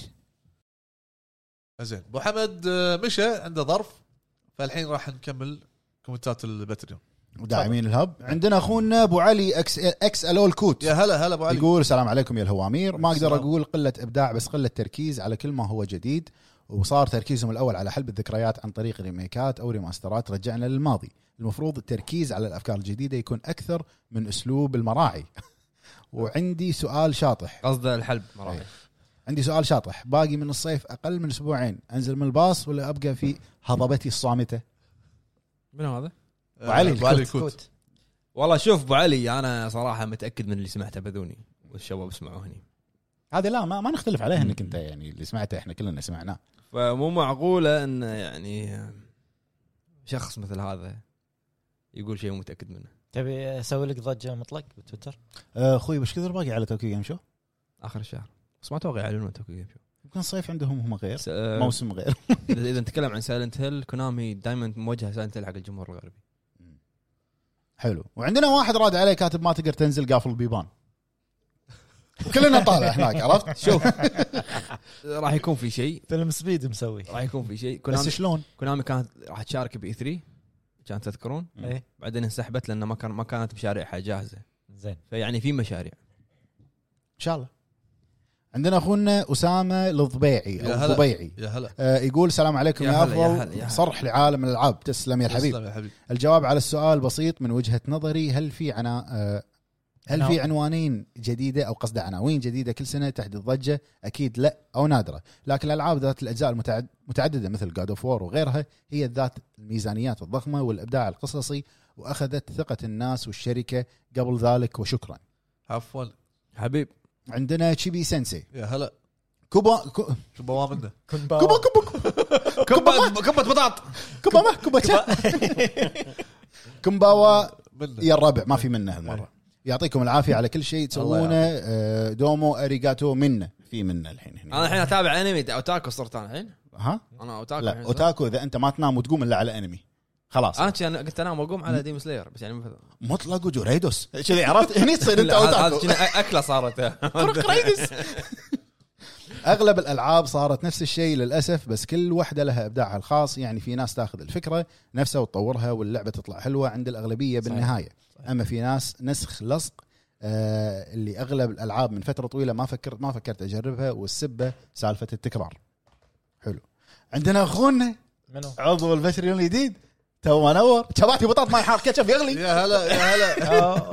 زين ابو حمد آه، مشى عنده ظرف فالحين راح نكمل كومنتات البتريوم وداعمين الهب عندنا اخونا ابو علي اكس اكس الول كوت يا هلا هلا ابو علي يقول السلام عليكم يا الهوامير ما اقدر السلام. اقول قله ابداع بس قله تركيز على كل ما هو جديد وصار تركيزهم الاول على حلب الذكريات عن طريق ريميكات او ريماسترات رجعنا للماضي المفروض التركيز على الافكار الجديده يكون اكثر من اسلوب المراعي وعندي سؤال شاطح قصده الحلب إيه. مراحل عندي سؤال شاطح باقي من الصيف اقل من اسبوعين انزل من الباص ولا ابقى في هضبتي الصامته منو هذا؟ آه، علي ابو علي الكوت. الكوت والله شوف ابو علي انا صراحه متاكد من اللي سمعته بذوني والشباب سمعوه هني هذه لا ما, ما نختلف عليها انك انت يعني اللي سمعته احنا كلنا سمعناه فمو معقوله ان يعني شخص مثل هذا يقول شيء مو متاكد منه تبي اسوي لك ضجه مطلق بتويتر آه، اخوي وش كثر باقي على توكيو جيم شو؟ اخر الشهر بس ما اتوقع يعلنون توكيو جيم شو يمكن الصيف عندهم هم غير بس، آه، موسم غير اذا إذا نتكلم عن سايلنت هيل كونامي دائما موجهه سايلنت هيل حق الجمهور الغربي حلو وعندنا واحد راد عليه كاتب ما تقدر تنزل قافل بيبان كلنا طالع هناك عرفت شوف راح يكون في شيء فيلم سبيد مسوي راح يكون في شيء بس كونامي شلون كونامي كانت راح تشارك باي 3 كانت تذكرون اي بعدين انسحبت لان ما كان ما كانت مشاريعها جاهزه زين فيعني في مشاريع ان شاء الله عندنا اخونا اسامه الضبيعي يا او هلا. الضبيعي يا هلا آه يقول السلام عليكم يا يا هلا، يا هلا، يا هلا. افضل صرح لعالم الالعاب تسلم يا الحبيب تسلم يا حبيبي الجواب على السؤال بسيط من وجهه نظري هل في عنا آه هل في عنوانين جديده او قصد عناوين جديده كل سنه تحدث ضجه اكيد لا او نادره لكن الالعاب ذات الاجزاء المتعد- المتعدده مثل جاد اوف وور وغيرها هي ذات الميزانيات الضخمه والابداع القصصي واخذت ثقه الناس والشركه قبل ذلك وشكرا عفوا حبيب عندنا تشيبي سensei يا هلا كوبا كو- شو بوامنا كوبا كوبا كبه كبه بطاط كوبا ما كوبا كومباوا منا يا الربع ما في منه هالمره يعطيكم العافيه على كل شيء تسوونه آه، دومو اريجاتو منا في منا الحين هنا انا الحين اتابع انمي اوتاكو صرت انا الحين ها انا اوتاكو لا الحين صرت. اوتاكو اذا انت ما تنام وتقوم الا على انمي خلاص انا كذي انا كنت انام واقوم على ديم سلاير بس يعني ما فهمت. مطلق وجوريدوس كذي عرفت هني تصير انت لا، هذا- هذا اوتاكو كنا أ- اكله صارت اغلب الالعاب صارت نفس الشيء للاسف بس كل واحده لها ابداعها الخاص يعني في ناس تاخذ الفكره نفسها وتطورها واللعبه تطلع حلوه عند الاغلبيه صحيح. بالنهايه اما في ناس نسخ لصق آه اللي اغلب الالعاب من فتره طويله ما فكرت ما فكرت اجربها والسبه سالفه التكرار حلو عندنا اخونا منو؟ عضو البشري الجديد تو ما نور شباتي بطاط ماي حار كاتشب يغلي يا هلا يا هلا آه،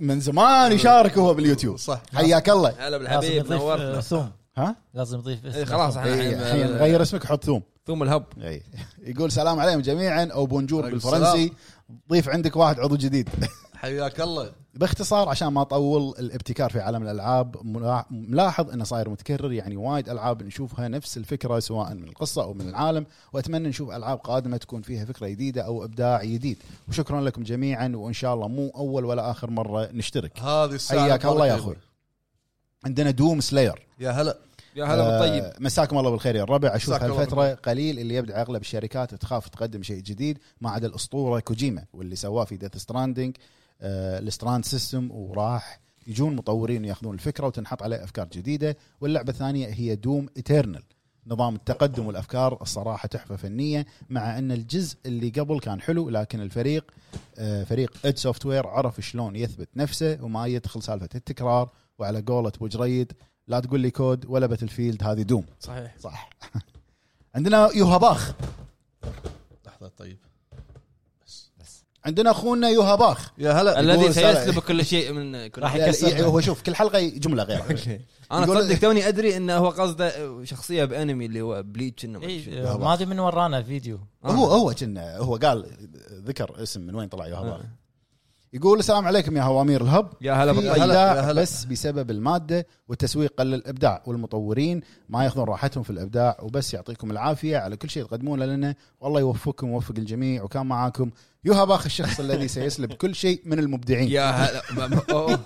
من زمان يشارك هو باليوتيوب صح نعم. حياك الله هلا لازم بالحبيب نضيف آه، نورتنا ثوم ها؟ لازم نضيف إيه، اسم خلاص احنا إيه، الحين الحين غير اسمك حط ثوم ثوم الهب اي يقول سلام عليكم جميعا او بونجور عليكم بالفرنسي ضيف عندك واحد عضو جديد حياك الله باختصار عشان ما اطول الابتكار في عالم الالعاب ملا- ملاحظ انه صاير متكرر يعني وايد العاب نشوفها نفس الفكره سواء من القصه او من العالم واتمنى نشوف العاب قادمه تكون فيها فكره جديده او ابداع جديد وشكرا لكم جميعا وان شاء الله مو اول ولا اخر مره نشترك هذه الساعه حياك الله يا المباركة. اخوي عندنا دوم سلاير يا هلا يا هلا بالطيب آه، مساكم الله بالخير يا الربع اشوف مساك الله هالفتره قليل اللي يبدع اغلب الشركات تخاف تقدم شيء جديد ما عدا الاسطوره كوجيما واللي سواه في ديث ستراندنج الستراند سيستم وراح يجون مطورين ياخذون الفكره وتنحط عليه افكار جديده واللعبه الثانيه هي دوم ايترنال نظام التقدم والافكار الصراحه تحفه فنيه مع ان الجزء اللي قبل كان حلو لكن الفريق آه، فريق اد سوفت وير عرف شلون يثبت نفسه وما يدخل سالفه التكرار وعلى قولة ابو جريد لا تقول لي كود ولا باتل فيلد هذه دوم صحيح صح عندنا يوهاباخ لحظه طيب عندنا اخونا يوهاباخ يا هلا الذي يقول سلام. سيسلب كل شيء من كل راح لا، يكسر لا، هو شوف كل حلقه جمله غير انا يقول- تصدق توني ادري انه هو قصده شخصيه بانمي اللي هو بليتش انه ما أدري شنو. إيه، آه، ما ادري من ورانا الفيديو آه. هو هو كنا هو قال ذكر اسم من وين طلع يوهاباخ يقول السلام عليكم يا هوامير الهب يا هلا في بالطيب يا ابداع هلا. بس بسبب الماده والتسويق قل الابداع والمطورين ما ياخذون راحتهم في الابداع وبس يعطيكم العافيه على كل شيء تقدمونه لنا والله يوفقكم ويوفق الجميع وكان معاكم يوها باخ الشخص الذي سيسلب كل شيء من المبدعين يا هلا ما- ما- أوه.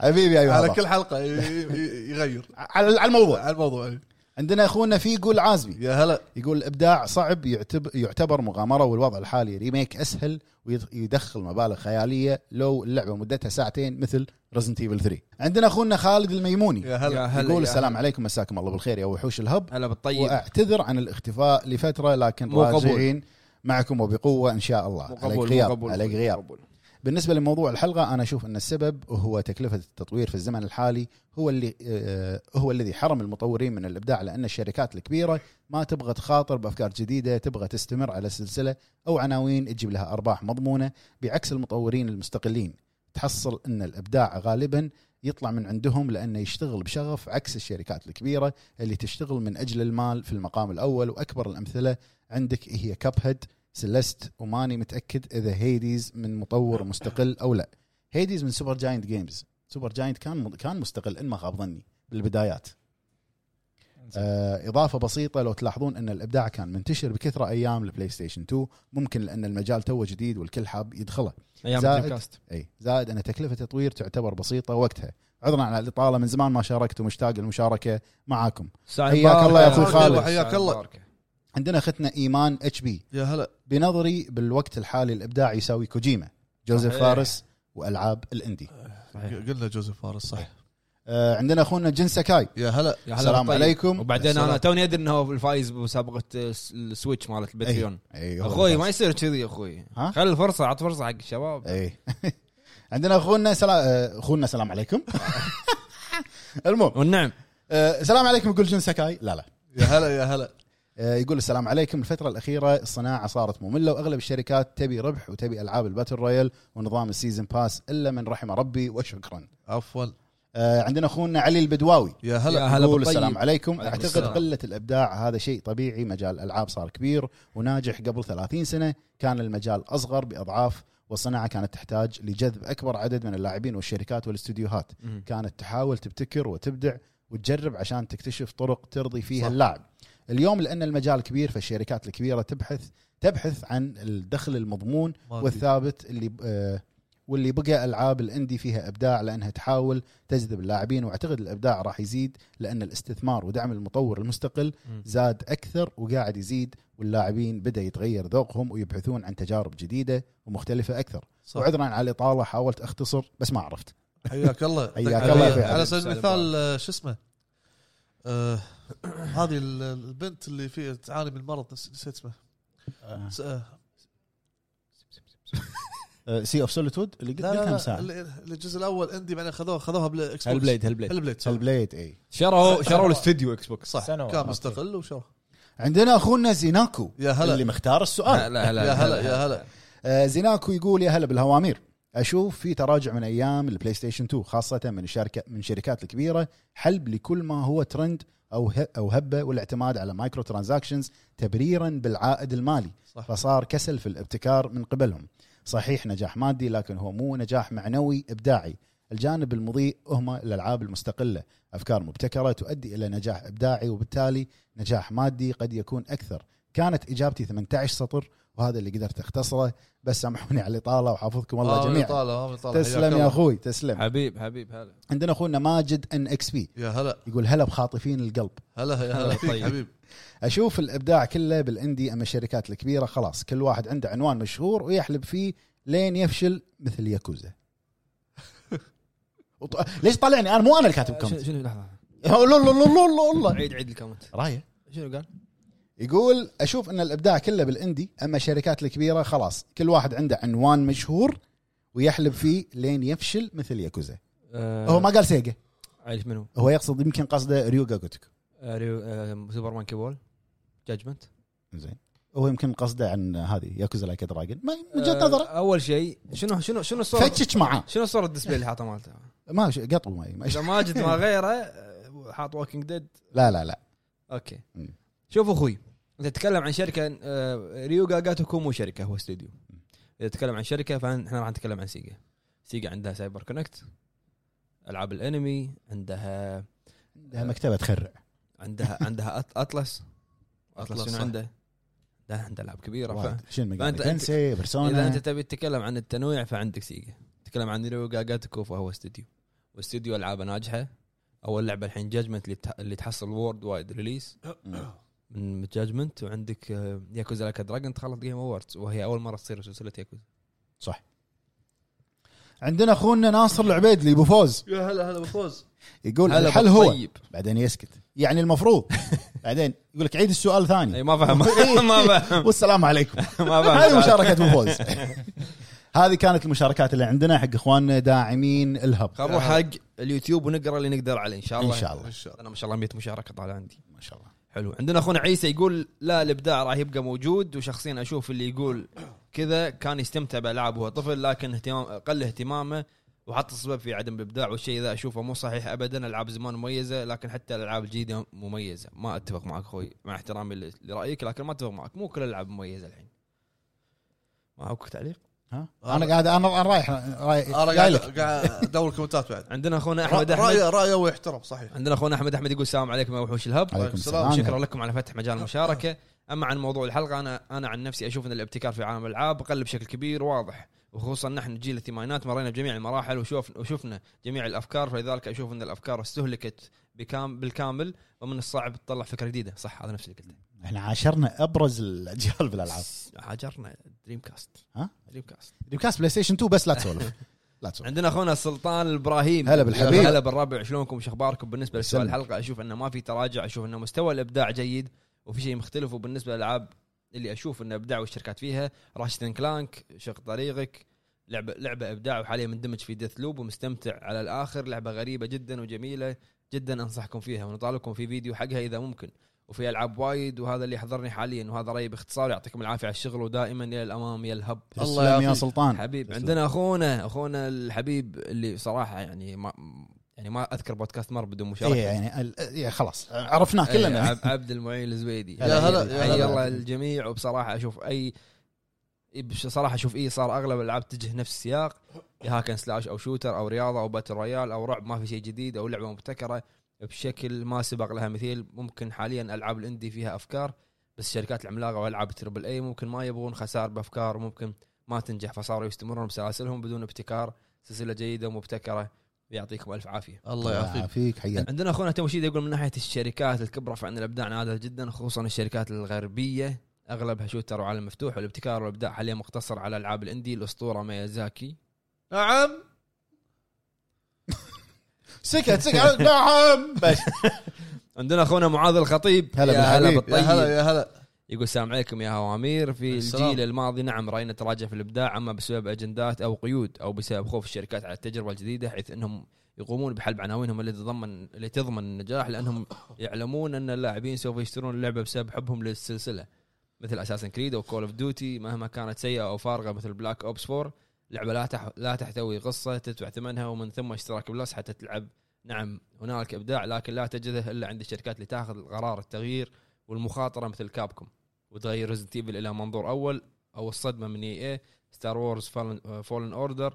حبيبي يا يوها على باخ. كل حلقه ي- ي- يغير على على الموضوع على الموضوع عندنا اخونا فيجو العازمي يا هلا يقول الابداع صعب يعتبر يعتبر مغامره والوضع الحالي ريميك اسهل ويدخل مبالغ خياليه لو اللعبه مدتها ساعتين مثل ريزنت ايفل 3 عندنا اخونا خالد الميموني يا هلا يا هلا يقول يا السلام عليكم مساكم الله بالخير يا وحوش الهب هلا بالطيب واعتذر عن الاختفاء لفتره لكن مو قبول. راجعين معكم وبقوه ان شاء الله مو عليك قبول مو غياب قبول عليك مو غياب قبول. بالنسبه لموضوع الحلقه انا اشوف ان السبب هو تكلفه التطوير في الزمن الحالي هو اللي آه، هو الذي حرم المطورين من الابداع لان الشركات الكبيره ما تبغى تخاطر بافكار جديده تبغى تستمر على سلسله او عناوين تجيب لها ارباح مضمونه بعكس المطورين المستقلين تحصل ان الابداع غالبا يطلع من عندهم لانه يشتغل بشغف عكس الشركات الكبيره اللي تشتغل من اجل المال في المقام الاول واكبر الامثله عندك هي كاب هيد سلست وماني متاكد اذا هيديز من مطور مستقل او لا هيديز من سوبر جاينت جيمز سوبر جاينت كان كان مستقل ان ما خاب ظني بالبدايات آه اضافه بسيطه لو تلاحظون ان الابداع كان منتشر بكثره ايام البلاي ستيشن 2 ممكن لان المجال توه جديد والكل حاب يدخله ايام زائد. الدريمكاست. اي زائد ان تكلفه التطوير تعتبر بسيطه وقتها عذرا على الاطاله من زمان ما شاركت ومشتاق للمشاركه معاكم ساعة حياك مباركة. الله يا أخوي ساعة خالد. مباركة. حياك الله. مباركة. عندنا اختنا ايمان اتش بي يا هلا بنظري بالوقت الحالي الابداع يساوي كوجيما جوزيف صحيح. فارس والعاب الاندي قلنا جوزيف فارس صح آه عندنا اخونا جن سكاي يا هلا يا هلا السلام بالطيب. عليكم وبعدين السلام. انا توني ادري انه هو الفايز بمسابقه السويتش مالت الباتريون أي هو اخوي الفارس. ما يصير كذي يا اخوي إيه. ها؟ إيه. خلي الفرصه عط فرصه حق الشباب اي عندنا اخونا سلام آه، اخونا سلام عليكم المهم والنعم آه، السلام عليكم يقول جن سكاي لا لا يا هلا يا هلا آه، يقول السلام عليكم الفترة الأخيرة الصناعة صارت مملة وأغلب الشركات تبي ربح وتبي ألعاب الباتل رويال ونظام السيزن باس إلا من رحم ربي وشكرا عفوا آه، عندنا أخونا علي البدواوي يا هلا يا هلا هلا يقول بالطيب. السلام عليكم عليكم اعتقد السلام. قله الابداع هذا شيء طبيعي مجال الالعاب صار كبير وناجح قبل 30 سنه كان المجال اصغر باضعاف والصناعه كانت تحتاج لجذب اكبر عدد من اللاعبين والشركات والاستديوهات مم. كانت تحاول تبتكر وتبدع وتجرب عشان تكتشف طرق ترضي فيها صح. اللاعب اليوم لان المجال كبير فالشركات الكبيره تبحث تبحث عن الدخل المضمون ما في. والثابت اللي آه، واللي بقى العاب الاندي فيها ابداع لانها تحاول تجذب اللاعبين واعتقد الابداع راح يزيد لان الاستثمار ودعم المطور المستقل مم. زاد اكثر وقاعد يزيد واللاعبين بدا يتغير ذوقهم ويبحثون عن تجارب جديده ومختلفه اكثر صح. وعذرا على الاطاله حاولت اختصر بس ما عرفت حياك الله حياك على- الله يا على حبيبي. سبيل المثال آه، شو اسمه آه، هذه ال- البنت اللي في تعاني من مرض نس- نسيت اسمه س- آه، سي اوف سوليتود اللي قلت لا قلتها لا من لا ساعه ال- الجزء الاول اندي بعدين خذوها خذوها بالاكس بوكس هالبليد هالبليد البليد صح. البليد اي شروا شروا الاستديو اكس بوكس صح سنوات. آه، كان أوكي. مستقل وشو عندنا اخونا زيناكو يا هلا. اللي مختار السؤال لا لا يا هلا يا هلا آه، زيناكو يقول يا هلا بالهوامير اشوف في تراجع من ايام البلاي ستيشن 2 خاصه من الشركه من الشركات الكبيره حلب لكل ما هو ترند او ه- او هبه والاعتماد على مايكرو ترانزاكشنز تبريرا بالعائد المالي صح. فصار كسل في الابتكار من قبلهم صحيح نجاح مادي لكن هو مو نجاح معنوي ابداعي الجانب المضيء هم الالعاب المستقله افكار مبتكره تؤدي الى نجاح ابداعي وبالتالي نجاح مادي قد يكون اكثر كانت اجابتي 18 سطر وهذا اللي قدرت اختصره بس سامحوني على الاطاله وحافظكم الله آه، جميعا طالع، آه، طالع. حياك تسلم الله. يا اخوي تسلم حبيب حبيب هلا عندنا اخونا ماجد ان اكس بي يا هلا يقول هلا بخاطفين القلب هلا يا هلا طيب. فيك حبيبي اشوف الابداع كله بالاندي اما الشركات الكبيره خلاص كل واحد عنده عنوان مشهور ويحلب فيه لين يفشل مثل ياكوزا وط- ليش طالعني انا مو انا اللي كاتب كومنت شنو لحظه الله الله الله الله الله آه، عيد عيد الكومنت رايه شنو قال؟ يقول اشوف ان الابداع كله بالاندي اما الشركات الكبيره خلاص كل واحد عنده عنوان مشهور ويحلب فيه لين يفشل مثل ياكوزا هو ما قال سيجا آه، عيد منو؟ هو يقصد يمكن قصده ريوغا جوتكو ريو- آه، سوبر مانكي بول جاجمنت زين هو يمكن قصده عن هذه ياكوزا لايك دراجون ما وجهه آه، نظره اول شيء شنو شنو شنو الصوره فتش معاه شنو الصوره الديسبلاي اللي حاطه مالته؟ ما ش- قطو ما ما- اذا ماجد ما غيره آه، حاط ووكينج ديد لا لا لا اوكي مم. شوف اخوي انت تتكلم عن شركه آه، ريوغا جاتوكو مو شركه هو استوديو اذا تتكلم عن شركه فاحنا راح نتكلم عن سيجا سيجا عندها سايبر كونكت العاب الانمي عندها عندها مكتبه تخرع عندها عندها أط- اطلس أطلس، اطلس شنو صح. عنده؟ ده عنده العاب كبيره ف... وايد. شين مقال فأنت- أنت- تنسي اذا بيرسونا انت تبي تتكلم عن التنويع فعندك سيجا تتكلم عن ريوغا جاتوكو فهو استوديو واستوديو العابه ناجحه اول لعبه الحين جاجمنت اللي, تح... اللي تحصل وورد وايد ريليس مم. من جاجمنت وعندك آه، ياكوزا لاك دراجون تخلص جيم اووردز وهي اول مره تصير سلسله ياكوزا عندنا اخونا ناصر العبيدلي ابو فوز يا هلا هلا بفوز يقول هلا طيب. الحل هو بالطيب. بعدين يسكت يعني المفروض بعدين يقول لك عيد السؤال ثاني اي ما فهم ما فهم والسلام عليكم أيوة. ما هذه فهم مشاركه ابو فوز هذه كانت المشاركات اللي عندنا حق اخواننا داعمين الهب خلينا نروح حق اليوتيوب ونقرا اللي نقدر عليه ان شاء ان الله شاء الله ان شاء الله انا ما شاء الله 100 مشاركه طالع عندي ما شاء الله حلو عندنا اخونا عيسى يقول لا الابداع راح يبقى موجود وشخصيا اشوف اللي يقول كذا كان يستمتع بالالعاب وهو طفل لكن اهتمام قل اهتمامه وحط السبب في عدم الابداع والشيء ذا اشوفه مو صحيح ابدا العاب زمان مميزه لكن حتى الالعاب الجديده مميزه ما اتفق معك اخوي مع احترامي ل- لرايك لكن ما اتفق معك مو كل الالعاب مميزه الحين معك تعليق ها انا قاعد أنا- انا رايح رايح انا قايل قاعد لك آه، قاعد ادور الكومنتات بعد عندنا اخونا احمد احمد رايه رايه ويحترم صحيح عندنا اخونا احمد احمد يقول السلام عليكم يا وحوش الهب عليكم السلام. السلام شكرا لكم على فتح مجال المشاركه اما عن موضوع الحلقه انا انا عن نفسي اشوف ان الابتكار في عالم الالعاب قل بشكل كبير واضح وخصوصا نحن جيل الثمانينات مرينا بجميع المراحل وشوف وشفنا جميع الافكار فلذلك اشوف ان الافكار استهلكت بكام بالكامل ومن الصعب تطلع فكره جديده صح هذا نفس اللي قلته احنا عاشرنا ابرز الاجيال بالالعاب هاجرنا دريم كاست ها؟ دريم كاست ريمكاست بلاي ستيشن 2 بس لا تسولف لا تسولف عندنا اخونا سلطان الابراهيم هلا بالحبيب. هلا بالربع شلونكم شو اخباركم بالنسبه لسؤال سلم. الحلقه اشوف انه ما في تراجع اشوف انه مستوى الابداع جيد وفي شيء مختلف وبالنسبه للالعاب اللي اشوف ان ابداع والشركات فيها راشد كلانك شق طريقك لعبه لعبه ابداع وحاليا مندمج في ديث لوب ومستمتع على الاخر لعبه غريبه جدا وجميله جدا انصحكم فيها ونطالبكم في فيديو حقها اذا ممكن وفي العاب وايد وهذا اللي يحضرني حاليا وهذا رايي باختصار يعطيكم العافيه على الشغل ودائما الى الامام يا الهب الله تسلم يا يعافيك. سلطان حبيب تسلم. عندنا اخونا اخونا الحبيب اللي صراحه يعني ما يعني ما اذكر بودكاست مر بدون مشاركه اي يعني ال- إيه خلاص عرفناه إيه، كلنا عب- عبد المعين الزبيدي يا هلا، يا حي هلا. الله الجميع وبصراحه اشوف اي بصراحه اشوف اي صار اغلب الالعاب تتجه نفس السياق يا هاكن سلاش او شوتر او رياضه او باتل رويال او رعب ما في شيء جديد او لعبه مبتكره بشكل ما سبق لها مثيل ممكن حاليا العاب الاندي فيها افكار بس الشركات العملاقه والعاب تربل اي ممكن ما يبغون خسار بافكار وممكن ما تنجح فصاروا يستمرون بسلاسلهم بدون ابتكار سلسله جيده ومبتكره ويعطيكم الف عافيه الله يعافيك آه، فيك حياك عندنا اخونا توشيد يقول من ناحيه الشركات الكبرى فان الابداع نادر جدا خصوصا الشركات الغربيه اغلبها شوتر وعالم مفتوح والابتكار والابداع حاليا مقتصر على العاب الاندي الاسطوره ميازاكي نعم سكت سكت نعم بس عندنا اخونا معاذ الخطيب هلا يا بالحبيب. يا هلا يا هلا يقول السلام عليكم يا هوامير في السلام. الجيل الماضي نعم راينا تراجع في الابداع اما بسبب اجندات او قيود او بسبب خوف الشركات على التجربه الجديده حيث انهم يقومون بحلب عناوينهم اللي تضمن اللي تضمن النجاح لانهم يعلمون ان اللاعبين سوف يشترون اللعبه بسبب حبهم للسلسله مثل اساسن كريد او كول اوف ديوتي مهما كانت سيئه او فارغه مثل بلاك اوبس 4 لعبه لا تح... لا تحتوي قصه تدفع ثمنها ومن ثم اشتراك بلس حتى تلعب نعم هنالك ابداع لكن لا تجده الا عند الشركات اللي تاخذ قرار التغيير والمخاطره مثل كابكم وتغير ريزنت ايفل الى منظور اول او الصدمه من إيه، اي اي ستار وورز فولن اوردر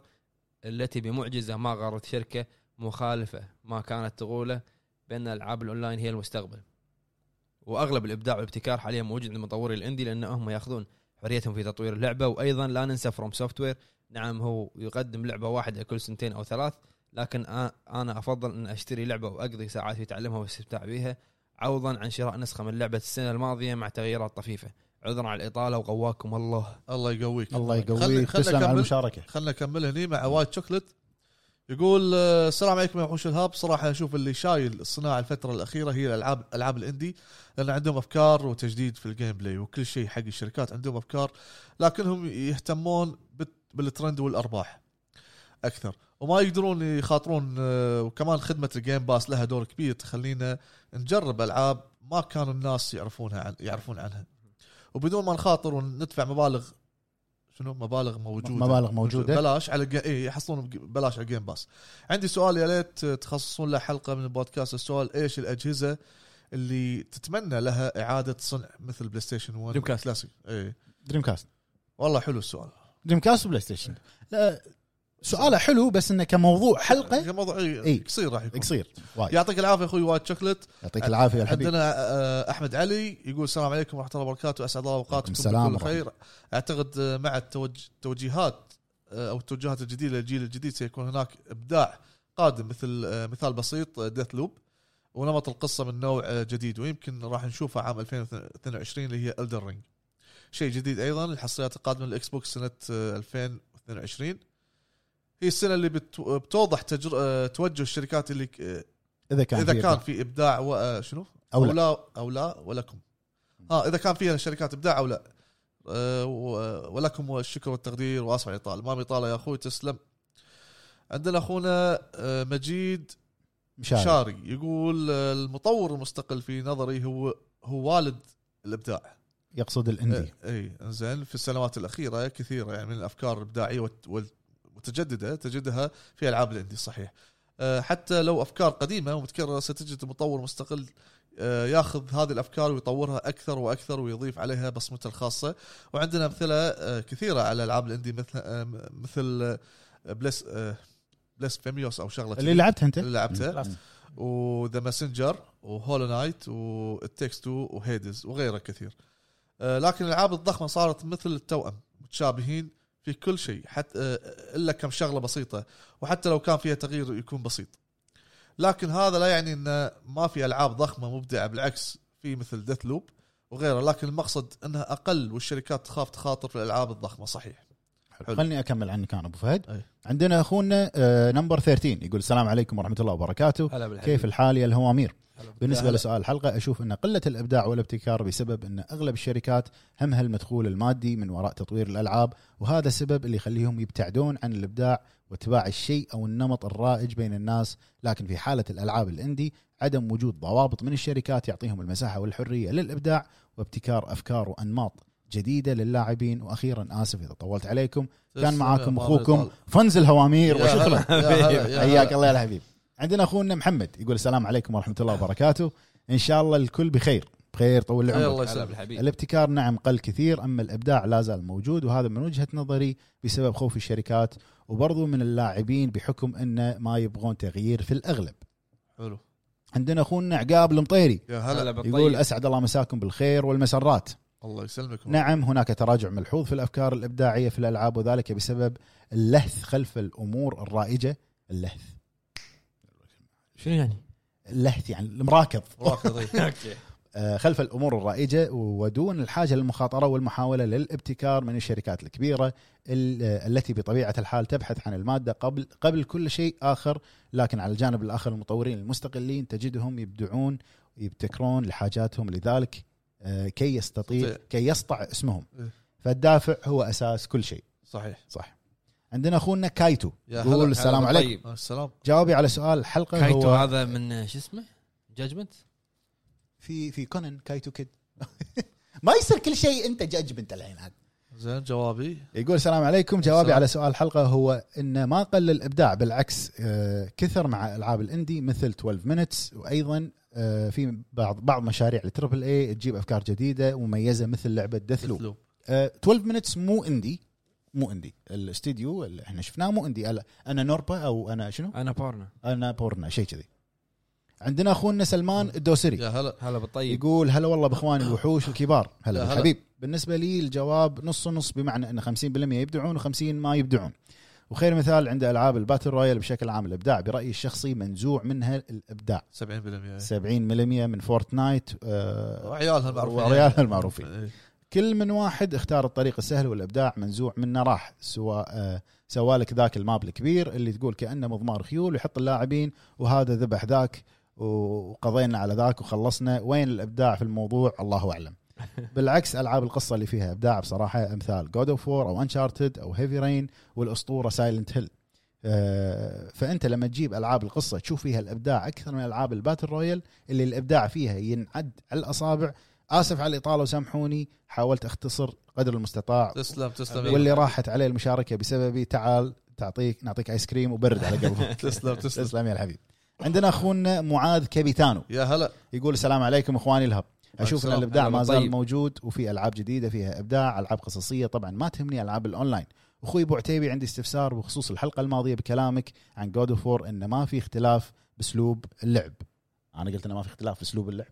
آه، التي بمعجزه ما غرت شركه مخالفه ما كانت تقوله بان العاب الاونلاين هي المستقبل واغلب الابداع والابتكار حاليا موجود عند مطوري الاندي لانهم ياخذون حريتهم في تطوير اللعبه وايضا لا ننسى فروم سوفت وير نعم هو يقدم لعبه واحده كل سنتين او ثلاث لكن أ- انا افضل ان اشتري لعبه واقضي ساعات في تعلمها والاستمتاع بها عوضا عن شراء نسخه من لعبه السنه الماضيه مع تغييرات طفيفه عذرا على الاطاله وقواكم الله الله يقويك الله خلي- يقويك خلي تسلم على أكمل. المشاركه خلنا نكمل هني مع وايت شوكلت يقول آه، السلام عليكم يا وحوش الهاب صراحه اشوف اللي شايل الصناعه الفتره الاخيره هي الالعاب العاب الاندي لان عندهم افكار وتجديد في الجيم بلاي وكل شيء حق الشركات عندهم افكار لكنهم يهتمون بت- بالترند والارباح اكثر وما يقدرون يخاطرون آه، وكمان خدمه الجيم باس لها دور كبير تخلينا نجرب العاب ما كانوا الناس يعرفونها عن يعرفون عنها وبدون ما نخاطر وندفع مبالغ شنو مبالغ موجوده مبالغ موجودة. بلاش على الج- إيه يحصلون بج- بلاش على الجيم باس عندي سؤال يا ليت تخصصون له حلقه من البودكاست السؤال ايش الاجهزه اللي تتمنى لها اعاده صنع مثل بلاي ستيشن 1 Dreamcast. كلاسيك اي دريم كاست إيه. والله حلو السؤال دريم كاست وبلاي ستيشن لا سؤاله حلو بس انه كموضوع حلقه الموضوع إي. إيه؟ قصير راح يكون طيب. قصير وايد يعطيك العافيه اخوي وايد شوكلت يعطيك العافيه يا الحبيب عندنا آه، احمد علي يقول السلام عليكم ورحمه الله وبركاته اسعد الله اوقاتكم عليكم السلام بكل ورحمة خير اعتقد آه، مع التوج- التوجيهات آه، او التوجهات الجديده للجيل الجديد سيكون هناك ابداع قادم مثل آه، مثال بسيط ديث لوب ونمط القصه من نوع آه، جديد ويمكن راح نشوفه عام 2022 اللي هي الدر رينج شيء جديد ايضا الحصريات القادمه للاكس بوكس سنه آه، 2022 هي السنه اللي بت- بتوضح تجر... آه، توجه الشركات اللي آه، اذا كان اذا في كان في ابداع و... آه، شنو أو او لا. لا او لا ولكم اه اذا كان فيها الشركات ابداع او لا آه، و- ولكم الشكر والتقدير واسف على الاطاله ما بيطاله يا اخوي تسلم عندنا اخونا آه، مجيد مشاري. شاري يقول آه، المطور المستقل في نظري هو هو والد الابداع يقصد الاندي آه، اي انزين في السنوات الاخيره كثيره يعني من الافكار الابداعيه والت- والت- والمتجدده تجدها في العاب الاندي صحيح آه، حتى لو افكار قديمه ومتكرره ستجد مطور مستقل آه، ياخذ هذه الافكار ويطورها اكثر واكثر ويضيف عليها بصمته الخاصه وعندنا امثله آه، كثيره على العاب الاندي مثل آه، مثل آه، بلس آه، بلس فيميوس او شغله اللي لعبته انت اللي لعبته مم. وذا ماسنجر وهولو نايت والتكس 2 وهيدز وغيره كثير آه، لكن الالعاب الضخمه صارت مثل التوأم متشابهين في كل شيء حتى الا كم شغله بسيطه وحتى لو كان فيها تغيير يكون بسيط لكن هذا لا يعني ان ما في العاب ضخمه مبدعه بالعكس في مثل ديث لوب وغيره لكن المقصد انها اقل والشركات تخاف تخاطر في الالعاب الضخمه صحيح حلو. خلني اكمل عنك انا ابو فهد أي. عندنا اخونا آه، نمبر 13 يقول السلام عليكم ورحمه الله وبركاته هلا بالحبيب كيف الحال يا الهوامير بالنسبه هلا. لسؤال الحلقه اشوف ان قله الابداع والابتكار بسبب ان اغلب الشركات همها المدخول المادي من وراء تطوير الالعاب وهذا السبب اللي يخليهم يبتعدون عن الابداع واتباع الشيء او النمط الرائج بين الناس لكن في حاله الالعاب الاندي عدم وجود ضوابط من الشركات يعطيهم المساحه والحريه للابداع وابتكار افكار وانماط جديده لللاعبين واخيرا اسف اذا طولت عليكم كان معاكم اخوكم فنز الهوامير يا هلا، وشكرا يا هلا، يا هلا. حياك الله يا الحبيب عندنا اخونا محمد يقول السلام عليكم ورحمه الله وبركاته ان شاء الله الكل بخير بخير طول العمر الله هلا يسلمك بالحبيب الابتكار نعم قل كثير اما الابداع لا زال موجود وهذا من وجهه نظري بسبب خوف الشركات وبرضو من اللاعبين بحكم انه ما يبغون تغيير في الاغلب حلو عندنا اخونا عقاب المطيري يا هلا هلا بالطيب يقول اسعد الله مساكم بالخير والمسرات الله يسلمك نعم هناك تراجع ملحوظ في الافكار الابداعيه في الالعاب وذلك بسبب اللهث خلف الامور الرائجه اللهث شنو يعني؟ اللهث يعني المراكض طيب. راكضي. آه، خلف الامور الرائجه ودون الحاجه للمخاطره والمحاوله للابتكار من الشركات الكبيره ال- آه، التي بطبيعه الحال تبحث عن الماده قبل قبل كل شيء اخر لكن على الجانب الاخر المطورين المستقلين تجدهم يبدعون يبتكرون لحاجاتهم لذلك آه، كي يستطيع يستطيع. كي يسطع اسمهم إيه. فالدافع هو اساس كل شيء صحيح صح عندنا اخونا كايتو يا هلا، يقول هلا السلام عليكم مع السلام جوابي على سؤال الحلقه كايتو هو هذا من شو اسمه؟ جاجمنت في في كونن كايتو كيد ما يصير كل شيء انت جاجمنت الحين عاد زين جوابي يقول السلام عليكم جوابي السلام. على سؤال الحلقه هو ان ما قل الابداع بالعكس آه، كثر مع العاب الاندي مثل 12 مينتس وايضا آه، في بعض بعض مشاريع التربل اي تجيب افكار جديده ومميزه مثل لعبه ديث لوب اسلوب 12 مينتس مو اندي مو اندي الاستديو اللي احنا شفناه مو اندي ألا- انا نوربا او انا شنو انا بارنا انا بورنا شيء كذي عندنا اخونا سلمان الدوسري يا هلا هلا بالطيب يقول هلا والله باخواني الوحوش الكبار هلا يا هلا. بالحبيب بالنسبه لي الجواب نص نص بمعنى ان 50% يبدعون و50 ما يبدعون وخير مثال عند العاب الباتل رويال بشكل عام الابداع برايي الشخصي منزوع منها الابداع 70% 70% من فورتنايت آه وعيالها معروفين وعيالها المعروفين إيه. كل من واحد اختار الطريق السهل والابداع منزوع منه راح سواء آه، سوالك ذاك الماب الكبير اللي تقول كانه مضمار خيول ويحط اللاعبين وهذا ذبح ذاك وقضينا على ذاك وخلصنا وين الابداع في الموضوع الله اعلم بالعكس العاب القصه اللي فيها ابداع بصراحه امثال جود اوف وور او انشارتد او هيفي رين والاسطوره سايلنت هيل فانت آه، لما تجيب العاب القصه تشوف فيها الابداع اكثر من العاب الباتل رويال اللي الابداع فيها ينعد على الاصابع اسف على الاطاله وسامحوني حاولت اختصر قدر المستطاع تسلم تسلم واللي راحت عليه المشاركه بسببي تعال تعطيك نعطيك ايس كريم وبرد على قلبك تسلم تسلم تسلم يا الحبيب عندنا اخونا معاذ كابيتانو يا هلا يقول السلام عليكم اخواني الهب اشوف ان السلام. الابداع هلا ما زال طيب. موجود وفي العاب جديده فيها ابداع العاب قصصيه طبعا ما تهمني العاب الاونلاين اخوي ابو عتيبي عندي استفسار بخصوص الحلقه الماضيه بكلامك عن جود اوف وور ان ما في اختلاف باسلوب اللعب انا قلت انه ما في اختلاف باسلوب اللعب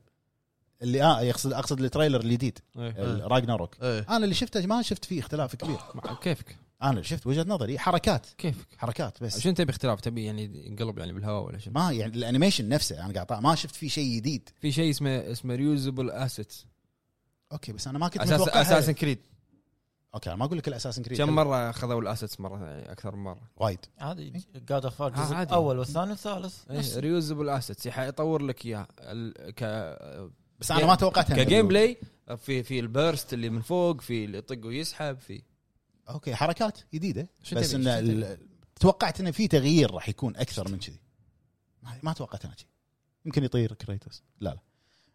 اللي اه يقصد اقصد التريلر الجديد إيه. آه. راجناروك ايه انا اللي شفته ما شفت فيه اختلاف كبير كيفك انا اللي شفت وجهه نظري حركات كيفك حركات بس شنو تبي اختلاف تبي يعني ينقلب يعني بالهواء ولا شنو ما يعني الانيميشن نفسه انا قاعد أطالع، ما شفت فيه شيء جديد في شيء اسمه اسمه ريوزبل اسيتس اوكي بس انا ما كنت اساس متوقع اساسن كريد اوكي انا ما اقول لك الاساسن كريد كم مره اخذوا الاسيتس مره يعني اكثر من مره وايد عادي جاد اوف الجزء عادي. الاول والثاني والثالث إيه، نفس ريوزبل اسيتس يطور لك اياها ال- ك بس انا ما توقعتها كجيم بلاي في في البيرست اللي من فوق في اللي يطق ويسحب في اوكي حركات جديده شو بس تبي؟ ان شو تبي؟ ال- توقعت انه في تغيير راح يكون اكثر من كذي ما- ما توقعت انا كذي يمكن يطير كريتوس لا لا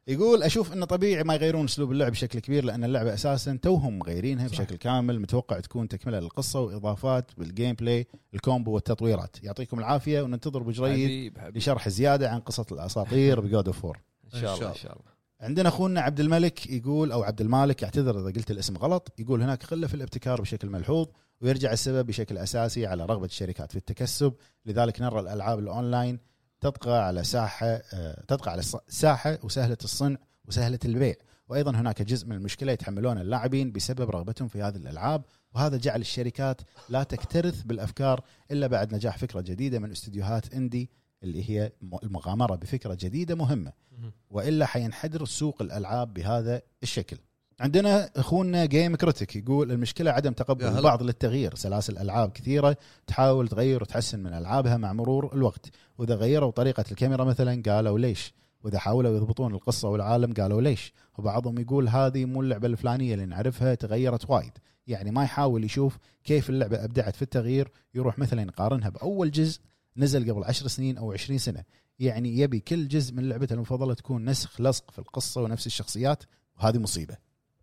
يقول اشوف انه طبيعي ما يغيرون اسلوب اللعب بشكل كبير لان اللعبه اساسا توهم مغيرينها بشكل كامل متوقع تكون تكمله للقصه واضافات بالجيم بلاي الكومبو والتطويرات يعطيكم العافيه وننتظر بجريد حبيب حبيب لشرح زياده عن قصه الاساطير بجود اوف وور ان شاء إن شاء الله ان شاء الله عندنا اخونا عبد الملك يقول او عبد المالك يعتذر اذا قلت الاسم غلط يقول هناك خله في الابتكار بشكل ملحوظ ويرجع السبب بشكل اساسي على رغبه الشركات في التكسب لذلك نرى الالعاب الاونلاين تطغى على ساحه آه، تطغى على الص- ساحه وسهله الصنع وسهله البيع وايضا هناك جزء من المشكله يتحملون اللاعبين بسبب رغبتهم في هذه الالعاب وهذا جعل الشركات لا تكترث بالافكار الا بعد نجاح فكره جديده من استديوهات اندي اللي هي م- المغامره بفكره جديده مهمه والا حينحدر سوق الالعاب بهذا الشكل. عندنا اخونا جيم كريتيك يقول المشكله عدم تقبل يا هلا. البعض للتغيير، سلاسل العاب كثيره تحاول تغير وتحسن من العابها مع مرور الوقت، واذا غيروا طريقه الكاميرا مثلا قالوا ليش؟ واذا حاولوا يضبطون القصه والعالم قالوا ليش؟ وبعضهم يقول هذه مو اللعبه الفلانيه اللي نعرفها تغيرت وايد، يعني ما يحاول يشوف كيف اللعبه ابدعت في التغيير، يروح مثلا يقارنها باول جزء نزل قبل عشر سنين او 20 سنه، يعني يبي كل جزء من لعبته المفضله تكون نسخ لصق في القصه ونفس الشخصيات وهذه مصيبه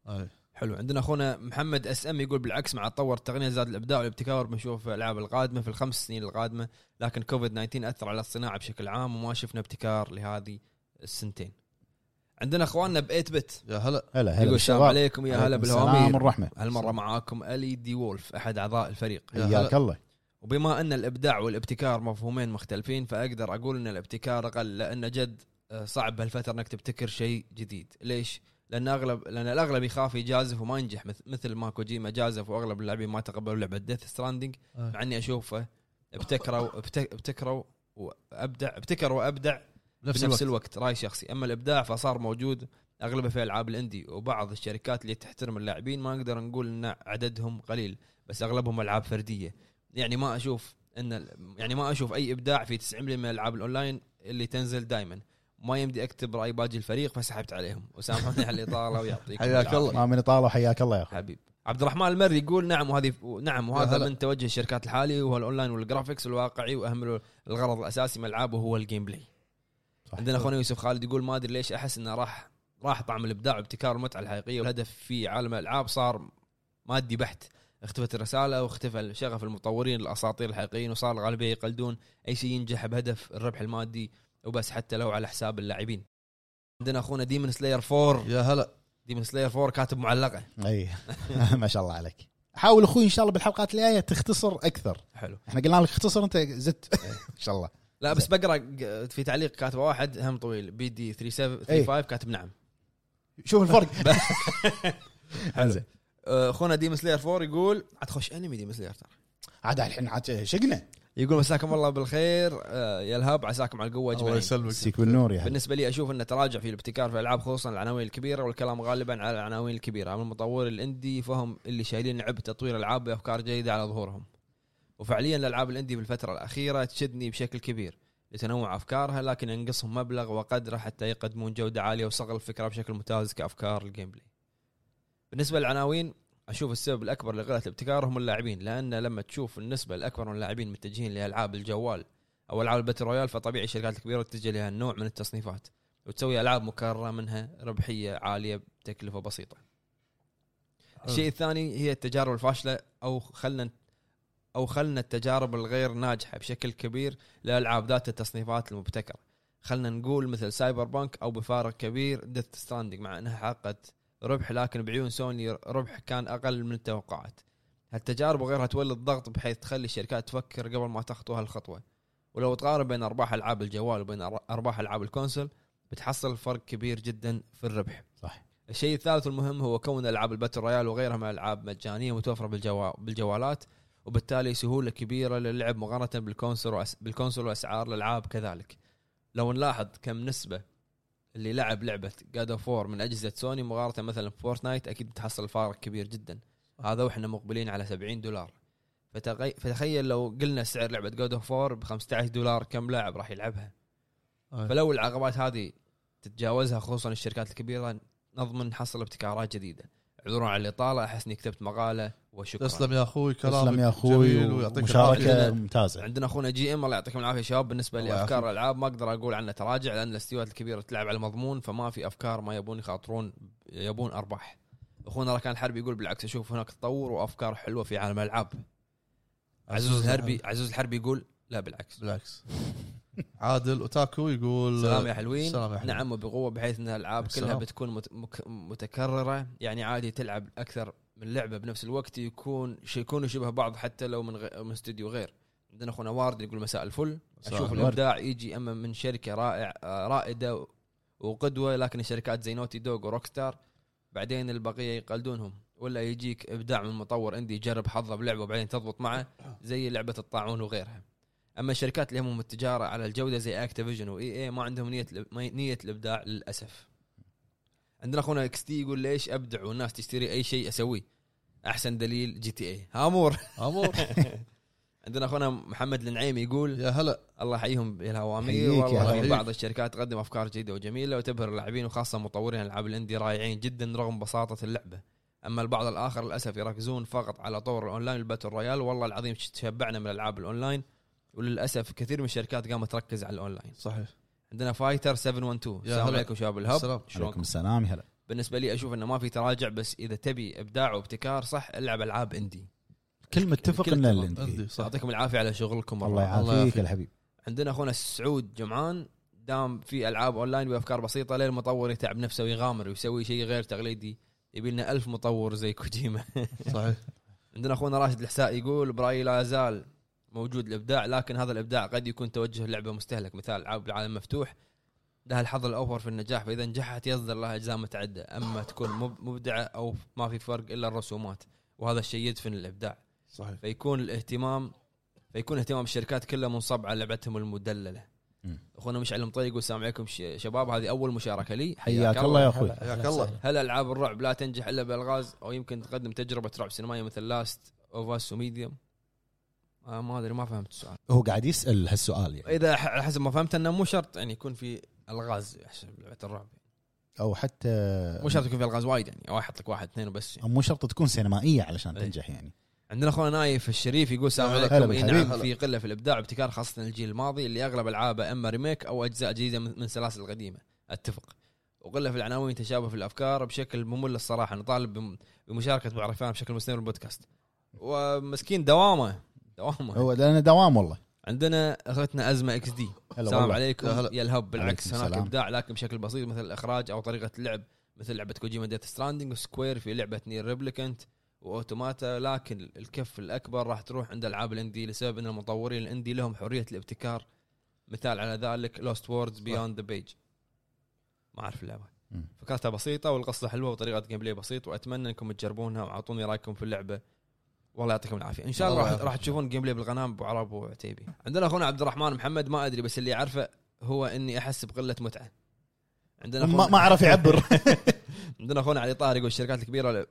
إيه. حلو عندنا اخونا محمد اس ام يقول بالعكس مع تطور التقنيه زاد الابداع والابتكار بنشوف الالعاب القادمه في الخمس سنين القادمه لكن كوفيد 19 اثر على الصناعه بشكل عام وما شفنا ابتكار لهذه السنتين عندنا اخواننا ب 8 بت يا هلا يقول هلا هلا السلام بالشباب. عليكم يا هلا عليكم السلام بالهوامير والرحمه هالمره معاكم E الي دي وولف احد اعضاء الفريق يا حياك هلا. الله وبما ان الابداع والابتكار مفهومين مختلفين فاقدر اقول ان الابتكار اقل لان جد آه، صعب بهالفتره انك تبتكر شيء جديد، ليش؟ لان اغلب لان الاغلب يخاف يجازف وما ينجح مثل, مثل ما كوجيما جازف واغلب اللاعبين ما تقبلوا لعبه ديث ستراندنج أي. مع اني اشوفه ابتكروا ابت- ابتكروا وابدع ابتكر وابدع نفس بنفس الوقت. الوقت الوقت راي شخصي اما الابداع فصار موجود اغلبه في العاب الاندي وبعض الشركات اللي تحترم اللاعبين ما نقدر نقول ان عددهم قليل بس اغلبهم العاب فرديه يعني ما اشوف ان ال- يعني ما اشوف اي ابداع في 90% من الالعاب الاونلاين اللي تنزل دائما ما يمدي اكتب راي باقي الفريق فسحبت عليهم وسامحوني على الاطاله ويعطيكم حياك العافية. الله. ما من طالع حياك الله يا اخوي حبيب عبد الرحمن المري يقول نعم وهذه نعم يا وهذا هلا. من توجه الشركات الحالي وهو الاونلاين والجرافكس الواقعي واهم الغرض الاساسي من الالعاب وهو الجيم بلاي صح. عندنا اخونا يوسف خالد يقول ما ادري ليش احس انه راح راح طعم الابداع وابتكار المتعه الحقيقيه والهدف في عالم الالعاب صار مادي بحت اختفت الرساله واختفى شغف المطورين الاساطير الحقيقيين وصار الغالبيه يقلدون اي شيء ينجح بهدف الربح المادي وبس حتى لو على حساب اللاعبين عندنا اخونا ديمن سلاير 4 يا هلا ديمن سلاير 4 كاتب معلقه اي إيه. ما شاء الله عليك حاول اخوي ان شاء الله بالحلقات الجايه تختصر اكثر حلو احنا قلنا لك اختصر انت زدت ان شاء الله لا بس بقرا ق- في تعليق كاتبه واحد هم طويل بي دي إيه. 3735 كاتب نعم شوف الفرق انزين آه، اخونا ديم سلاير 4 يقول عاد خش انمي ديم سلاير ترى عاد الحين عاد شقنا يقول مساكم الله بالخير آه، يا الهاب عساكم على القوه الله اجمعين يسلمك سيك بالنور يا هلا. بالنسبه لي اشوف انه تراجع في الابتكار في الالعاب خصوصا العناوين الكبيره والكلام غالبا على العناوين الكبيره اما المطور الاندي فهم اللي شايلين عبء تطوير العاب بافكار جيده على ظهورهم وفعليا الالعاب الاندي بالفتره الاخيره تشدني بشكل كبير لتنوع افكارها لكن ينقصهم مبلغ وقدره حتى يقدمون جوده عاليه وصقل الفكره بشكل ممتاز كافكار الجيم بلاي بالنسبه للعناوين اشوف السبب الاكبر لقله الابتكار هم اللاعبين لان لما تشوف النسبه الاكبر من اللاعبين متجهين لالعاب الجوال او العاب الباتل رويال فطبيعي الشركات الكبيره تتجه لها النوع من التصنيفات وتسوي العاب مكرره منها ربحيه عاليه بتكلفه بسيطه. الشيء الثاني هي التجارب الفاشله او خلنا او خلنا التجارب الغير ناجحه بشكل كبير لالعاب ذات التصنيفات المبتكره. خلنا نقول مثل سايبر بانك او بفارق كبير ديث ستراندنج مع انها حققت ربح لكن بعيون سوني ربح كان اقل من التوقعات. هالتجارب وغيرها تولد ضغط بحيث تخلي الشركات تفكر قبل ما تخطو هالخطوه. ولو تقارن بين ارباح العاب الجوال وبين أر- ارباح العاب الكونسل بتحصل فرق كبير جدا في الربح. صح. الشيء الثالث والمهم هو كون العاب الباتل رويال وغيرها من الالعاب مجانيه متوفره بالجوا... بالجوالات وبالتالي سهوله كبيره للعب مقارنه بالكونسل وأس... بالكونسل واسعار الالعاب كذلك. لو نلاحظ كم نسبه اللي لعب لعبه جاد اوف وور من اجهزه سوني مقارنه مثلا بفورتنايت اكيد بتحصل فارق كبير جدا. هذا واحنا مقبلين على 70 دولار. فتغي... فتخيل لو قلنا سعر لعبه جود اوف 4 ب 15 دولار كم لاعب راح يلعبها أي. فلو العقبات هذه تتجاوزها خصوصا الشركات الكبيره نضمن نحصل ابتكارات جديده عذرا على الاطاله احس اني كتبت مقاله وشكرا تسلم يا اخوي كلامك تسلم يا اخوي جميل ويعطيك العافيه مشاركه ممتازه عندنا اخونا جي ام الله يعطيكم العافيه يا شباب بالنسبه الله لافكار الالعاب ما اقدر اقول عنه تراجع لان الاستديوهات الكبيره تلعب على المضمون فما في افكار ما يبون يخاطرون يبون ارباح اخونا ركان الحربي يقول بالعكس اشوف هناك تطور وافكار حلوه في عالم الالعاب نعم. عزوز الحربي عزوز الحربي يقول لا بالعكس بالعكس عادل اوتاكو يقول سلام يا حلوين سلام يا حلوين. نعم وبقوه بحيث ان الالعاب كلها سلام. بتكون مت- مك- متكرره يعني عادي تلعب اكثر من لعبه بنفس الوقت يكون ش- يكونوا شبه بعض حتى لو من غ... من استوديو غير عندنا اخونا وارد يقول مساء الفل مساء اشوف الورد. الابداع يجي اما من شركه رائع آه، رائده و- وقدوه لكن الشركات زي نوتي دوغ وروك ستار بعدين البقيه يقلدونهم ولا يجيك ابداع من مطور عندي يجرب حظه بلعبه وبعدين تضبط معه زي لعبه الطاعون وغيرها اما الشركات اللي همهم التجاره على الجوده زي اكتيفيجن واي اي ما عندهم نيه ما- نيه الابداع للاسف عندنا اخونا اكس تي يقول ليش ابدع والناس تشتري اي شيء اسويه احسن دليل جي تي اي هامور امور عندنا اخونا محمد النعيم يقول يا هلا الله يحييهم حييك يا بالهوامير والله حبيبي. في بعض الشركات تقدم افكار جيده وجميله وتبهر اللاعبين وخاصه مطورين العاب الاندي رائعين جدا رغم بساطه اللعبه اما البعض الاخر للاسف يركزون فقط على طور الاونلاين الباتل رويال والله العظيم تشبعنا من العاب الاونلاين وللاسف كثير من الشركات قامت تركز على الاونلاين صحيح عندنا فايتر 712 يا السلام هلا. عليكم شباب الهب سلام. عليكم شلونكم السلام يا هلا بالنسبه لي اشوف انه ما في تراجع بس اذا تبي ابداع وابتكار صح العب العاب اندي الكل متفق الكل ان اتفق. اللي عندي صح يعطيكم العافيه على شغلكم والله. الله يعافيك يعافيك. يا الحبيب عندنا اخونا سعود جمعان دام في العاب اونلاين بافكار بسيطه ليه المطور يتعب نفسه ويغامر ويسوي شيء غير تقليدي يبي لنا 1000 مطور زي كوجيما صحيح عندنا اخونا راشد الحساء يقول برايي لا زال موجود الابداع لكن هذا الابداع قد يكون توجه اللعبه مستهلك مثال العاب العالم مفتوح لها الحظ الاوفر في النجاح فاذا نجحت يصدر لها اجزاء متعده اما تكون مب- مبدعه او ما في فرق الا الرسومات وهذا الشيء يدفن الابداع صحيح فيكون الاهتمام فيكون اهتمام الشركات كلها منصب على لعبتهم المدلله مم. اخونا مشعل مطيق يقول السلام عليكم ش- شباب هذه اول مشاركه لي حياك الله يا اخوي حياك الله هل العاب الرعب لا تنجح الا بالغاز او يمكن تقدم تجربه رعب سينمائيه مثل لاست اوف اس وميديوم آه ما ادري ما فهمت السؤال هو قاعد يسال هالسؤال يعني اذا ح- على حسب ما فهمت انه مو شرط يعني يكون في الغاز حسب لعبه الرعب او حتى مو شرط يكون في الغاز وايد يعني او يحط لك واحد اثنين وبس يعني. مو شرط تكون سينمائيه علشان إيه. تنجح يعني عندنا اخونا نايف الشريف يقول السلام هلا عليكم اي بالحبيب. نعم هلا. في قله في الابداع وابتكار خاصه الجيل الماضي اللي اغلب العابه اما ريميك او اجزاء جديده من من سلاسل قديمه اتفق وقله في العناوين تشابه في الافكار بشكل ممل الصراحه نطالب بم- بمشاركه بعرفان بشكل مستمر بالبودكاست ومسكين دوامه دوامه هو لانه دوام والله عندنا اخوتنا ازمه اكس دي هلا السلام والله عليكم يا هلا. يا الهب بالعكس عليكم هناك السلام. ابداع لكن بشكل بسيط مثل الاخراج او طريقه اللعب مثل لعبه كوجيما ديث ستراندنج وسكوير في لعبه نير ريبليكنت واوتوماتا لكن الكف الاكبر راح تروح عند العاب الاندي لسبب ان المطورين الاندي لهم حريه الابتكار مثال على ذلك لوست ووردز بيوند ذا بيج ما اعرف اللعبه مم. فكرتها بسيطه والقصه حلوه وطريقه جيم بلاي بسيط واتمنى انكم تجربونها واعطوني رايكم في اللعبه والله يعطيكم العافيه ان شاء الله الله راح يعافيك. راح تشوفون جيم بلاي بالقناه ابو عرب وعتيبي عندنا اخونا عبد الرحمن محمد ما ادري بس اللي اعرفه هو اني احس بقله متعه عندنا ما أخونا- ما عرف يعبر عندنا اخونا علي طاهر يقول الشركات الكبيره ال-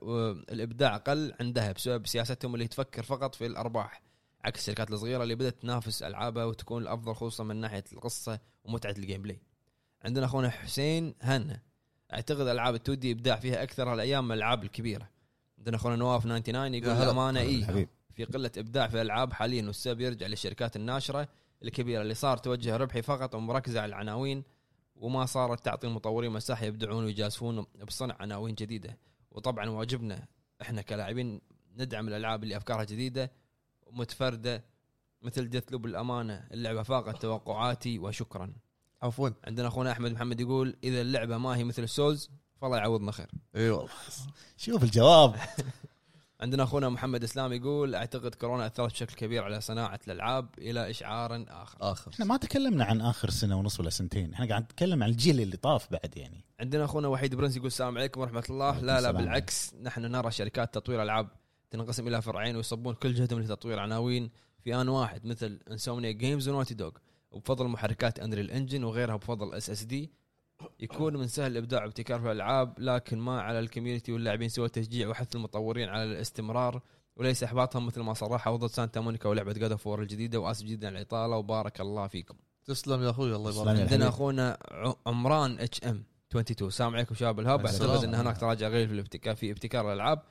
الابداع قل عندها بسبب سياستهم اللي تفكر فقط في الارباح عكس الشركات الصغيره اللي بدات تنافس العابها وتكون الافضل خصوصا من ناحيه القصه ومتعه الجيم بلاي. عندنا اخونا حسين هنا اعتقد العاب التودي ابداع فيها اكثر هالايام من الالعاب الكبيره. عندنا اخونا نواف 99 يقول إيه. يا هلا. الامانه اي حبيبي. في قله ابداع في الالعاب حاليا والسبب يرجع للشركات الناشره الكبيره اللي صار توجه ربحي فقط ومركزه على العناوين وما صارت تعطي المطورين مساحه يبدعون ويجازفون بصنع عناوين جديده وطبعا واجبنا احنا كلاعبين ندعم الالعاب اللي افكارها جديده ومتفرده مثل ديث لوب الامانه اللعبه فاقت توقعاتي وشكرا عفوا عندنا اخونا احمد محمد يقول اذا اللعبه ما هي مثل السولز فالله يعوضنا خير اي والله شوف الجواب عندنا اخونا محمد اسلام يقول اعتقد كورونا اثرت بشكل كبير على صناعه الالعاب الى اشعار اخر اخر احنا ما تكلمنا عن اخر سنه ونص ولا سنتين احنا قاعد نتكلم عن الجيل اللي طاف بعد يعني عندنا اخونا وحيد برنس يقول السلام عليكم ورحمه الله وعليكم لا لا السلام. بالعكس نحن نرى شركات تطوير العاب تنقسم الى فرعين ويصبون كل جهدهم لتطوير عناوين في ان واحد مثل انسومنيا جيمز ونوتي دوغ وبفضل محركات انريل انجن وغيرها بفضل اس اس دي يكون من سهل الابداع وابتكار في الالعاب لكن ما على الكوميونتي واللاعبين سوى تشجيع وحث المطورين على الاستمرار وليس احباطهم مثل ما صرح عوضة سانتا مونيكا ولعبه جاد اوف الجديده واسف جدا على الاطاله وبارك الله فيكم تسلم يا اخوي الله تسلم يا يبارك عندنا الحبيب. اخونا ع- عمران اتش ام 22 السلام عليكم شباب الهاب السلام. اعتقد ان هناك تراجع غير في الابتكار في ابتكار الالعاب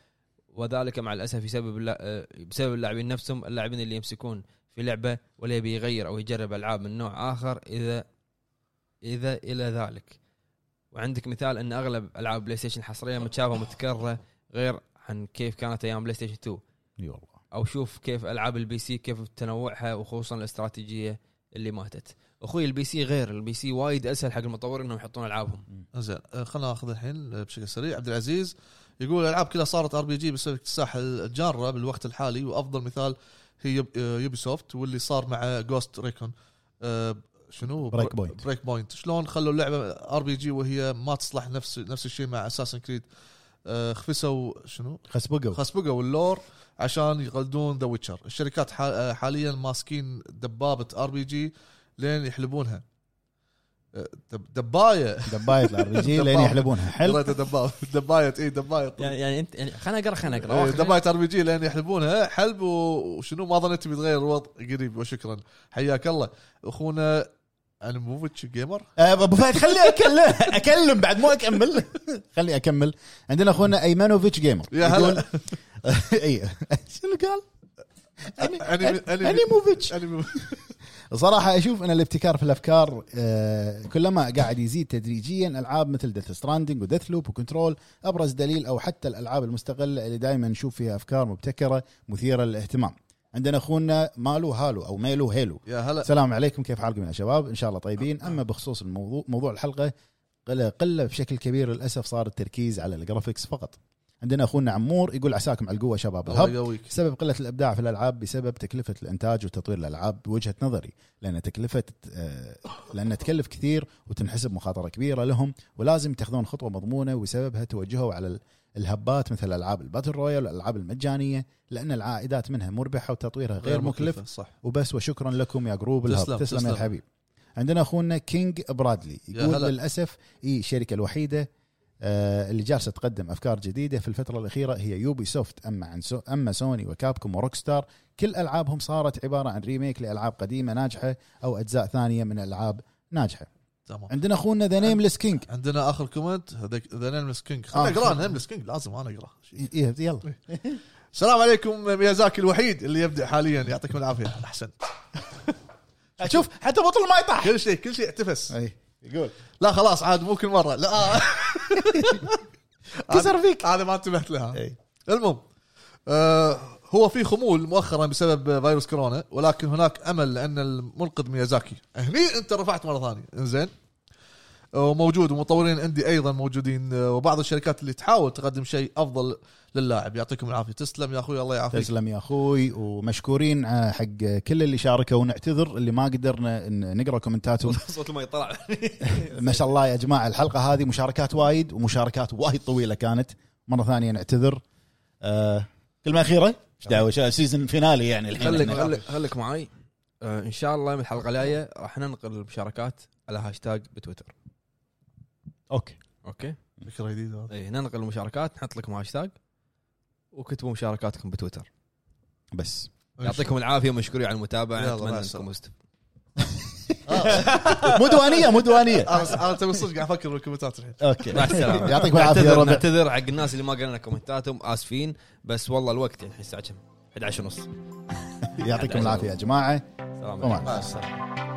وذلك مع الاسف يسبب اللا- آه، بسبب اللاعبين نفسهم اللاعبين اللي يمسكون في لعبه ولا يبي يغير او يجرب العاب من نوع اخر اذا اذا الى ذلك وعندك مثال ان اغلب العاب بلاي ستيشن الحصريه متشابهه متكرره غير عن كيف كانت ايام بلاي ستيشن 2 اي والله او شوف كيف العاب البي سي كيف تنوعها وخصوصا الاستراتيجيه اللي ماتت اخوي البي سي غير البي سي وايد اسهل حق المطورين انهم يحطون العابهم زين آه، خلنا ناخذ الحين آه، بشكل سريع عبد العزيز يقول الالعاب كلها صارت ار بي جي بسبب اكتساح الجاره بالوقت الحالي وافضل مثال هي يوب- آه، يوبي سوفت واللي صار مع جوست ريكون آه، شنو بريك بوينت. بريك بوينت شلون خلوا اللعبه ار بي جي وهي ما تصلح نفس نفس الشيء مع اساسن كريد خفسوا شنو خسبقوا خسبقوا اللور عشان يقلدون ذا ويتشر الشركات حا- حاليا ماسكين دبابه ار بي جي لين يحلبونها آه، دب- دبايه دبايه الار بي جي لين يحلبونها حلو قريت دباب دبايت اي دبايت يعني يعني انت يعني خلنا اقرا خلنا اقرا إيه، واخر- دبايت ار بي جي لين يحلبونها حلب و- وشنو ما ظنيت بيتغير الوضع قريب وشكرا حياك الله اخونا انموفيتش جيمر آه، ابو فهد خلي اكلم اكلم بعد مو اكمل خلي اكمل عندنا اخونا ايمانوفيتش جيمر يا هلا. يقول- اي شنو قال؟ أنمي- أنمي- انيموفيتش أنمي- صراحة أشوف أن الابتكار في الأفكار آه، كلما قاعد يزيد تدريجيا ألعاب مثل ديث ستراندنج وديث لوب وكنترول أبرز دليل أو حتى الألعاب المستقلة اللي دائما نشوف فيها أفكار مبتكرة مثيرة للاهتمام عندنا أخونا مالو هالو أو ميلو هيلو يا هلا السلام عليكم كيف حالكم يا شباب ان شاء الله طيبين اما بخصوص الموضوع موضوع الحلقه قله قله بشكل كبير للاسف صار التركيز على الجرافيكس فقط عندنا اخونا عمور يقول عساكم على القوه شباب الله الهب يقويك سبب قله الابداع في الالعاب بسبب تكلفه الانتاج وتطوير الالعاب بوجهه نظري لان تكلفه آه، لان تكلف كثير وتنحسب مخاطره كبيره لهم ولازم تاخذون خطوه مضمونه وسببها توجهوا على ال- الهبات مثل العاب الباتل رويال والالعاب المجانيه لان العائدات منها مربحه وتطويرها غير مكلف صح وبس وشكرا لكم يا جروب الهب تسلم، تسلم, تسلم, يا تسلم. الحبيب عندنا اخونا كينج برادلي يا يقول هلا. للاسف اي الشركه الوحيده آه، اللي جالسه تقدم افكار جديده في الفتره الاخيره هي يوبي سوفت اما عن سو اما سوني وكابكوم وروك ستار كل العابهم صارت عباره عن ريميك لالعاب قديمه ناجحه او اجزاء ثانيه من العاب ناجحه تمام عندنا اخونا ذا نيمليس كينج عندنا اخر كومنت هذاك ذا نيملس كينج آه. خلنا اقرا نيملس كينج لازم انا اقرا إيه، يلا السلام عليكم ميازاكي الوحيد اللي يبدع حاليا يعطيكم العافيه احسنت شوف حتى بطل ما يطاح كل شيء كل شيء اعتفس أي. يقول لا خلاص عاد مو كل مره لا آه. كسر فيك إيه. هذا ما انتبهت لها أي. المهم آه هو في خمول مؤخرا بسبب فيروس كورونا ولكن هناك امل لان المنقذ ميازاكي هني انت رفعت مره ثانيه انزين وموجود ومطورين عندي ايضا موجودين آه، وبعض الشركات اللي تحاول تقدم شيء افضل للاعب يعطيكم العافيه تسلم يا اخوي الله يعافيك تسلم يا اخوي ومشكورين آه، حق كل اللي شاركوا ونعتذر اللي ما قدرنا إن نقرا كومنتاتهم صوت المي طلع ما شاء الله يا جماعه الحلقه هذه مشاركات وايد ومشاركات وايد طويله كانت مره ثانيه نعتذر آه، كلمه اخيره ايش دعوه سيزون فينالي يعني خليك الحين خليك- خليك معي آه، ان شاء الله من الحلقه الجايه راح ننقل المشاركات على هاشتاج بتويتر اوكي اوكي فكره جديده هذه. اي إيه، ننقل المشاركات نحط لكم هاشتاج وكتبوا مشاركاتكم بتويتر بس يعطيكم العافيه ومشكورين على المتابعه يلا، مع اتمنى السلامة. انكم است- مو دوانيه مو دوانيه انا انا تبي صدق قاعد افكر بالكومنتات الحين اوكي مع السلامه يعطيكم العافيه يا نعتذر- ربع نعتذر حق الناس اللي ما قالنا كومنتاتهم اسفين بس والله الوقت يعني الساعه كم 11 ونص يعطيكم العافيه يا جماعه سلام ومع عليكم السلامه